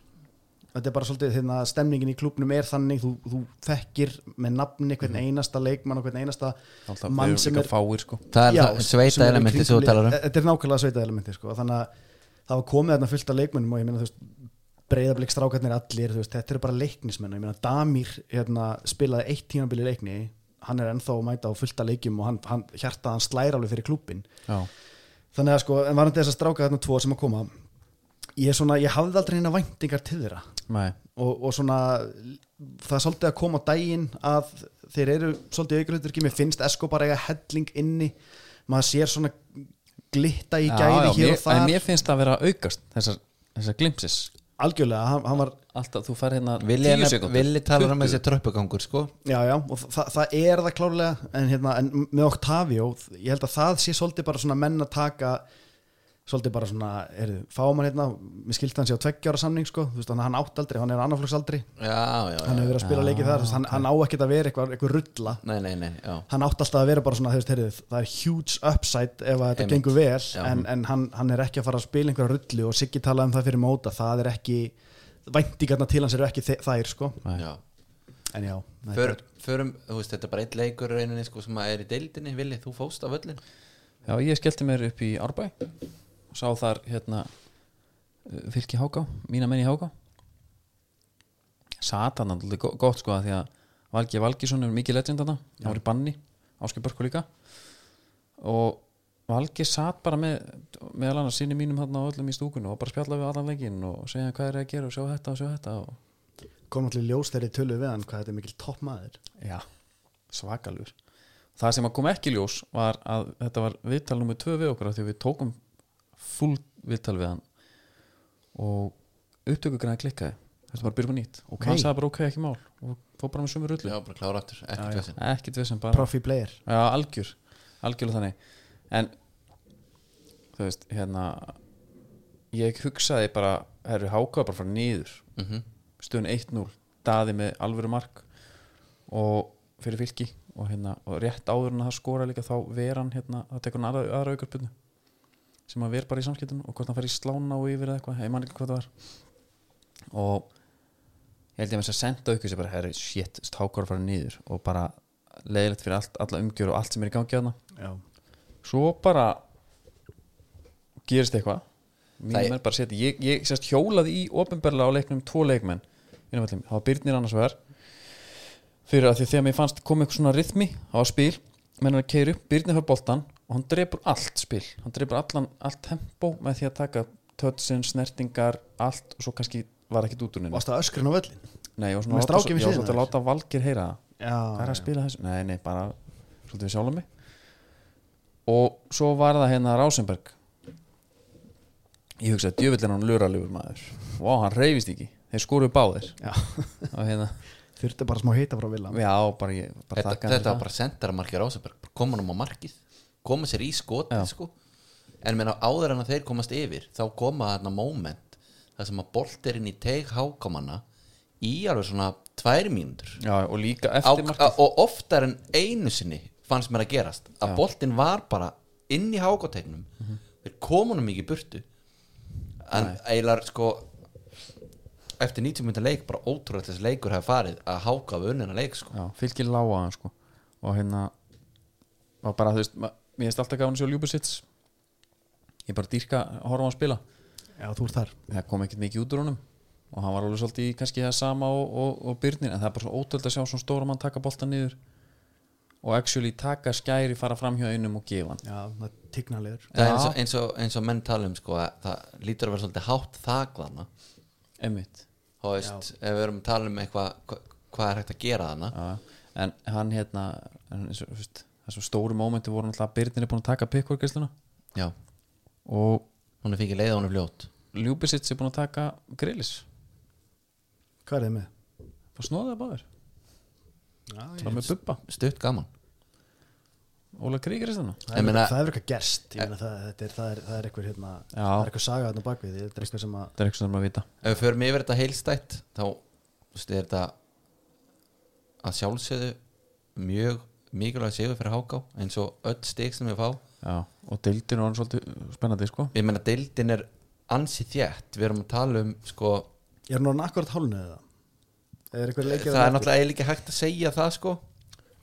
Speaker 3: þetta er bara svolítið hérna, stemningin í klúpnum er þannig, þú, þú þekkir með nafni hvern einasta leikmann og hvern einasta
Speaker 1: alltaf
Speaker 3: Mann
Speaker 1: mann
Speaker 3: sem
Speaker 1: sem
Speaker 3: er-
Speaker 1: fáir sko
Speaker 2: það er
Speaker 3: Já,
Speaker 2: það
Speaker 3: sem
Speaker 2: sveita
Speaker 3: eru í
Speaker 2: elementi sem þú
Speaker 3: kringum
Speaker 2: talar um
Speaker 3: lið- þetta er nákvæmlega sveita elementi sko. þannig að það var komið þarna fullt af leikmennum og ég meina þú veist breyðablik strákarnir allir, þú veist, þetta er bara leiknismenn og ég meina Damir hérna, spilaði eitt tímabili leikni, hann er ennþá að mæta á fullta leikjum og hann, hann hjartað hann slæra alveg fyrir klubbin
Speaker 1: já,
Speaker 3: þannig að sko, en varandi þess að stráka þarna tvo sem að koma ég, er svona, ég hafði aldrei hérna væntingar til þeirra
Speaker 1: nei,
Speaker 3: og, og svona það er svolítið að koma á daginn að þeir eru svolítið aukulöður ekki, mér finnst Esko bara eiga helling inni maður sér svona glitta í
Speaker 1: Já,
Speaker 3: gæði
Speaker 1: já, mér,
Speaker 3: hér og
Speaker 1: en
Speaker 3: þar
Speaker 1: mér finnst það að vera að aukast þessar, þessar glimpsis
Speaker 3: algjörlega, hann, hann var
Speaker 1: Alltaf, þú fær hérna
Speaker 2: Villi,
Speaker 1: tíu
Speaker 2: er-
Speaker 1: sekúndur.
Speaker 2: Villi talar um
Speaker 1: 20.
Speaker 2: þessi tröppugangur sko
Speaker 3: Já, já, og þa það er það klárlega en, hérna, en með Octavio ég held að það sé svolítið bara svona menn að taka svolítið bara svona er, fáum hann hérna, mér skildi hann sé á tveggjára samning sko, þú veist, þannig að hann átt aldrei, hann er annaflöks aldrei
Speaker 2: Já, já,
Speaker 3: hann hefur verið að spila leikið þar, þú veist, hann, hann á ekkert að vera eitthvað, eitthvað rulla,
Speaker 2: Nei, nei, nei, já
Speaker 3: hann átt alltaf að vera bara svona, þú veist, heyrðu, það er huge upside ef að þetta
Speaker 2: Einmitt.
Speaker 3: gengur vel,
Speaker 2: Já.
Speaker 3: en, en hann, hann er ekki að fara að spila einhverja rullu og Siggi talaði um það fyrir móta, það er ekki væntingarna til hans eru ekki þe- þær sko,
Speaker 2: Já,
Speaker 3: en já, þetta
Speaker 2: Förum, förum, þú veist, þetta er bara einn leikur í rauninni sko sem að er í deildinni, Villi, þú fóst af öllin
Speaker 1: Já, ég skellti mér upp í Árbæ og sá þar hérna uh, fylki Háká, mína menn í Háká Satan hann alltaf gott sko að því að Valgi Valgisson er mikið legend þarna hann var í banni, Áskei Börku líka og Valgi satt bara með, meðal annars sinni mínum hann á öllum í stúkunni og bara spjalla við allan leikinn og segja hvað er að gera og sjá þetta og sjá þetta og
Speaker 3: kom allir ljós þegar ég tölu við hann hvað þetta er mikil topp maður
Speaker 1: Já, svakalur Það sem að kom ekki í ljós var að þetta var viðtal nummer tvö við okkur af því að við tókum full viðtal við hann og upptökugræðan klikkaði þetta var að byrja upp á nýtt og hann sagði bara ok, ekki mál og fór bara með sömu rullu
Speaker 2: Já, bara klára aftur, ekki tjóðsinn
Speaker 1: ekki tvið sem bara
Speaker 3: profi player
Speaker 1: Já, algjör, algjörlega þannig en þú veist, hérna ég hugsaði bara, herru hákaði bara frá niður
Speaker 2: mm
Speaker 1: stöðun 1-0 daði með alvöru mark og fyrir fylki og, hérna, og rétt áður en að það skora líka þá ver hann hérna, það tekur hann aðra, aðra aukarpunni sem að ver bara í samskiptun og hvort hann fær í slána og yfir eða eitthvað, ég man ekki hvað það var og ég held ég með þess að senda aukur sem bara, herri, shit, stákar að fara niður og bara leiðilegt fyrir allt, alla umgjör og allt sem er í gangi aðna
Speaker 3: já.
Speaker 1: svo bara gerist eitthvað mínu
Speaker 2: Það-
Speaker 1: menn bara setja ég, ég sérst hjólaði í ofinberlega á leiknum tvo leikmenn Hinum öllum. það var Byrnir annars vegar fyrir að því þegar mér fannst kom eitthvað svona rithmi á spil, menn er að keiri upp Byrnir hör boltan og hann drepur allt spil hann drepur allan, allt tempo með því að taka tötsin, snertingar allt og svo kannski var ekki dútuninu
Speaker 3: varst það öskrin á völlin
Speaker 1: Nei, ég var svona
Speaker 3: Með
Speaker 1: að láta,
Speaker 3: strákinn við
Speaker 1: ég var
Speaker 3: hliðina
Speaker 1: svolítið að
Speaker 3: þér?
Speaker 1: láta Valgir heyra það hvað er að
Speaker 3: já,
Speaker 1: spila þessu? Nei, nei, bara svolítið við sjálfum mig og svo var það hérna Rásenberg ég hugsaði djöfullin hann luralegur maður vá, hann reyfist ekki, þeir skoruðu báðir
Speaker 3: já.
Speaker 1: og hérna,
Speaker 3: þurfti bara smá heita frá villan
Speaker 1: já, bara ég bara
Speaker 2: Þetta,
Speaker 1: þakka hann
Speaker 2: þetta
Speaker 1: fyrir
Speaker 2: var bara sendarmarkið Rásaberg koma hann á markið, koma sér í skotið
Speaker 1: Já.
Speaker 2: sko en menna áður en að þeir komast yfir, þá koma þarna moment, það sem að bolt er inn í teig hákamanna í alveg svona tvær mínútur
Speaker 1: það. já, og líka
Speaker 2: á,
Speaker 1: eftir markið
Speaker 2: og oftar en einu sinni fannst mér að gerast að boltinn var bara inn í hákotegnum
Speaker 1: Mhm.
Speaker 2: þeir komu hann mikið burtu en eiginlega sko eftir 90 mynda leik bara ótrúlega þessi leikur hefði farið að háka við unnina leik sko
Speaker 1: já, fylgir lága hann sko og hérna var bara, þú veist, ma- mér finnst alltaf gafan sér ljúbusits ég bara dýrka að horfa á hann að spila
Speaker 3: já, þú ert þar
Speaker 1: það kom ekkert mikið út úr honum og hann var alveg svolítið í kannski það sama og, og, og byrnin en það er bara svo ótöld að sjá svona stóra mann taka boltan niður og actually taka skæri fara fram hjá einum og gefa hann
Speaker 3: já, það er tignalegur
Speaker 2: það er eins og, eins, og, eins og menn tala um sko að það lítur að vera svolítið hátt þakvana
Speaker 1: einmitt
Speaker 2: þá veist, ef við erum að tala um eitthvað hva, hvað er hægt að gera þarna
Speaker 1: Já, en hann hérna en eins og, þú veist, þessum stóru mómenti voru náttúrulega að byrnin er búin að taka pikkvorkistluna
Speaker 2: já,
Speaker 1: og
Speaker 2: hún er fengið leið og hún er fljót
Speaker 1: Ljúbisits er búin að taka grillis
Speaker 3: hvað er þið með?
Speaker 1: og snóða það báður
Speaker 3: Já,
Speaker 1: bara með bubba,
Speaker 2: stutt gaman
Speaker 1: Óla Kríkristuna
Speaker 3: það
Speaker 2: Ég
Speaker 3: er,
Speaker 2: meina-
Speaker 3: það er eitthvað gerst Ég meina, það, þetta er, það, er, það er eitthvað hérna
Speaker 1: Já.
Speaker 3: það er eitthvað saga hérna bakvið þetta er eitthvað sem að
Speaker 1: það er eitthvað sem maður vita
Speaker 2: ef við förum yfir þetta heilstætt þá þú veist, er þetta að sjálfsögðu mjög mikilvæg sigur fyrir háká eins og öll stig sem við fá
Speaker 1: Já, og deildin var hann svolítið spennandi sko
Speaker 2: ég meina deildin er ansi þjætt við erum að tala um sko
Speaker 3: ég er nú akkurat hálnu eða er eitthvað leikir
Speaker 2: það er náttúrulega eiginlega ekki hægt að segja það sko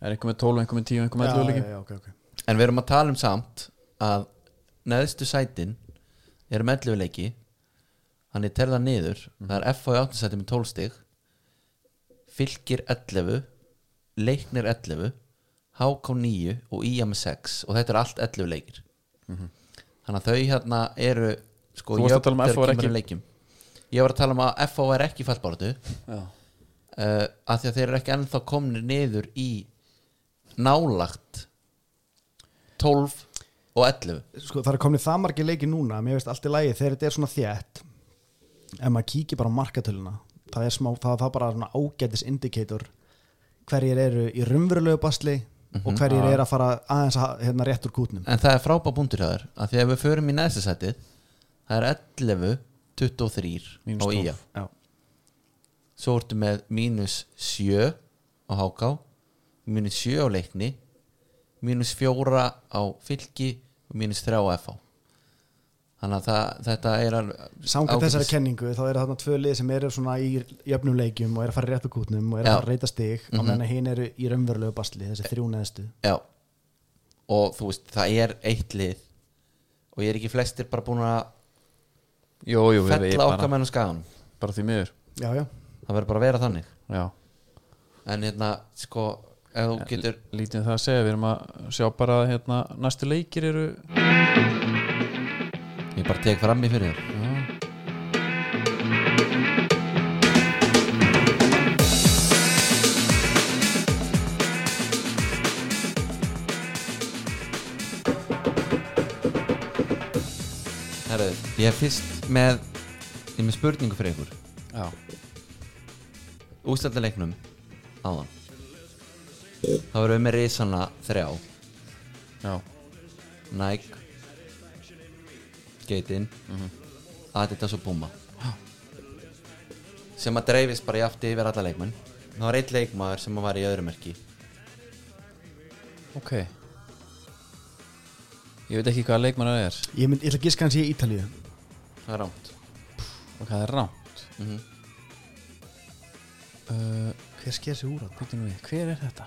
Speaker 1: er einhver með 12, einhver með 10, einhver með 11
Speaker 3: já,
Speaker 1: leiki
Speaker 3: já, já, ok, ok
Speaker 2: en við erum að tala um samt að neðstu sætin eru melluleiki hann er terða niður
Speaker 1: Mhm.
Speaker 2: það er F á 18 sæti með 12 stig fylgir 11 leiknir 11 HK 9 og IA með 6 og þetta er allt 11 leikir þannig að þau hérna eru sko
Speaker 1: Mhm. Þú varst að
Speaker 2: jöfn
Speaker 1: tala um að
Speaker 2: þegar
Speaker 1: FH er
Speaker 2: kemur að leikjum. ég var að tala um að FH er ekki fallbáratu
Speaker 1: Já.
Speaker 2: uh, að því að þeir eru ekki ennþá komnir niður í nálagt 12 og 11
Speaker 3: sko, það er komin það margir leiki núna mér veist allt í lagi þegar þetta er svona þjætt ef maður kíkir bara á markatöluna það er smá, það, það er bara svona ágætis indikator hverjir eru í raunverulegu basli og hverjir eru að fara aðeins að, hérna rétt úr kútnum
Speaker 2: en það er frábá búndur þar að því að við förum í næsta sætið það er 11 23
Speaker 1: Mínus
Speaker 2: á
Speaker 1: 12.
Speaker 2: IA
Speaker 3: Já.
Speaker 2: svo ertu með mínus 7 á HK mínus 7 á leikni mínus 4 á fylki og mínus 3 á FH þannig að það, þetta er alveg
Speaker 3: Samkvæmt
Speaker 2: ágætis-
Speaker 3: þessari kenningu þá eru þarna tvö lið sem eru svona í jöfnum leikjum og eru að fara rétt úr kútnum og eru
Speaker 2: Já.
Speaker 3: að fara að reyta stig mm -hmm. á meðan að hinn eru í raunverulegu basli þessi þrjú neðstu
Speaker 2: Já Og þú veist, það er eitt lið Og ég er ekki flestir bara búin að
Speaker 1: Jú, jú, við erum
Speaker 2: Fella okkar
Speaker 1: bara,
Speaker 2: menn á skaganum
Speaker 1: bara því miður
Speaker 3: Já, já,
Speaker 2: Það verður bara að vera þannig
Speaker 1: Já,
Speaker 2: En hérna, sko, ef þú getur
Speaker 1: lítið um það að segja Við erum að sjá bara að hérna, næstu leikir eru
Speaker 2: Ég bara tek fram í fyrir þér Herðu, ég er fyrst með Ég er með spurningu fyrir ykkur
Speaker 1: Já,
Speaker 2: ústældaleiknum áðan þá erum við með risana þrjá
Speaker 1: já,
Speaker 2: Nike Geitin Adidas og Puma sem að dreifist bara jafnt yfir alla leikmenn það var einn leikmaður sem var í öðru merki
Speaker 1: ok Ég veit ekki hvað leikmann það er
Speaker 3: ég, mynd, ég ætla að giska hans í Ítalíu
Speaker 2: það er rámt
Speaker 1: og hvað er rámt
Speaker 2: mm
Speaker 1: uh,
Speaker 3: Hver sker sig úr hann?
Speaker 1: bíddu nú við, Hver er þetta?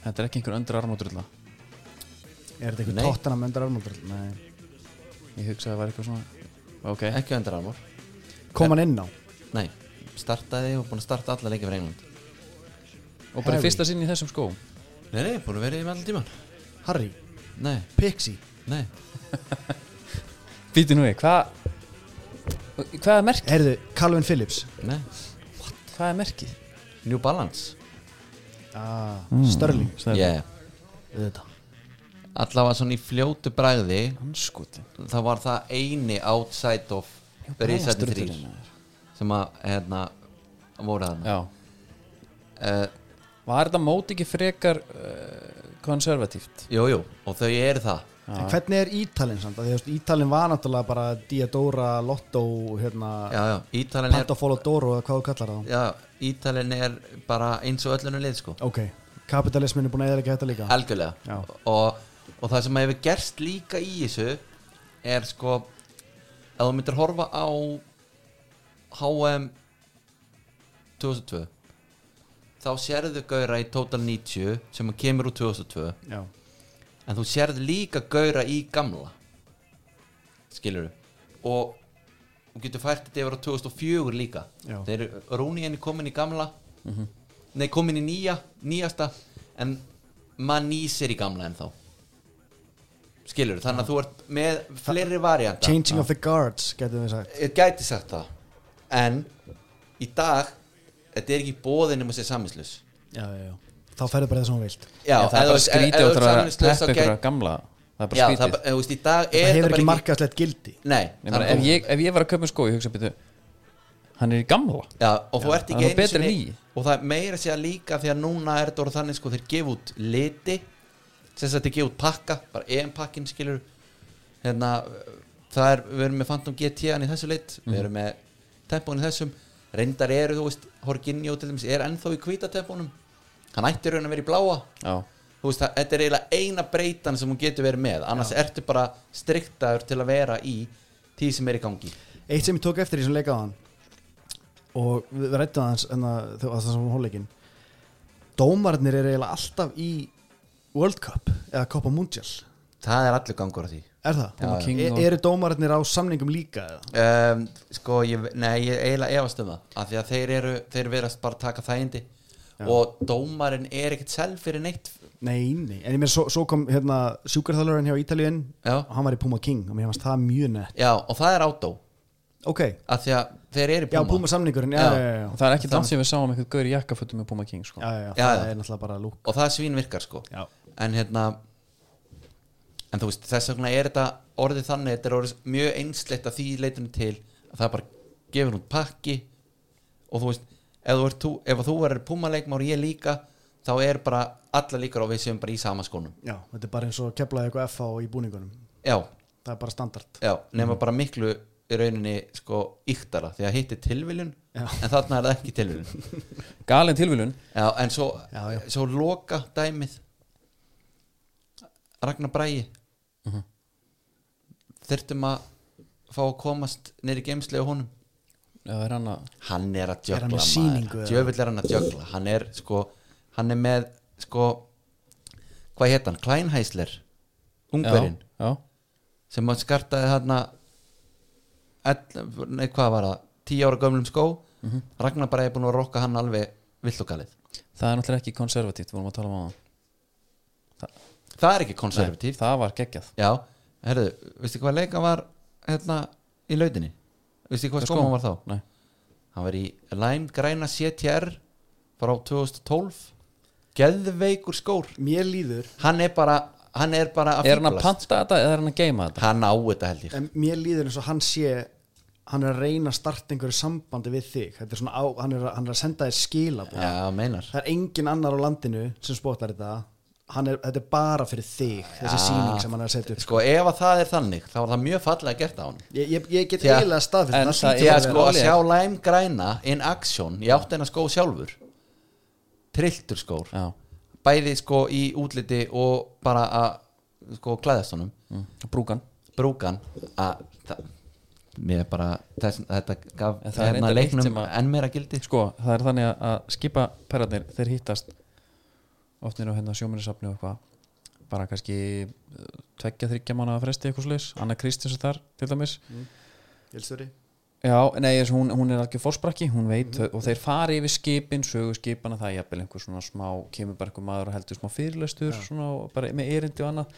Speaker 1: Þetta er ekki einhver öndur armótrilla
Speaker 3: Er þetta eitthvað
Speaker 2: Nei.
Speaker 3: tóttana með undir armóndar? Nei
Speaker 1: Ég hugsaði að það var eitthvað svona Ok,
Speaker 2: ekki undir armor
Speaker 3: Kom hann inn á?
Speaker 2: nei startaði og búin að starta alla leiki fyrir England
Speaker 1: og bara í
Speaker 3: Harry.
Speaker 1: fyrsta sinn í þessum skóm
Speaker 2: nei, nei, búin að vera í með allan tíman
Speaker 3: Harry?
Speaker 2: nei,
Speaker 3: Pixie?
Speaker 2: nei
Speaker 1: Býti nú við, hvað Hvað er merkið?
Speaker 3: Heyrðu, Calvin Phillips
Speaker 2: nei
Speaker 1: Hvað er merkið?
Speaker 2: New Balance
Speaker 3: ah, Störling
Speaker 2: yeah.
Speaker 3: Þetta
Speaker 2: allavega svona í fljótu bragði
Speaker 1: Hanskotin
Speaker 2: það var það eini outside of Rísati þrýr sem að hérna voru þarna
Speaker 1: Já
Speaker 2: uh,
Speaker 1: Eh, Var þetta mót ekki frekar uh, konservatíft?
Speaker 2: Jú, jú, og þau eru það
Speaker 3: En hvernig er Ítalinn samt? Af Því, þú veist, Ítalinn var náttúrulega bara Diadora, Lotto, hérna,
Speaker 2: Já, já, Ítalin er,
Speaker 3: Pantofolo Doro eða hvað þú kallar það
Speaker 2: já, Ítalin er bara eins og öllunum lið sko
Speaker 3: Ok, kapitalismin er búin að eða ekki þetta líka
Speaker 2: algjörlega
Speaker 3: Já.
Speaker 2: og, og það sem hefur gerst líka í þessu er sko ef þú myndir horfa á HM 2002 þá sérðu gauðra í Total 90 sem kemur úr 2002
Speaker 3: Já,
Speaker 2: en þú sérð líka gauðra í gamla skilur og þú getur fært þetta yfir á 2004 líka
Speaker 3: Já.
Speaker 2: þeir Rúni henni komin í gamla
Speaker 1: Mhm.
Speaker 2: nei komin í nýja nýjasta en maður nýsir í gamla en þá skilur þannig að þú ert með fleiri varianta
Speaker 3: Changing of the Guards, getum við sagt
Speaker 2: ég gæti sagt það en í dag þetta er ekki bóðin um að sé saminslus
Speaker 3: Já, já, já Þá ferðu bara það sem hún vilt
Speaker 1: Já, það er bara skrítið og það er að
Speaker 2: saminslus
Speaker 1: peppa ykkur að gamla Það er
Speaker 2: Já,
Speaker 1: bara
Speaker 2: það er
Speaker 1: skrítið
Speaker 2: bara, þú veist, í dag er
Speaker 3: Það
Speaker 2: þetta
Speaker 3: hefur
Speaker 2: bara
Speaker 3: ekki markaðslegt gildi
Speaker 2: Nei,
Speaker 1: Ég meina,
Speaker 2: það er
Speaker 1: ef, ég, ef ég var að köpa skó, ég hugsa býtu Hann er í gamla
Speaker 2: Já, og þú ert
Speaker 1: það
Speaker 2: ekki
Speaker 1: er nú
Speaker 2: einu
Speaker 1: betra en
Speaker 2: sinni-
Speaker 1: í.
Speaker 2: og það er meira sér líka því að núna er þetta orðið þannig sko þeir gefa út liti sem þess að þeir gefa út pakka bara EM pakkin skilur hérna, það er, við erum með Phantom GT -an í þessu lit,
Speaker 1: Mhm.
Speaker 2: við erum með tempóin í þessum, reyndar eru þú veist Horginjó til dæmis er ennþá í hvíta tempónum hann ætti raun að vera í bláa
Speaker 1: Já,
Speaker 2: þú veist það, þetta er eiginlega eina breytan sem hún getur verið með, annars ertu bara striktaður til að vera í því sem er í gangi
Speaker 3: Eitt sem ég tók eftir í sem leikaði hann og við rættum aðeins en að það sem hún hóleikin Dómarnir eru eiginlega alltaf í World Cup eða Copa Mundial
Speaker 2: það er allur gangur á því
Speaker 3: Er það?
Speaker 1: Já, já. King
Speaker 3: E
Speaker 1: og-
Speaker 3: eru dómarnir á samningum líka eða?
Speaker 2: um, sko, ég, nei, ég eiginlega efast um það af því að þeir eru, þeir verðast bara taka þægindi og dómarinn er ekkert selv fyrir neitt
Speaker 3: Nei, nei, en ég meir svo, svo kom hérna sjúkarþjálfurinn hjá Ítalíun
Speaker 2: Já.
Speaker 3: og hann var í Puma King og mér fannst það mjög nett
Speaker 2: já, og það er átó,
Speaker 3: Ok,
Speaker 2: af því að þeir eru í
Speaker 3: já
Speaker 2: Puma,
Speaker 3: Puma samningurinn, já,
Speaker 2: Já.
Speaker 3: já, já, já.
Speaker 1: og það er ekki langt sem við sáum einhvern gaur í jakkafötum með Puma King sko.
Speaker 3: Já, já, já,
Speaker 2: Já,
Speaker 3: það
Speaker 2: já.
Speaker 3: er náttúrulega bara lúk
Speaker 2: og það svín virkar sko
Speaker 3: Já.
Speaker 2: en hérna en þú veist, þess vegna er þetta orðið þannig, þetta er orðið mjög einsleitt að því leitinu til að það er bara gefur út pakki og þú veist, ef þú, ert, þú- ef þú verður púmaleikmár og ég líka þá er bara alla líkar og við séum bara í sama skónum
Speaker 3: Já, þetta er bara eins og keflaði eitthvað FH í búningunum
Speaker 2: já,
Speaker 3: Það er bara standard
Speaker 2: já, nema bara miklu í rauninni sko yktara því að hitt er tilviljun
Speaker 3: Já.
Speaker 2: en þarna er það ekki tilviljun
Speaker 1: galin tilvílun
Speaker 2: já, en svo,
Speaker 3: Já, já.
Speaker 2: svo loka dæmið Ragnar Bræi Mhm. þyrftum að fá að komast nýri geimslega honum
Speaker 1: Já, er hann að
Speaker 2: hann er að
Speaker 3: Er hann
Speaker 2: jökla
Speaker 3: með sýningu eða?
Speaker 2: djöfull er hann að jökla hann er sko hann er með sko hvað hétt hann, Kleinheisler ungverinn
Speaker 1: Já, já,
Speaker 2: sem hann skartaði hann nei hvað var það 10 ára gömlum skó
Speaker 3: Mhm.
Speaker 2: Ragnar bara er búin að rokka hann alveg vilt og galið
Speaker 1: það er náttúrulega ekki konservatíft vorum að tala um á
Speaker 2: það er ekki konservatív
Speaker 1: það var geggjað
Speaker 2: já, herðu, veistu hvað leika var hérna í lautinni veistu hvað skóma var þá
Speaker 1: Nei.
Speaker 2: hann var í Lime Græna CTR frá 2012 geðveikur skór
Speaker 3: Mér líður,
Speaker 2: hann er bara, hann er bara að
Speaker 1: Er hann að
Speaker 2: fíflast.
Speaker 1: panta þetta eða er hann að geima þetta?
Speaker 2: hann á þetta held ég
Speaker 3: en mér líður eins og hann sé Hann er að reyna að starta einhverju sambandi við þig Þetta er svona á, hann er að, hann er að senda þér skilabóð
Speaker 2: já, meinar
Speaker 3: Það er engin annar á landinu sem spotar þetta Hann er, Þetta er bara fyrir þig Þessi sýning sem hann er að setja upp
Speaker 2: sko ef að það er þannig þá var það mjög fallega gert á hann
Speaker 3: Ég, ég, ég get
Speaker 2: Já.
Speaker 3: eiginlega staðfist
Speaker 1: En það er
Speaker 3: hlýtur
Speaker 2: Já,
Speaker 3: að vera-
Speaker 2: sko, að
Speaker 1: málið er-
Speaker 2: sjá Lime Græna in action, ég átti hennar skó sjálfur trilltur skór
Speaker 1: Já,
Speaker 2: bæði sko í útliti og bara að sko klæðast honum
Speaker 1: mm. brúkan
Speaker 2: brúkan að það, mér bara þess, þetta gaf hérna
Speaker 1: En það er reyndar eitt sem
Speaker 2: leiknum
Speaker 1: að-
Speaker 2: enn meira gildi
Speaker 1: Sko, það er þannig að- að skipa perrarnir þeir hittast ofnir á hérna sjóminnisafni og eitthvað bara kannski eh, tveggja þryggja mánu að fresti eitthvað slags Anna Kristins er þar til dæmis
Speaker 3: Vélstjóri.
Speaker 1: Já, nei, þess, hún, hún er algjör fórsprakki, hún veit og þeir fari yfir skipin, sögu skipana það er jafnvel einhver svona smá, kemur bara einhver maður og heldur smá fyrirlestur, svona og bara með erindi og annað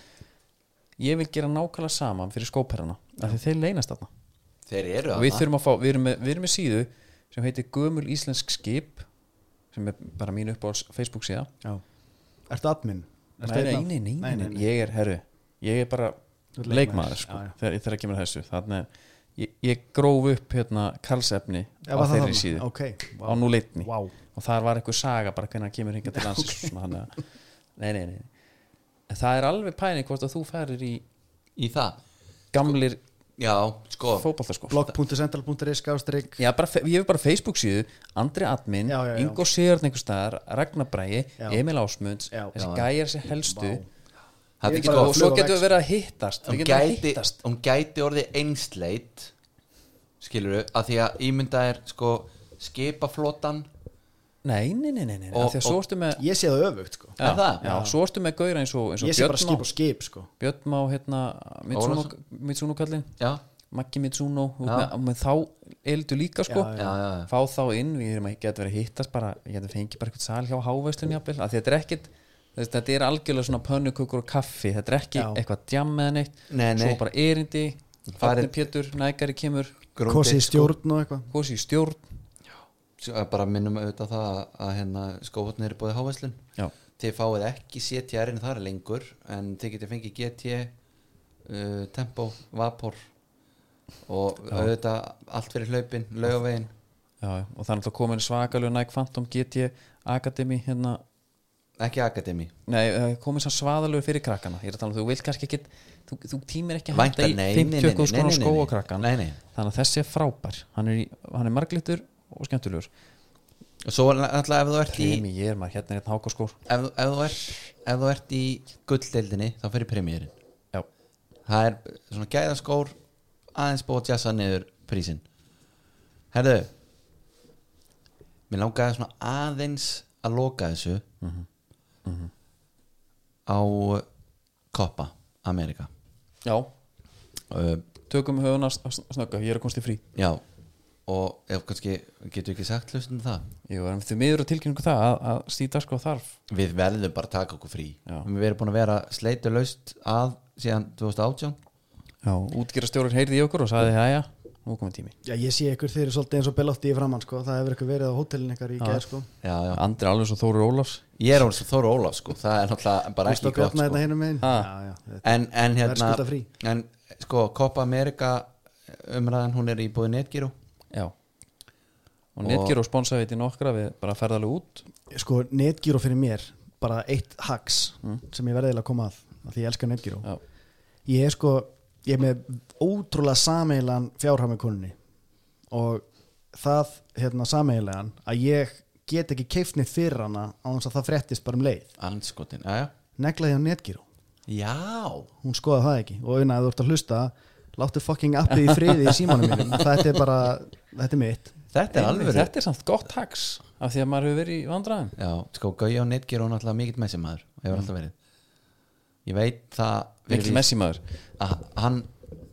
Speaker 1: ég vil gera nákvæmlega sama fyrir skóperana af því þeir leynast þarna
Speaker 2: þeir eru
Speaker 1: og við þurfum að fá, við erum, með, við erum með síðu sem heitir Gömul Íslensk Skip sem er bara mín uppáhalds Facebook síða
Speaker 3: Já. Ertu admin? Ertu
Speaker 1: nei,
Speaker 3: einn af-
Speaker 1: nei, nei, nei, nei, ég er herru ég er bara
Speaker 3: Þú ert
Speaker 1: leikmaður
Speaker 3: leikmaður,
Speaker 1: sko,
Speaker 3: já, já.
Speaker 1: þegar, þegar kemur að þessu þannig að ég, ég gróf upp hérna karlsefni
Speaker 3: Já,
Speaker 1: á
Speaker 3: var það
Speaker 1: þeirri
Speaker 3: þarna?
Speaker 1: síðu
Speaker 3: Ókei, vá.
Speaker 1: á núleitni
Speaker 3: Vá.
Speaker 1: og þar var einhver saga bara hvernig hann kemur hingað til landsins okay. svona, þannig að, nei, nei, nei en það er alveg pæni hvort að þú færir í
Speaker 2: í það
Speaker 1: gamlir
Speaker 2: já, sko,
Speaker 1: fótballtaskó
Speaker 3: blog.central.is skástrík
Speaker 1: Já, bara, fe- ég hef bara Facebook síðu Andri Admin,
Speaker 3: Já, já, já.
Speaker 1: Ingo Sigurðn einhver staðar, Ragnar Bræi,
Speaker 3: Já.
Speaker 1: Emil Ásmunds
Speaker 3: Já.
Speaker 1: þessi
Speaker 2: Já.
Speaker 1: gæjar sem helstu
Speaker 2: það er
Speaker 3: Ég er bara
Speaker 2: sko
Speaker 1: og svo
Speaker 3: flug á
Speaker 1: getum
Speaker 3: vex.
Speaker 1: við verið að hittast
Speaker 2: hún
Speaker 1: við getum verið að
Speaker 2: gæti,
Speaker 1: hittast
Speaker 2: hún gæti orðið einsleit skilur við, að því að ímynda er sko skipaflotan
Speaker 1: Nei, nei, nei, nei, nei.
Speaker 2: Og-
Speaker 1: Og, því að svo erstu með
Speaker 3: Ég sé það öfugt sko
Speaker 1: já,
Speaker 2: Er það?
Speaker 1: Já, svo erstu með gauðra eins og, eins og
Speaker 3: Ég sé bara
Speaker 1: Björn
Speaker 3: skip og
Speaker 1: Má
Speaker 3: skip sko
Speaker 1: Björn Má, hérna, Mitsuno, Mitsuno kallinn
Speaker 2: já,
Speaker 1: Maggi Mitsuno, og
Speaker 2: Já.
Speaker 1: með, með þá eldu líka sko
Speaker 2: já, já, já.
Speaker 1: fá þá inn, við erum að geta verið að hittast bara, ég geta fengið bara eitthvað sal hjá háveslun jafnvel, að þetta er ekkit þess, þetta er algjörlega svona pönnukukur og kaffi þetta er ekki
Speaker 3: Já.
Speaker 1: eitthvað djam með neitt
Speaker 2: Nei, nei.
Speaker 1: svo bara erindi,
Speaker 2: Farið-
Speaker 1: Farnir Pétur nægari kemur,
Speaker 2: Grúndi,
Speaker 3: Kosi í stjórn og eitthvað
Speaker 1: kosi í stjórn
Speaker 2: sko, bara minnum auðvitað það að, að hérna, skóhotn er búið hávæslin
Speaker 1: já,
Speaker 2: þið fáið ekki CTR-in þar lengur en þið getið fengið GT uh, Tempo, Vapor og auðvitað allt fyrir hlaupin, laugavegin
Speaker 1: já, já. og þannig að komin svakalegu næg Phantom GT Academy hérna
Speaker 2: ekki Akademi
Speaker 1: Nei, eh, það komið svo svaðalögu fyrir krakkana Ég er að tala um þú vilt kannski ekki þú, þú tímir ekki að
Speaker 2: Vænta-
Speaker 1: henda í
Speaker 2: nei, nei, nei,
Speaker 1: 50
Speaker 2: nei,
Speaker 1: okkur skona
Speaker 2: nei, nei,
Speaker 1: skó
Speaker 2: nei.
Speaker 1: og krakkan
Speaker 2: Nei, nei.
Speaker 1: Þannig að þessi er frábær Hann er, í, hann er marglitur og skemmtulegur
Speaker 2: og svo alltaf ef þú ert í
Speaker 1: Premi ég er maður, hérna er einn hákaskór
Speaker 2: ef, ef, þú ert, ef þú ert í gulldeildinni þá fyrir premjörin
Speaker 1: Já,
Speaker 2: það er svona gæðaskór aðeins búið að jassa niður prísin herðu mér langaði svona aðeins að loka þessu Mhm. á eh, koppa Amerika
Speaker 1: já,
Speaker 2: uh,
Speaker 1: tökum höfuna snögga Ég er að komst í frí
Speaker 2: já og ef kannski getur ekki sagt hlustum það
Speaker 1: Jú, erum því miður að tilkynningu það að, að stíta sko þarf
Speaker 2: við verðum bara að taka okkur frí
Speaker 1: Já.
Speaker 2: við erum búin að vera sleitu laust að síðan 2018
Speaker 1: Já, útgerastjórar heyrði í okkur og sagði það, já nú er komið tími
Speaker 3: Já, ég sé ykkur þeir eru svolítið eins og belátti í framann sko. það hefur ykkur verið á hótelin ykkar í
Speaker 1: Já.
Speaker 3: gæð sko.
Speaker 2: já, já.
Speaker 1: Andri alveg svo Þóru Ólafs
Speaker 2: ég er orðins að Þóra Ólaf sko. það er náttúrulega bara
Speaker 3: Gústa
Speaker 2: ekki gott sko.
Speaker 3: Björna hérna hinum megin
Speaker 1: Ha.
Speaker 3: Já, já, þetta-
Speaker 2: en, en hérna
Speaker 3: Verðskuldafrí.
Speaker 2: en sko Copa America eh, umræðan hún er í búið netgíru
Speaker 1: já og netgjur og sponsaði þetta í nokkra við bara ferðalega út
Speaker 3: sko, netgíró fyrir mér bara eitt hacks
Speaker 2: Mm.
Speaker 3: sem ég verðilega að koma að af því ég elska netgíró
Speaker 1: Já.
Speaker 3: ég er sko, ég er með ótrúlega sameilan fjárhæmi kunni og það hérna sameilegan að ég get ekki keifnið fyrir hana á þess að það frettist bara um leið
Speaker 2: anskotin, já já
Speaker 3: neglaði á netgíró,
Speaker 2: já,
Speaker 3: hún skoðaði það ekki og auðvitað þú ert að hlusta láttu fucking appið í friði í símanum mínum þetta er bara, þetta er mitt
Speaker 2: þetta er alveg
Speaker 1: þetta er samt gott hacks af því að maður hefur verið í vandræðum
Speaker 2: já, sko Gauja á netgíru hún er alltaf mikill messi maður hefur alltaf verið ég veit það
Speaker 1: mikil Mm. messi maður
Speaker 2: að hann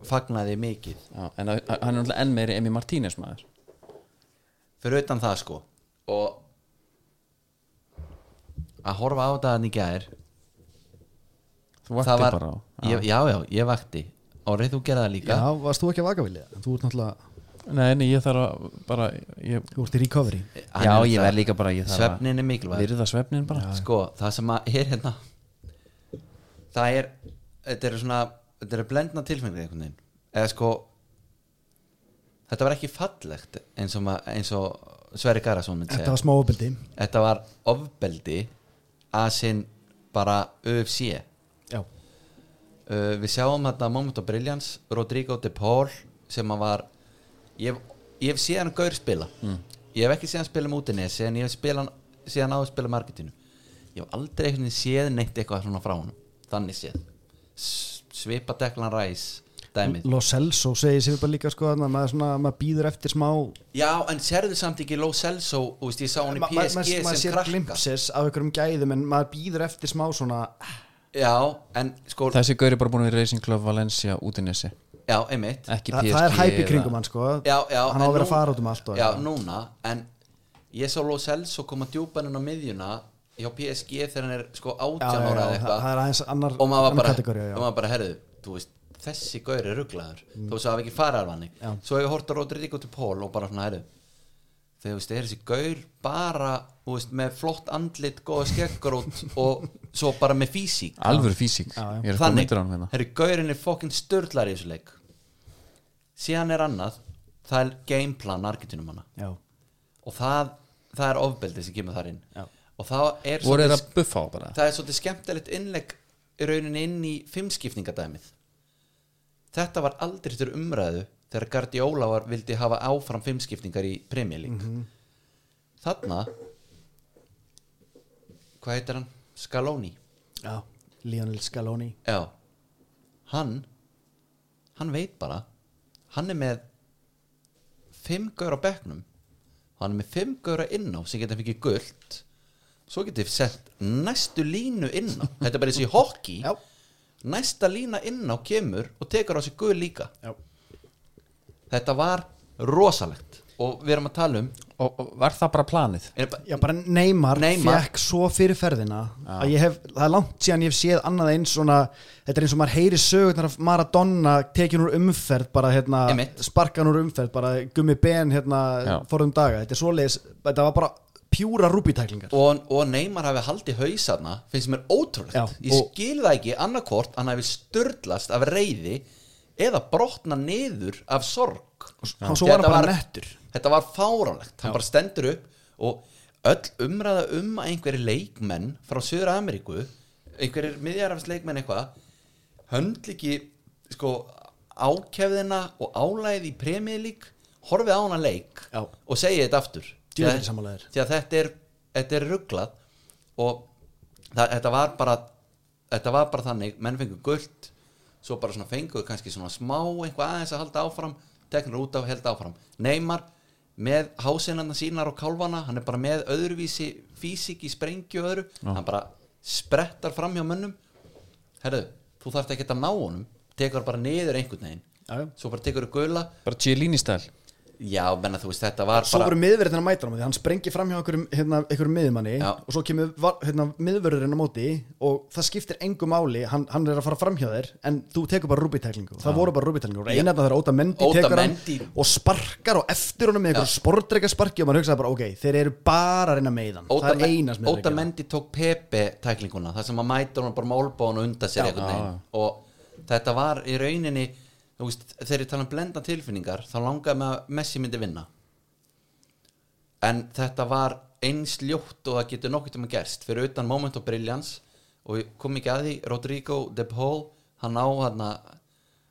Speaker 2: fagnaði mikið
Speaker 1: já, en að- að- hann er náttúrulega enn meiri Emi Martínez maður
Speaker 2: fyrir utan það sko og að horfa á þetta hann í gær
Speaker 1: þú vakti
Speaker 2: það var,
Speaker 1: bara á
Speaker 2: ég, já já, ég vakti árið þú gerði það
Speaker 3: já,
Speaker 2: líka
Speaker 3: varst þú ekki að vaka vilja þú ert náttúrulega,
Speaker 1: nei, nei, ég þarf að bara ég,
Speaker 3: þú ert í recovery
Speaker 2: Hann
Speaker 1: já,
Speaker 2: er
Speaker 1: ég
Speaker 2: alltaf-
Speaker 1: verð líka bara ég þarf að-
Speaker 2: svefnin er mikilvæg
Speaker 1: virða svefnin bara
Speaker 2: sko, það sem að er hérna það er þetta er svona, þetta er blendna tilfengið einhvern veginn, eða sko þetta var ekki fallegt eins og, ma- eins og Sverri Garðarsson myndi
Speaker 3: þetta
Speaker 2: segja,
Speaker 3: var smá opildi
Speaker 2: þetta var ofbeldi að sinn bara UFC uh,
Speaker 3: já
Speaker 2: Eh, við sjáum þetta Moment of Brilliance, Rodrigo de Paul sem að var ég, hef- ég hef séð hann gaur spila
Speaker 3: Mm.
Speaker 2: ég hef ekki séð hann spila mútinni en ég hef spila hann, séð hann á að spila marketinu ég hef aldrei einhvern veginn séð neitt eitthvað svona frá hann þannig séð S- svipa deklan ræs dæmið
Speaker 3: Lo Celso segir sér bara líka sko, að maður, svona, maður býður eftir smá
Speaker 2: já en sérðu samt ekki Lo Celso þú veist ég sá hann í
Speaker 3: Ma- ma- ma-
Speaker 2: PSG
Speaker 3: maður
Speaker 2: sem
Speaker 3: sér
Speaker 2: krakka
Speaker 3: glimpses af einhverjum gæðum en maður býður eftir smá svona
Speaker 2: já en sko
Speaker 1: þessi gaur er bara búin við Racing Club Valencia út í nesi
Speaker 2: já einmitt
Speaker 1: ekki
Speaker 3: það,
Speaker 1: PSG
Speaker 3: það er hæpi
Speaker 1: eða-
Speaker 3: kringum hann sko
Speaker 2: já, já,
Speaker 3: hann á að
Speaker 2: en
Speaker 3: vera
Speaker 2: nú-
Speaker 3: að fara út um allt og
Speaker 2: já, núna, en ég sá Lo Celso koma djúpan inn á miðjuna hjá PSG þegar hann er sko
Speaker 3: Já, já,
Speaker 2: 18
Speaker 3: já,
Speaker 2: ára eða
Speaker 3: það- það er aðeins annar-
Speaker 2: og maður
Speaker 3: annar
Speaker 2: bara,
Speaker 3: kategóría, já. Mm.
Speaker 2: og maður bara herðu, þú veist þessi gaur er rugglaður, þú veist það hafa ekki farað af hann svo hefur hort að Rodrigo til Pól og bara svona herðu þegar þú veist, er þessi gaur bara þú veist, með flott andlit, góða skeggrót og svo bara með físík
Speaker 1: alvöru físík
Speaker 3: já.
Speaker 1: ég er að
Speaker 2: þannig,
Speaker 1: myndir á hann hérna
Speaker 2: herri, gaurinn er fokkin störlar í þessu leik síðan er annað það er gameplan arkitunum hana
Speaker 3: já,
Speaker 2: og það, það er ofbeldi sem kemur þar inn
Speaker 3: Já.
Speaker 2: og það er,
Speaker 1: voru þeir
Speaker 2: svolítið,
Speaker 1: að buffa á bara
Speaker 2: það er svolítið skemmtilegt innlegg í rauninni inn í fimmskipningadæmið þetta var aldrei til umræðu þegar Guardiola var, vildi hafa áfram fimmskipningar í Premier League þarna hvað heitir hann? Scaloni
Speaker 3: já, Lionel Scaloni
Speaker 2: Já Hann Hann veit bara Hann er með Fimm gaur á bekknum Hann er með fimm gaur að inná sem geta fikið gult Svo getið sett næstu línu inná Þetta er bara eins og í hokki
Speaker 3: Já.
Speaker 2: Næsta lína inná kemur og tekur á sig gul líka
Speaker 3: já.
Speaker 2: Þetta var rosalegt Og við erum að tala um
Speaker 1: og, og var það bara planið
Speaker 2: er bara-
Speaker 3: já, bara Neymar,
Speaker 2: Neymar.
Speaker 3: fekk svo fyrir ferðina að ég hef, það er langt síðan ég hef séð annað eins svona, þetta er eins og maður heyri sögurnar af Maradona tekin úr umferð bara hérna,
Speaker 2: Einmitt.
Speaker 3: sparkan úr umferð bara gummi ben hérna
Speaker 1: Já.
Speaker 3: forðum daga, þetta er svoleiðis, þetta var bara pjúra rúbítæklingar
Speaker 2: og, og Neymar hafi haldið hausarna finnst mér ótrúlegt
Speaker 3: Já,
Speaker 2: ég
Speaker 3: og-
Speaker 2: skil það ekki annarkvort hann hafi sturdlast af reyði eða brotna niður af sorg
Speaker 3: og svo
Speaker 2: Því
Speaker 3: var hann
Speaker 2: þetta
Speaker 3: bara nettur.
Speaker 2: þetta var fáránlegt hann bara stendur upp og öll umræða um að einhverjir leikmenn frá Suður Ameríku einhverjir miðjarafs leikmenn eitthvað höndl ekki sko ákefðina og álæði í premjölík horfið á hana leik
Speaker 3: Já.
Speaker 2: og segið þetta aftur
Speaker 3: Djöfull
Speaker 2: Því að-
Speaker 3: er sammálaður.
Speaker 2: því að þetta er, þetta er rugglað og það, þetta var bara þetta var bara þannig, menn fengu gult svo bara svona fengu kannski svona smá einhvað aðeins að halda áfram teknur út af, held áfram, Neymar með hásinnarna sínar og kálfana hann er bara með öðruvísi físik í sprengju og öðru, hann bara sprettar fram hjá mönnum herru, þú þarft ekki að ná honum tekur bara niður einhvern veginn
Speaker 3: Já, já.
Speaker 2: svo bara tekur þú gula
Speaker 1: bara Chiellini stæl
Speaker 2: já, menna þú veist, þetta var
Speaker 3: Svo
Speaker 2: bara
Speaker 3: voru miðverðin að mæta hann á móti Hann sprengi fram hjá einhverjum, hérna, einhverjum miðmanni
Speaker 2: Já.
Speaker 3: Og svo kemur var- hérna, miðverðurinn á móti Og það skiptir engu máli Hann, hann er að fara fram hjá þér En þú tekur bara rúbitæklingu Það voru bara rúbitæklingur
Speaker 2: Já.
Speaker 3: Einarna þegar Óta Mendi
Speaker 2: Óta
Speaker 3: tekur hann
Speaker 2: Mendy.
Speaker 3: Og sparkar á eftir honum Með einhverjum sportreika sparki Og maður hugsaði bara, ok, þeir eru bara að reyna meiðan Það er eina sem þeir eru að
Speaker 2: Óta
Speaker 3: gera.
Speaker 2: Mendi tók Pepe tæklinguna það sem að mæta hún bara málbóðan og undan sér einhvern veginn og þetta var í rauninni þú veist, þegar ég tala um blenda tilfinningar þá langaði með að Messi myndi vinna en þetta var eins ljótt og það getur nokkuð tíma gerst fyrir utan Moment of Brilliance og ég kom ekki að því, Rodrigo De Paul hann á hann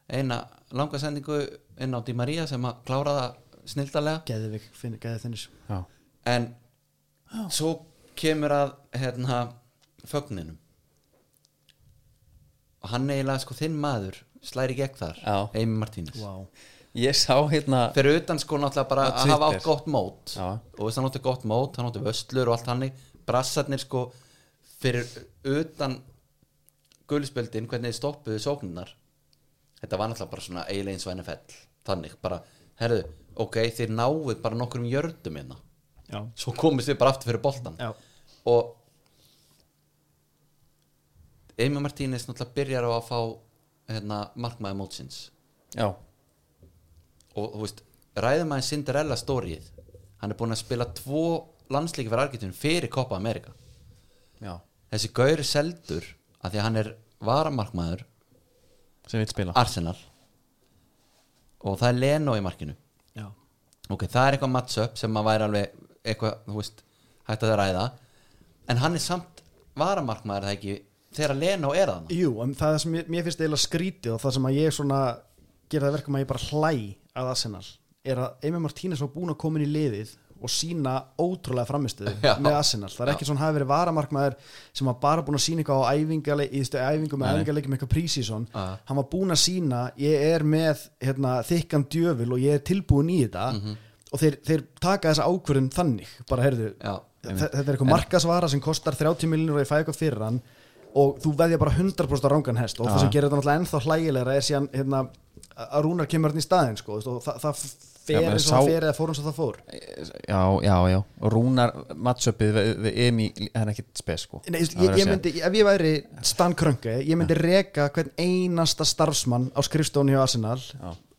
Speaker 2: eina langa sendingu inn á Di Maria sem að klára það snildarlega
Speaker 3: Geðvik, finn- geðvik finish.
Speaker 1: já,
Speaker 2: en svo kemur að hérna fögninum og hann eiginlega sko þinn maður slæri gegn þar,
Speaker 1: Já.
Speaker 2: Eimi Martínez
Speaker 3: Vá.
Speaker 1: ég sá hérna
Speaker 2: fyrir utan sko náttúrulega
Speaker 1: Á
Speaker 2: bara að hafa
Speaker 1: Twitter.
Speaker 2: átt gott mót
Speaker 1: Já.
Speaker 2: og þess að hann átti gott mót, hann átti vöslur og allt hann brassarnir sko fyrir utan gulispöldin hvernig þið stoppuðu sóknunar þetta var náttúrulega bara svona eiginlega eins og NFL þannig bara, herðu, ok þið náuð bara nokkrum jördum hérna
Speaker 3: Já.
Speaker 2: svo komist við bara aftur fyrir boltan
Speaker 3: Já.
Speaker 2: og Eimi Martínez náttúrulega byrjar á að fá hérna, markmaði mótsins
Speaker 1: já,
Speaker 2: og þú veist, ræðum aðeins Cinderella stórið hann er búinn að spila tvo landsleiki fyrir Argentun fyrir Copa America
Speaker 1: já,
Speaker 2: þessi gaur er seldur að því að hann er varamarkmaður
Speaker 1: sem við spila
Speaker 2: Arsenal og það er Leno í markinu
Speaker 3: Já.
Speaker 2: ok, það er eitthvað matchup sem að væri alveg eitthvað, þú veist, hægt að það ræða en hann er samt varamarkmaður er það ekki þegar Leno er þannig
Speaker 3: Jú, en það sem ég, mér finnst eiginlega skrítið og það sem að ég svona gera það verkum að ég bara hlæ að Arsenal er að Eimi Martínez var búin að koma inn í liðið og sína ótrúlega framistuðu
Speaker 2: Já.
Speaker 3: með Arsenal, það er ekki svona hafi verið varamarkmaður sem var bara búin að sína eitthvað á æfingale í stu, æfingum með æfingarleikum eitthvað prísíson
Speaker 2: Já.
Speaker 3: hann var búin að sína, ég er með hérna, þykkan djöfil og ég er tilbúin í þetta
Speaker 2: Mhm.
Speaker 3: og þeir, þeir taka þessa ákvörðum þannig, bara heyrðu
Speaker 2: Já.
Speaker 3: Þe- þetta er eitthvað markasvara sem kostar 30 miljonur og ég fæ eitthvað fyrir hann og þú veðja bara 100% á rángan hest og það sem gerir þetta náttúrulega ennþá hlægilegra er síðan hérna, að Rúnar kemur hann í staðinn sko, þú veist, og það, það fer
Speaker 1: Já, maður
Speaker 3: eins og það
Speaker 1: sá-
Speaker 3: fer eða fór eins og það fór
Speaker 1: já, já, já, og rúnar matchupið við, við Emi, það er ekkit spes sko
Speaker 3: Nei, ég,
Speaker 1: Það verður
Speaker 3: ég
Speaker 1: að segja.
Speaker 3: myndi, ef ég væri Stan Krönke, ég myndi reka hvern einasta starfsmann á skrifstónu hjá Arsenal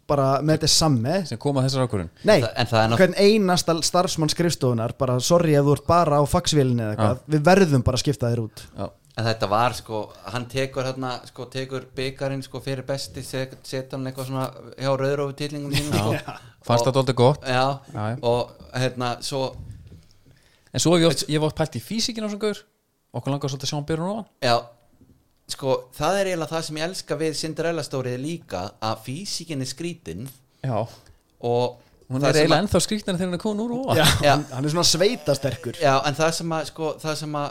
Speaker 3: bara með þetta samme
Speaker 1: sem kom að þessar ákvörðun
Speaker 3: Nei,
Speaker 2: En það er nátt-
Speaker 3: hvern einasta starfsmann skrifstofunar bara, sorry ef þú ert bara á faxvélinni eða eitthvað, við verðum bara að skipta þér út
Speaker 1: já,
Speaker 2: En þetta var sko, hann tekur hérna sko, tekur byggarinn sko fyrir besti set- setur hann eitthvað svona hjá rauðrófu tillingum sínum sko.
Speaker 1: fannst
Speaker 2: Og-
Speaker 1: það alltaf gott
Speaker 2: Já,
Speaker 1: Já, já.
Speaker 2: og hérna svo,
Speaker 1: en svo hef ég oft, ég hef oft pælt í físikin á þessum gaur okkur langar svolítið að sjá hann byrjun ofan
Speaker 2: já sko, það er eiginlega það sem ég elska við Cinderella stórið líka, að físikin er skrítin
Speaker 1: já,
Speaker 2: og
Speaker 1: hún
Speaker 2: það
Speaker 1: er
Speaker 2: sem
Speaker 1: eiginlega
Speaker 2: að-
Speaker 1: ennþá skrýtnar þegar hann er komin úr ofan
Speaker 3: Já,
Speaker 2: Já.
Speaker 3: Hann, hann er svona sveitasterkur
Speaker 2: Já, en það sem að sko, það sem að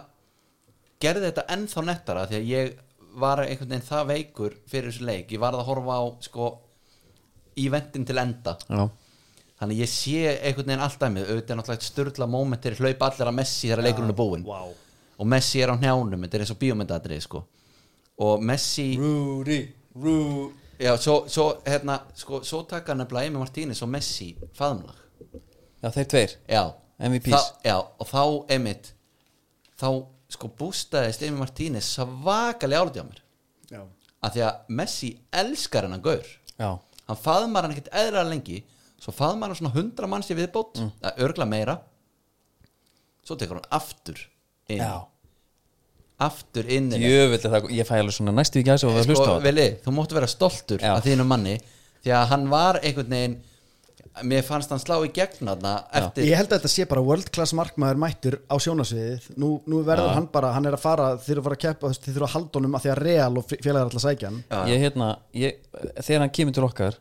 Speaker 2: gerði þetta ennþá nettara því að ég var einhvern veginn það veikur fyrir þessu leik, ég varð að horfa á sko, eventin til enda
Speaker 1: já,
Speaker 2: þannig að ég sé einhvern veginn alltaf með auðvitað er náttúrulega sturla momentir hlaupa allir að Messi þegar leikurinn er búinn
Speaker 3: wow.
Speaker 2: og Messi er á njánum, þetta er eins og bíómyndatrið sko. og Messi
Speaker 1: Rúri, Rú
Speaker 2: já, svo, svo, hérna, sko, svo taka nefnilega Emi Martínez og Messi faðumlag
Speaker 1: já, þeir tveir
Speaker 2: já,
Speaker 1: MVPs.
Speaker 2: Þá- já, og þá emitt þá sko bústaðist Emi Martínez svakalega álítið á mér
Speaker 3: Já.
Speaker 2: af því að Messi elskar hennan gaur
Speaker 1: já,
Speaker 2: hann faðmar hann ekkert eðra lengi svo faðmar hann svona hundra manns í viðbót mm. að örgla meira svo tekur hann aftur inn
Speaker 1: já
Speaker 2: aftur inn í-
Speaker 1: Jöfull er það, ég fæ alveg svona næstu í gæs og að
Speaker 2: sko,
Speaker 1: hlusta á það
Speaker 2: Vili, þú móttu vera stoltur
Speaker 1: Já.
Speaker 2: af þínu manni því að hann var einhvern veginn mér fannst hann slá í gegn þarna eftir
Speaker 3: Ég held að þetta sé bara world class markmaður mættur á sjónasviðið Nú, nú verður hann bara, hann er að fara þeir eru að fara að keppa, þú veist, þeir eru að halda honum að því að real og félagar alltaf sækja hann
Speaker 1: Ég hérna, ég, þegar hann kemur til okkar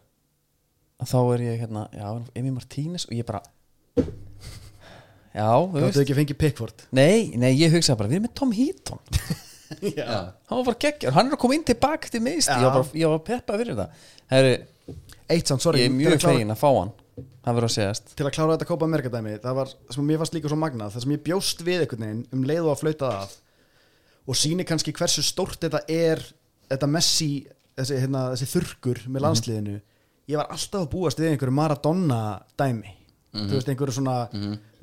Speaker 1: þá er ég hérna já, Emi Martínez og ég bara já, þú
Speaker 3: Það
Speaker 1: veist
Speaker 3: hefðu ekki fengið Pickford
Speaker 1: Nei, nei, ég hugsaði bara, við erum með Tom Heaton
Speaker 2: Já.
Speaker 1: hann var bara geggjar, hann er að koma inn tilbaka til meðist, ég var bara, ég var peppað fyrir það Herri,
Speaker 3: Eitt samt, sorry,
Speaker 1: ég er
Speaker 3: til
Speaker 1: mjög
Speaker 3: að klára-
Speaker 1: fegin að fá hann það verður að segjast
Speaker 3: til að klára þetta Copa America dæmi það var, sem mér fannst líka svo magnað, það sem ég bjóst við einhvern veginn um leið og að flauta það af og síni kannski
Speaker 2: Mhm.
Speaker 3: hversu stórt þetta er þetta Messi, þessi, hérna, þessi þurrkur með landsliðinu ég var alltaf að búast við einhverju Maradona dæmi
Speaker 2: Mhm.
Speaker 3: þú veist einhverju svona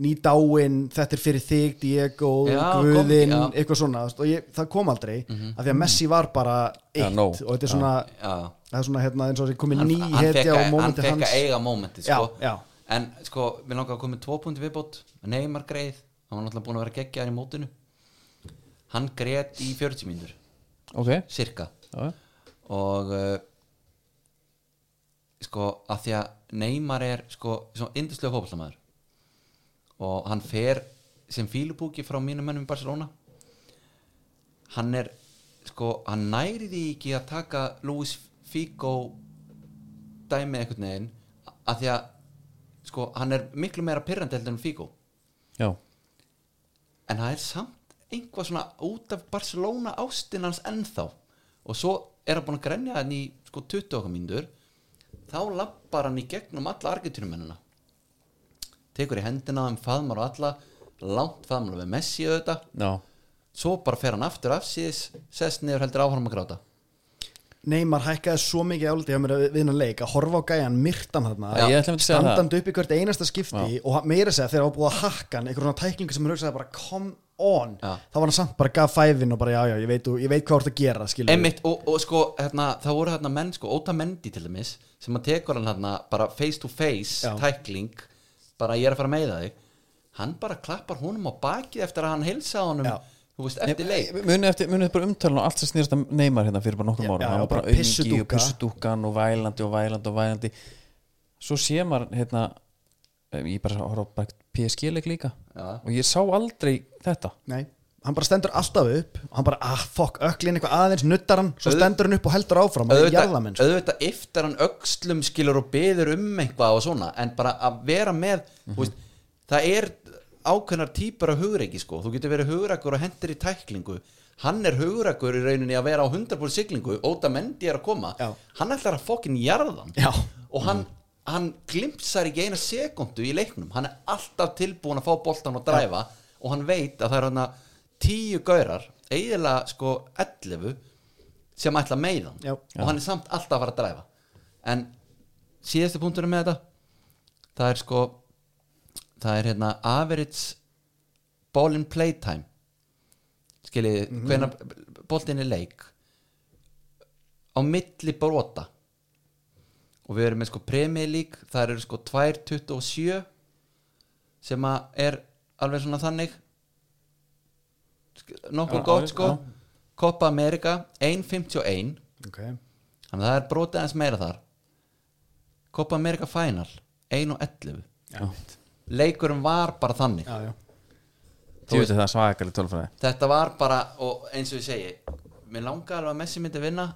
Speaker 3: nýdáin þetta er fyrir þig, Diego
Speaker 2: Já,
Speaker 3: Guðin,
Speaker 2: kom- já. Mhm.
Speaker 3: eitthvað svona þú veist, og ég, það kom aldrei, af því að Messi var bara eitt
Speaker 1: Já, nóg.
Speaker 3: og þetta er svona
Speaker 2: já.
Speaker 3: það er svona hérna eins og þessi komið
Speaker 2: hann,
Speaker 3: ný
Speaker 2: hann, fekk,
Speaker 3: hetja á
Speaker 2: að- hann
Speaker 3: mómenti
Speaker 2: fekk
Speaker 3: hans
Speaker 2: að eiga mómenti sko.
Speaker 3: Já, já.
Speaker 2: en sko, við langaði að koma með tvo punkt viðbót Neymar greið, hann var náttúrulega búin að vera geggjaðar í mótinu hann greið í 40 mínútur,
Speaker 1: ok
Speaker 2: cirka
Speaker 1: já,
Speaker 2: og uh, sko, að því að Neymar er sko, svona indislega fótballamæður og hann fer sem fílubúki frá mínum mönnum í Barcelona hann er sko, hann næri því ekki að taka Luis Figo dæmið einhvern veginn að því að sko, hann er miklu meira pyrrandi heldur en Figo
Speaker 1: já,
Speaker 2: en það er samt einhvað svona út af Barcelona ástin hans ennþá og svo er hann búin að grenja hann í sko 20 okkar mínútur þá lappar hann í gegnum alla argetjurumennina tekur í hendina á þeim faðmar og alla langt faðmar við Messi auðvitað
Speaker 1: já,
Speaker 2: svo bara fer hann aftur af síðis sest niður heldur áhrum að gráta
Speaker 3: Neymar hækkaði svo mikið áldi hjá mér við við hennan leik að horfa á gæjan myrtan þarna
Speaker 1: Já, ég ætla einmitt að segja það.
Speaker 3: standandi upp í hvert einasta skipti og hann- meira að segja þegar það var búið að hakka hann einhverjum tæklingu sem hann hugsaði bara come on
Speaker 2: Já.
Speaker 3: þá var hann samt bara gaf fæfin og bara já já ég veit, þú- ég veit hvað þú ert að gera skilur
Speaker 2: Einmitt, og, og sko, hérna, það voru hérna menn sko, Óta Mendi til dæmis sem að tekur hann hérna bara face to face
Speaker 3: Já.
Speaker 2: tækling, bara ég er að fara að meiða þig hann bara klappar honum á bakið eftir að hann heilsa honum
Speaker 3: Já.
Speaker 2: þú veist, eftir leik
Speaker 1: munið eftir, munið bara umtalan og allt sem snýrast að neymar hérna fyrir bara
Speaker 3: Já,
Speaker 1: nokkrum árum
Speaker 3: já,
Speaker 1: hann var
Speaker 3: bara
Speaker 1: bara auðingi og
Speaker 3: pissudúka.
Speaker 1: pissudúkan og vælandi og vælandi og vælandi svo sé maður hérna eh, ég bara horf bara PSG-leik líka
Speaker 2: Já.
Speaker 1: og ég sá aldrei þetta
Speaker 3: Nei, hann bara stendur alltaf upp og hann bara ah fuck öklin eitthvað aðeins nuttar hann svo
Speaker 2: Auð-
Speaker 3: stendur hann upp og heldur áfram hann er
Speaker 2: auðvitað,
Speaker 3: jarðamenn sko.
Speaker 2: auðvitað eftir hann öxlum skilur og beður um eitthvað og svona en bara að vera með mm veist, það er ákveðnar típar af hugreiki sko, þú getur verið hugreikur og hendur í tæklingu hann er hugreikur í rauninni að vera á 100% siglingu óta mendi er að koma
Speaker 3: Já.
Speaker 2: hann ætlar að fokkin jarðan
Speaker 3: Já. Mm.
Speaker 2: og hann, hann glimpsar ekki eina sekundu í leiknum hann er alltaf tilbúin að fá boltan og dræfa og hann veit að það er hann tíu gaurar, eiginlega sko 11 sem ætla að meiða hann
Speaker 3: Já.
Speaker 2: og hann er samt alltaf að fara að dræfa en síðasti punkturinn með þetta það er sko það er hérna average ball in play time skiljið,
Speaker 1: Mhm.
Speaker 2: mm hvenær boltinn er leik á milli brota og við erum með sko Premier League það eru sko 2.27 sem að er alveg svona þannig Sk- nokkuð
Speaker 1: Já,
Speaker 2: gott
Speaker 1: já,
Speaker 2: sko
Speaker 1: já.
Speaker 2: Copa America 1.51
Speaker 3: okay.
Speaker 2: þannig að það er brotið aðeins meira þar Copa America Final 1 og 11
Speaker 1: Já.
Speaker 2: leikurum var bara þannig
Speaker 3: já, já.
Speaker 1: þú veitir það svakalega tölfræði
Speaker 2: þetta var bara og eins og ég segi mér langar alveg að Messi myndi vinna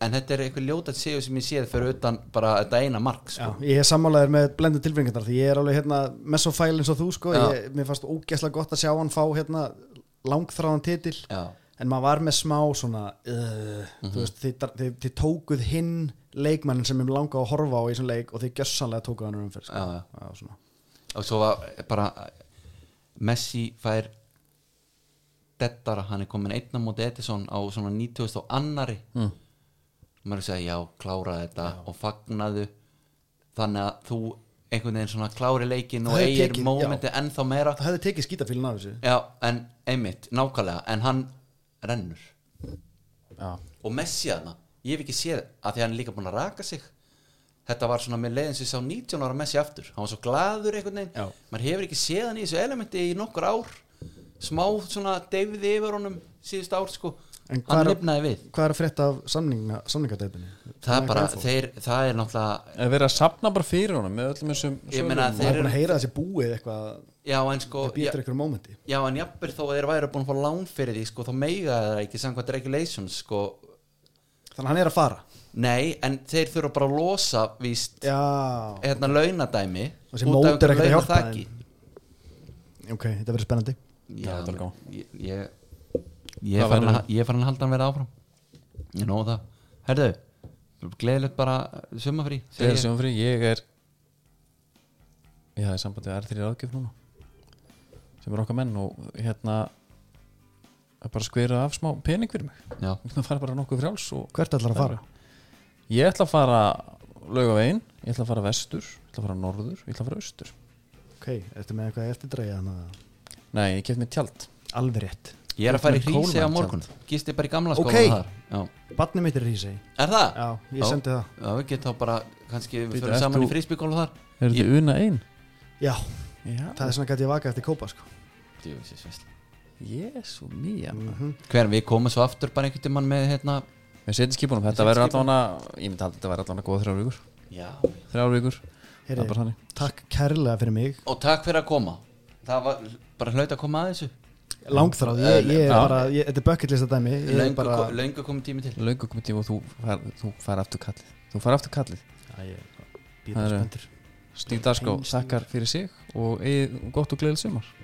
Speaker 2: en þetta er eitthvað ljótað séu sem ég séð fyrir utan bara þetta eina mark
Speaker 3: Já,
Speaker 2: sko.
Speaker 3: ég er sammálaður með blendu tilfengjandar því ég er alveg hérna mesofæl eins og þú sko
Speaker 2: Já.
Speaker 3: ég, mér fannst ógeðslega gott að sjá hann fá hérna langþráðan titil
Speaker 2: Já. Mhm.
Speaker 3: en maður var með smá svona uh, þú veist, þið, þið, þið tókuð hinn leikmannin sem ég langa að horfa á í þessum leik og þið gjössanlega tókuð hann um fyrir sko.
Speaker 2: Já, já.
Speaker 3: Já, svona.
Speaker 2: og svo var bara Messi fær dettara, hann er komin einna móti Edison á svona 90 og annari mm. maður segi já, kláraði þetta og fagnaðu þannig að þú einhvern veginn svona klári leikin og
Speaker 3: Það er
Speaker 2: eigir
Speaker 3: tekið, já.
Speaker 2: mómenti ennþá meira
Speaker 3: það hefði tekið skítafílin af þessu
Speaker 2: já, en einmitt, nákvæmlega en hann rennur
Speaker 1: já,
Speaker 2: og Messi aðna, ég hef ekki séð að því að hann er líka búin að raka sig þetta var svona með leiðin sem ég sá 19 ára Messi aftur hann var svo glaður einhvern veginn
Speaker 3: Já.
Speaker 2: maður hefur ekki séð hann í þessu elementi í nokkur ár smá svona deyfið yfir honum síðust ár sko
Speaker 3: En hvað
Speaker 2: hann
Speaker 3: er-
Speaker 2: lifnaði við
Speaker 3: hvað er að frétta af samninga, samningadeipinu?
Speaker 2: það er bara, þeir, það er náttúrulega
Speaker 1: en verið að sapna bara fyrir honum með öllum þessum
Speaker 2: Ég meina að
Speaker 1: sögum.
Speaker 2: þeir
Speaker 3: maður er búin
Speaker 2: eru-
Speaker 3: að heyra þessi búið eitthvað
Speaker 2: já en sko
Speaker 3: það býtur einhverjum mómenti
Speaker 2: Já, en jafnvel þó að þeir væri búin að fá lán fyrir því sko, þá meiga það ekki samkvæmt regulations sko.
Speaker 3: þannig að hann er að fara
Speaker 2: Nei, en þeir þurfa bara að losa víst,
Speaker 3: já,
Speaker 2: hérna, launadæmi
Speaker 3: Þessi
Speaker 2: út af
Speaker 3: mót er
Speaker 2: einhverju
Speaker 3: ekkert að hjálpa
Speaker 2: launaþaki.
Speaker 3: þeim. ok, þetta verður spennandi
Speaker 1: Já,
Speaker 2: Já,
Speaker 1: þetta er
Speaker 2: menn,
Speaker 1: gaman.
Speaker 2: ég, ég, ég,
Speaker 1: Hvað
Speaker 2: fann
Speaker 1: verður
Speaker 2: að, ég fann að halda hann verið áfram Ég nóg það Herðu, gleðilegt bara sumafrí
Speaker 1: Þegar sem fyrir, um ég er ég hafði sambandi við R3 ráðgjöf núna sem er okkar menn og hérna að bara skvera af smá pening fyrir mig
Speaker 2: Já,
Speaker 1: það fara bara nokkuð frjáls og
Speaker 3: hvert ætlar að fara?
Speaker 1: ég ætla að fara laugavegin ég ætla að fara vestur, ég ætla að fara norður ég ætla að fara austur
Speaker 3: ok, ertu með eitthvað eftir dræja
Speaker 1: nei, ég kefti mér tjald
Speaker 3: alveg rétt
Speaker 2: Ég er að fara í
Speaker 1: Með
Speaker 2: hrísi á
Speaker 1: Coleman
Speaker 2: morgun Gisti bara í gamla
Speaker 3: Ok.
Speaker 2: skóla þar Já.
Speaker 3: Barnið mitt er Rísei
Speaker 2: Er það?
Speaker 3: Já, ég sendi það
Speaker 2: Já, við getum þá bara kannski við
Speaker 1: Bíddu,
Speaker 2: fyrir
Speaker 1: ert
Speaker 2: saman
Speaker 1: þú-
Speaker 2: í frísbyggólu þar
Speaker 1: er þetta una ein?
Speaker 3: Já,
Speaker 1: já,
Speaker 3: það er svona gæti ég vaka eftir kópa sko
Speaker 2: Djöfisins veistla.
Speaker 1: jésu mía mm -hmm.
Speaker 2: Hver við komum svo aftur bara einhvern tímann með hérna
Speaker 1: við setjum skipunum, þetta
Speaker 2: setjum
Speaker 1: verður allan ég myndi halda að þetta verður allan að góða þrjár vikur
Speaker 2: Já
Speaker 1: þrjár vikur, það er bara
Speaker 3: Heri,
Speaker 1: þannig
Speaker 3: Takk kærlega fyrir mig
Speaker 2: Og takk fyrir að koma Það var bara hlaut að koma að þessu
Speaker 3: Langþráð, ég, ég er
Speaker 1: Já.
Speaker 3: bara ég, Þetta er bucket list að dæmi Ég er
Speaker 2: Löngu,
Speaker 3: bara
Speaker 2: bara... löngu komið tími til
Speaker 1: löngu komið tíma og þú fær, þú fær aftur kallið þú fær aftur kallið
Speaker 3: Æ, ég
Speaker 1: Það
Speaker 3: býta
Speaker 1: er-
Speaker 3: spöndur
Speaker 1: Stíf Darskó
Speaker 3: Heimstígur.
Speaker 1: þakkar fyrir sig og eigi gott og gleðið sumar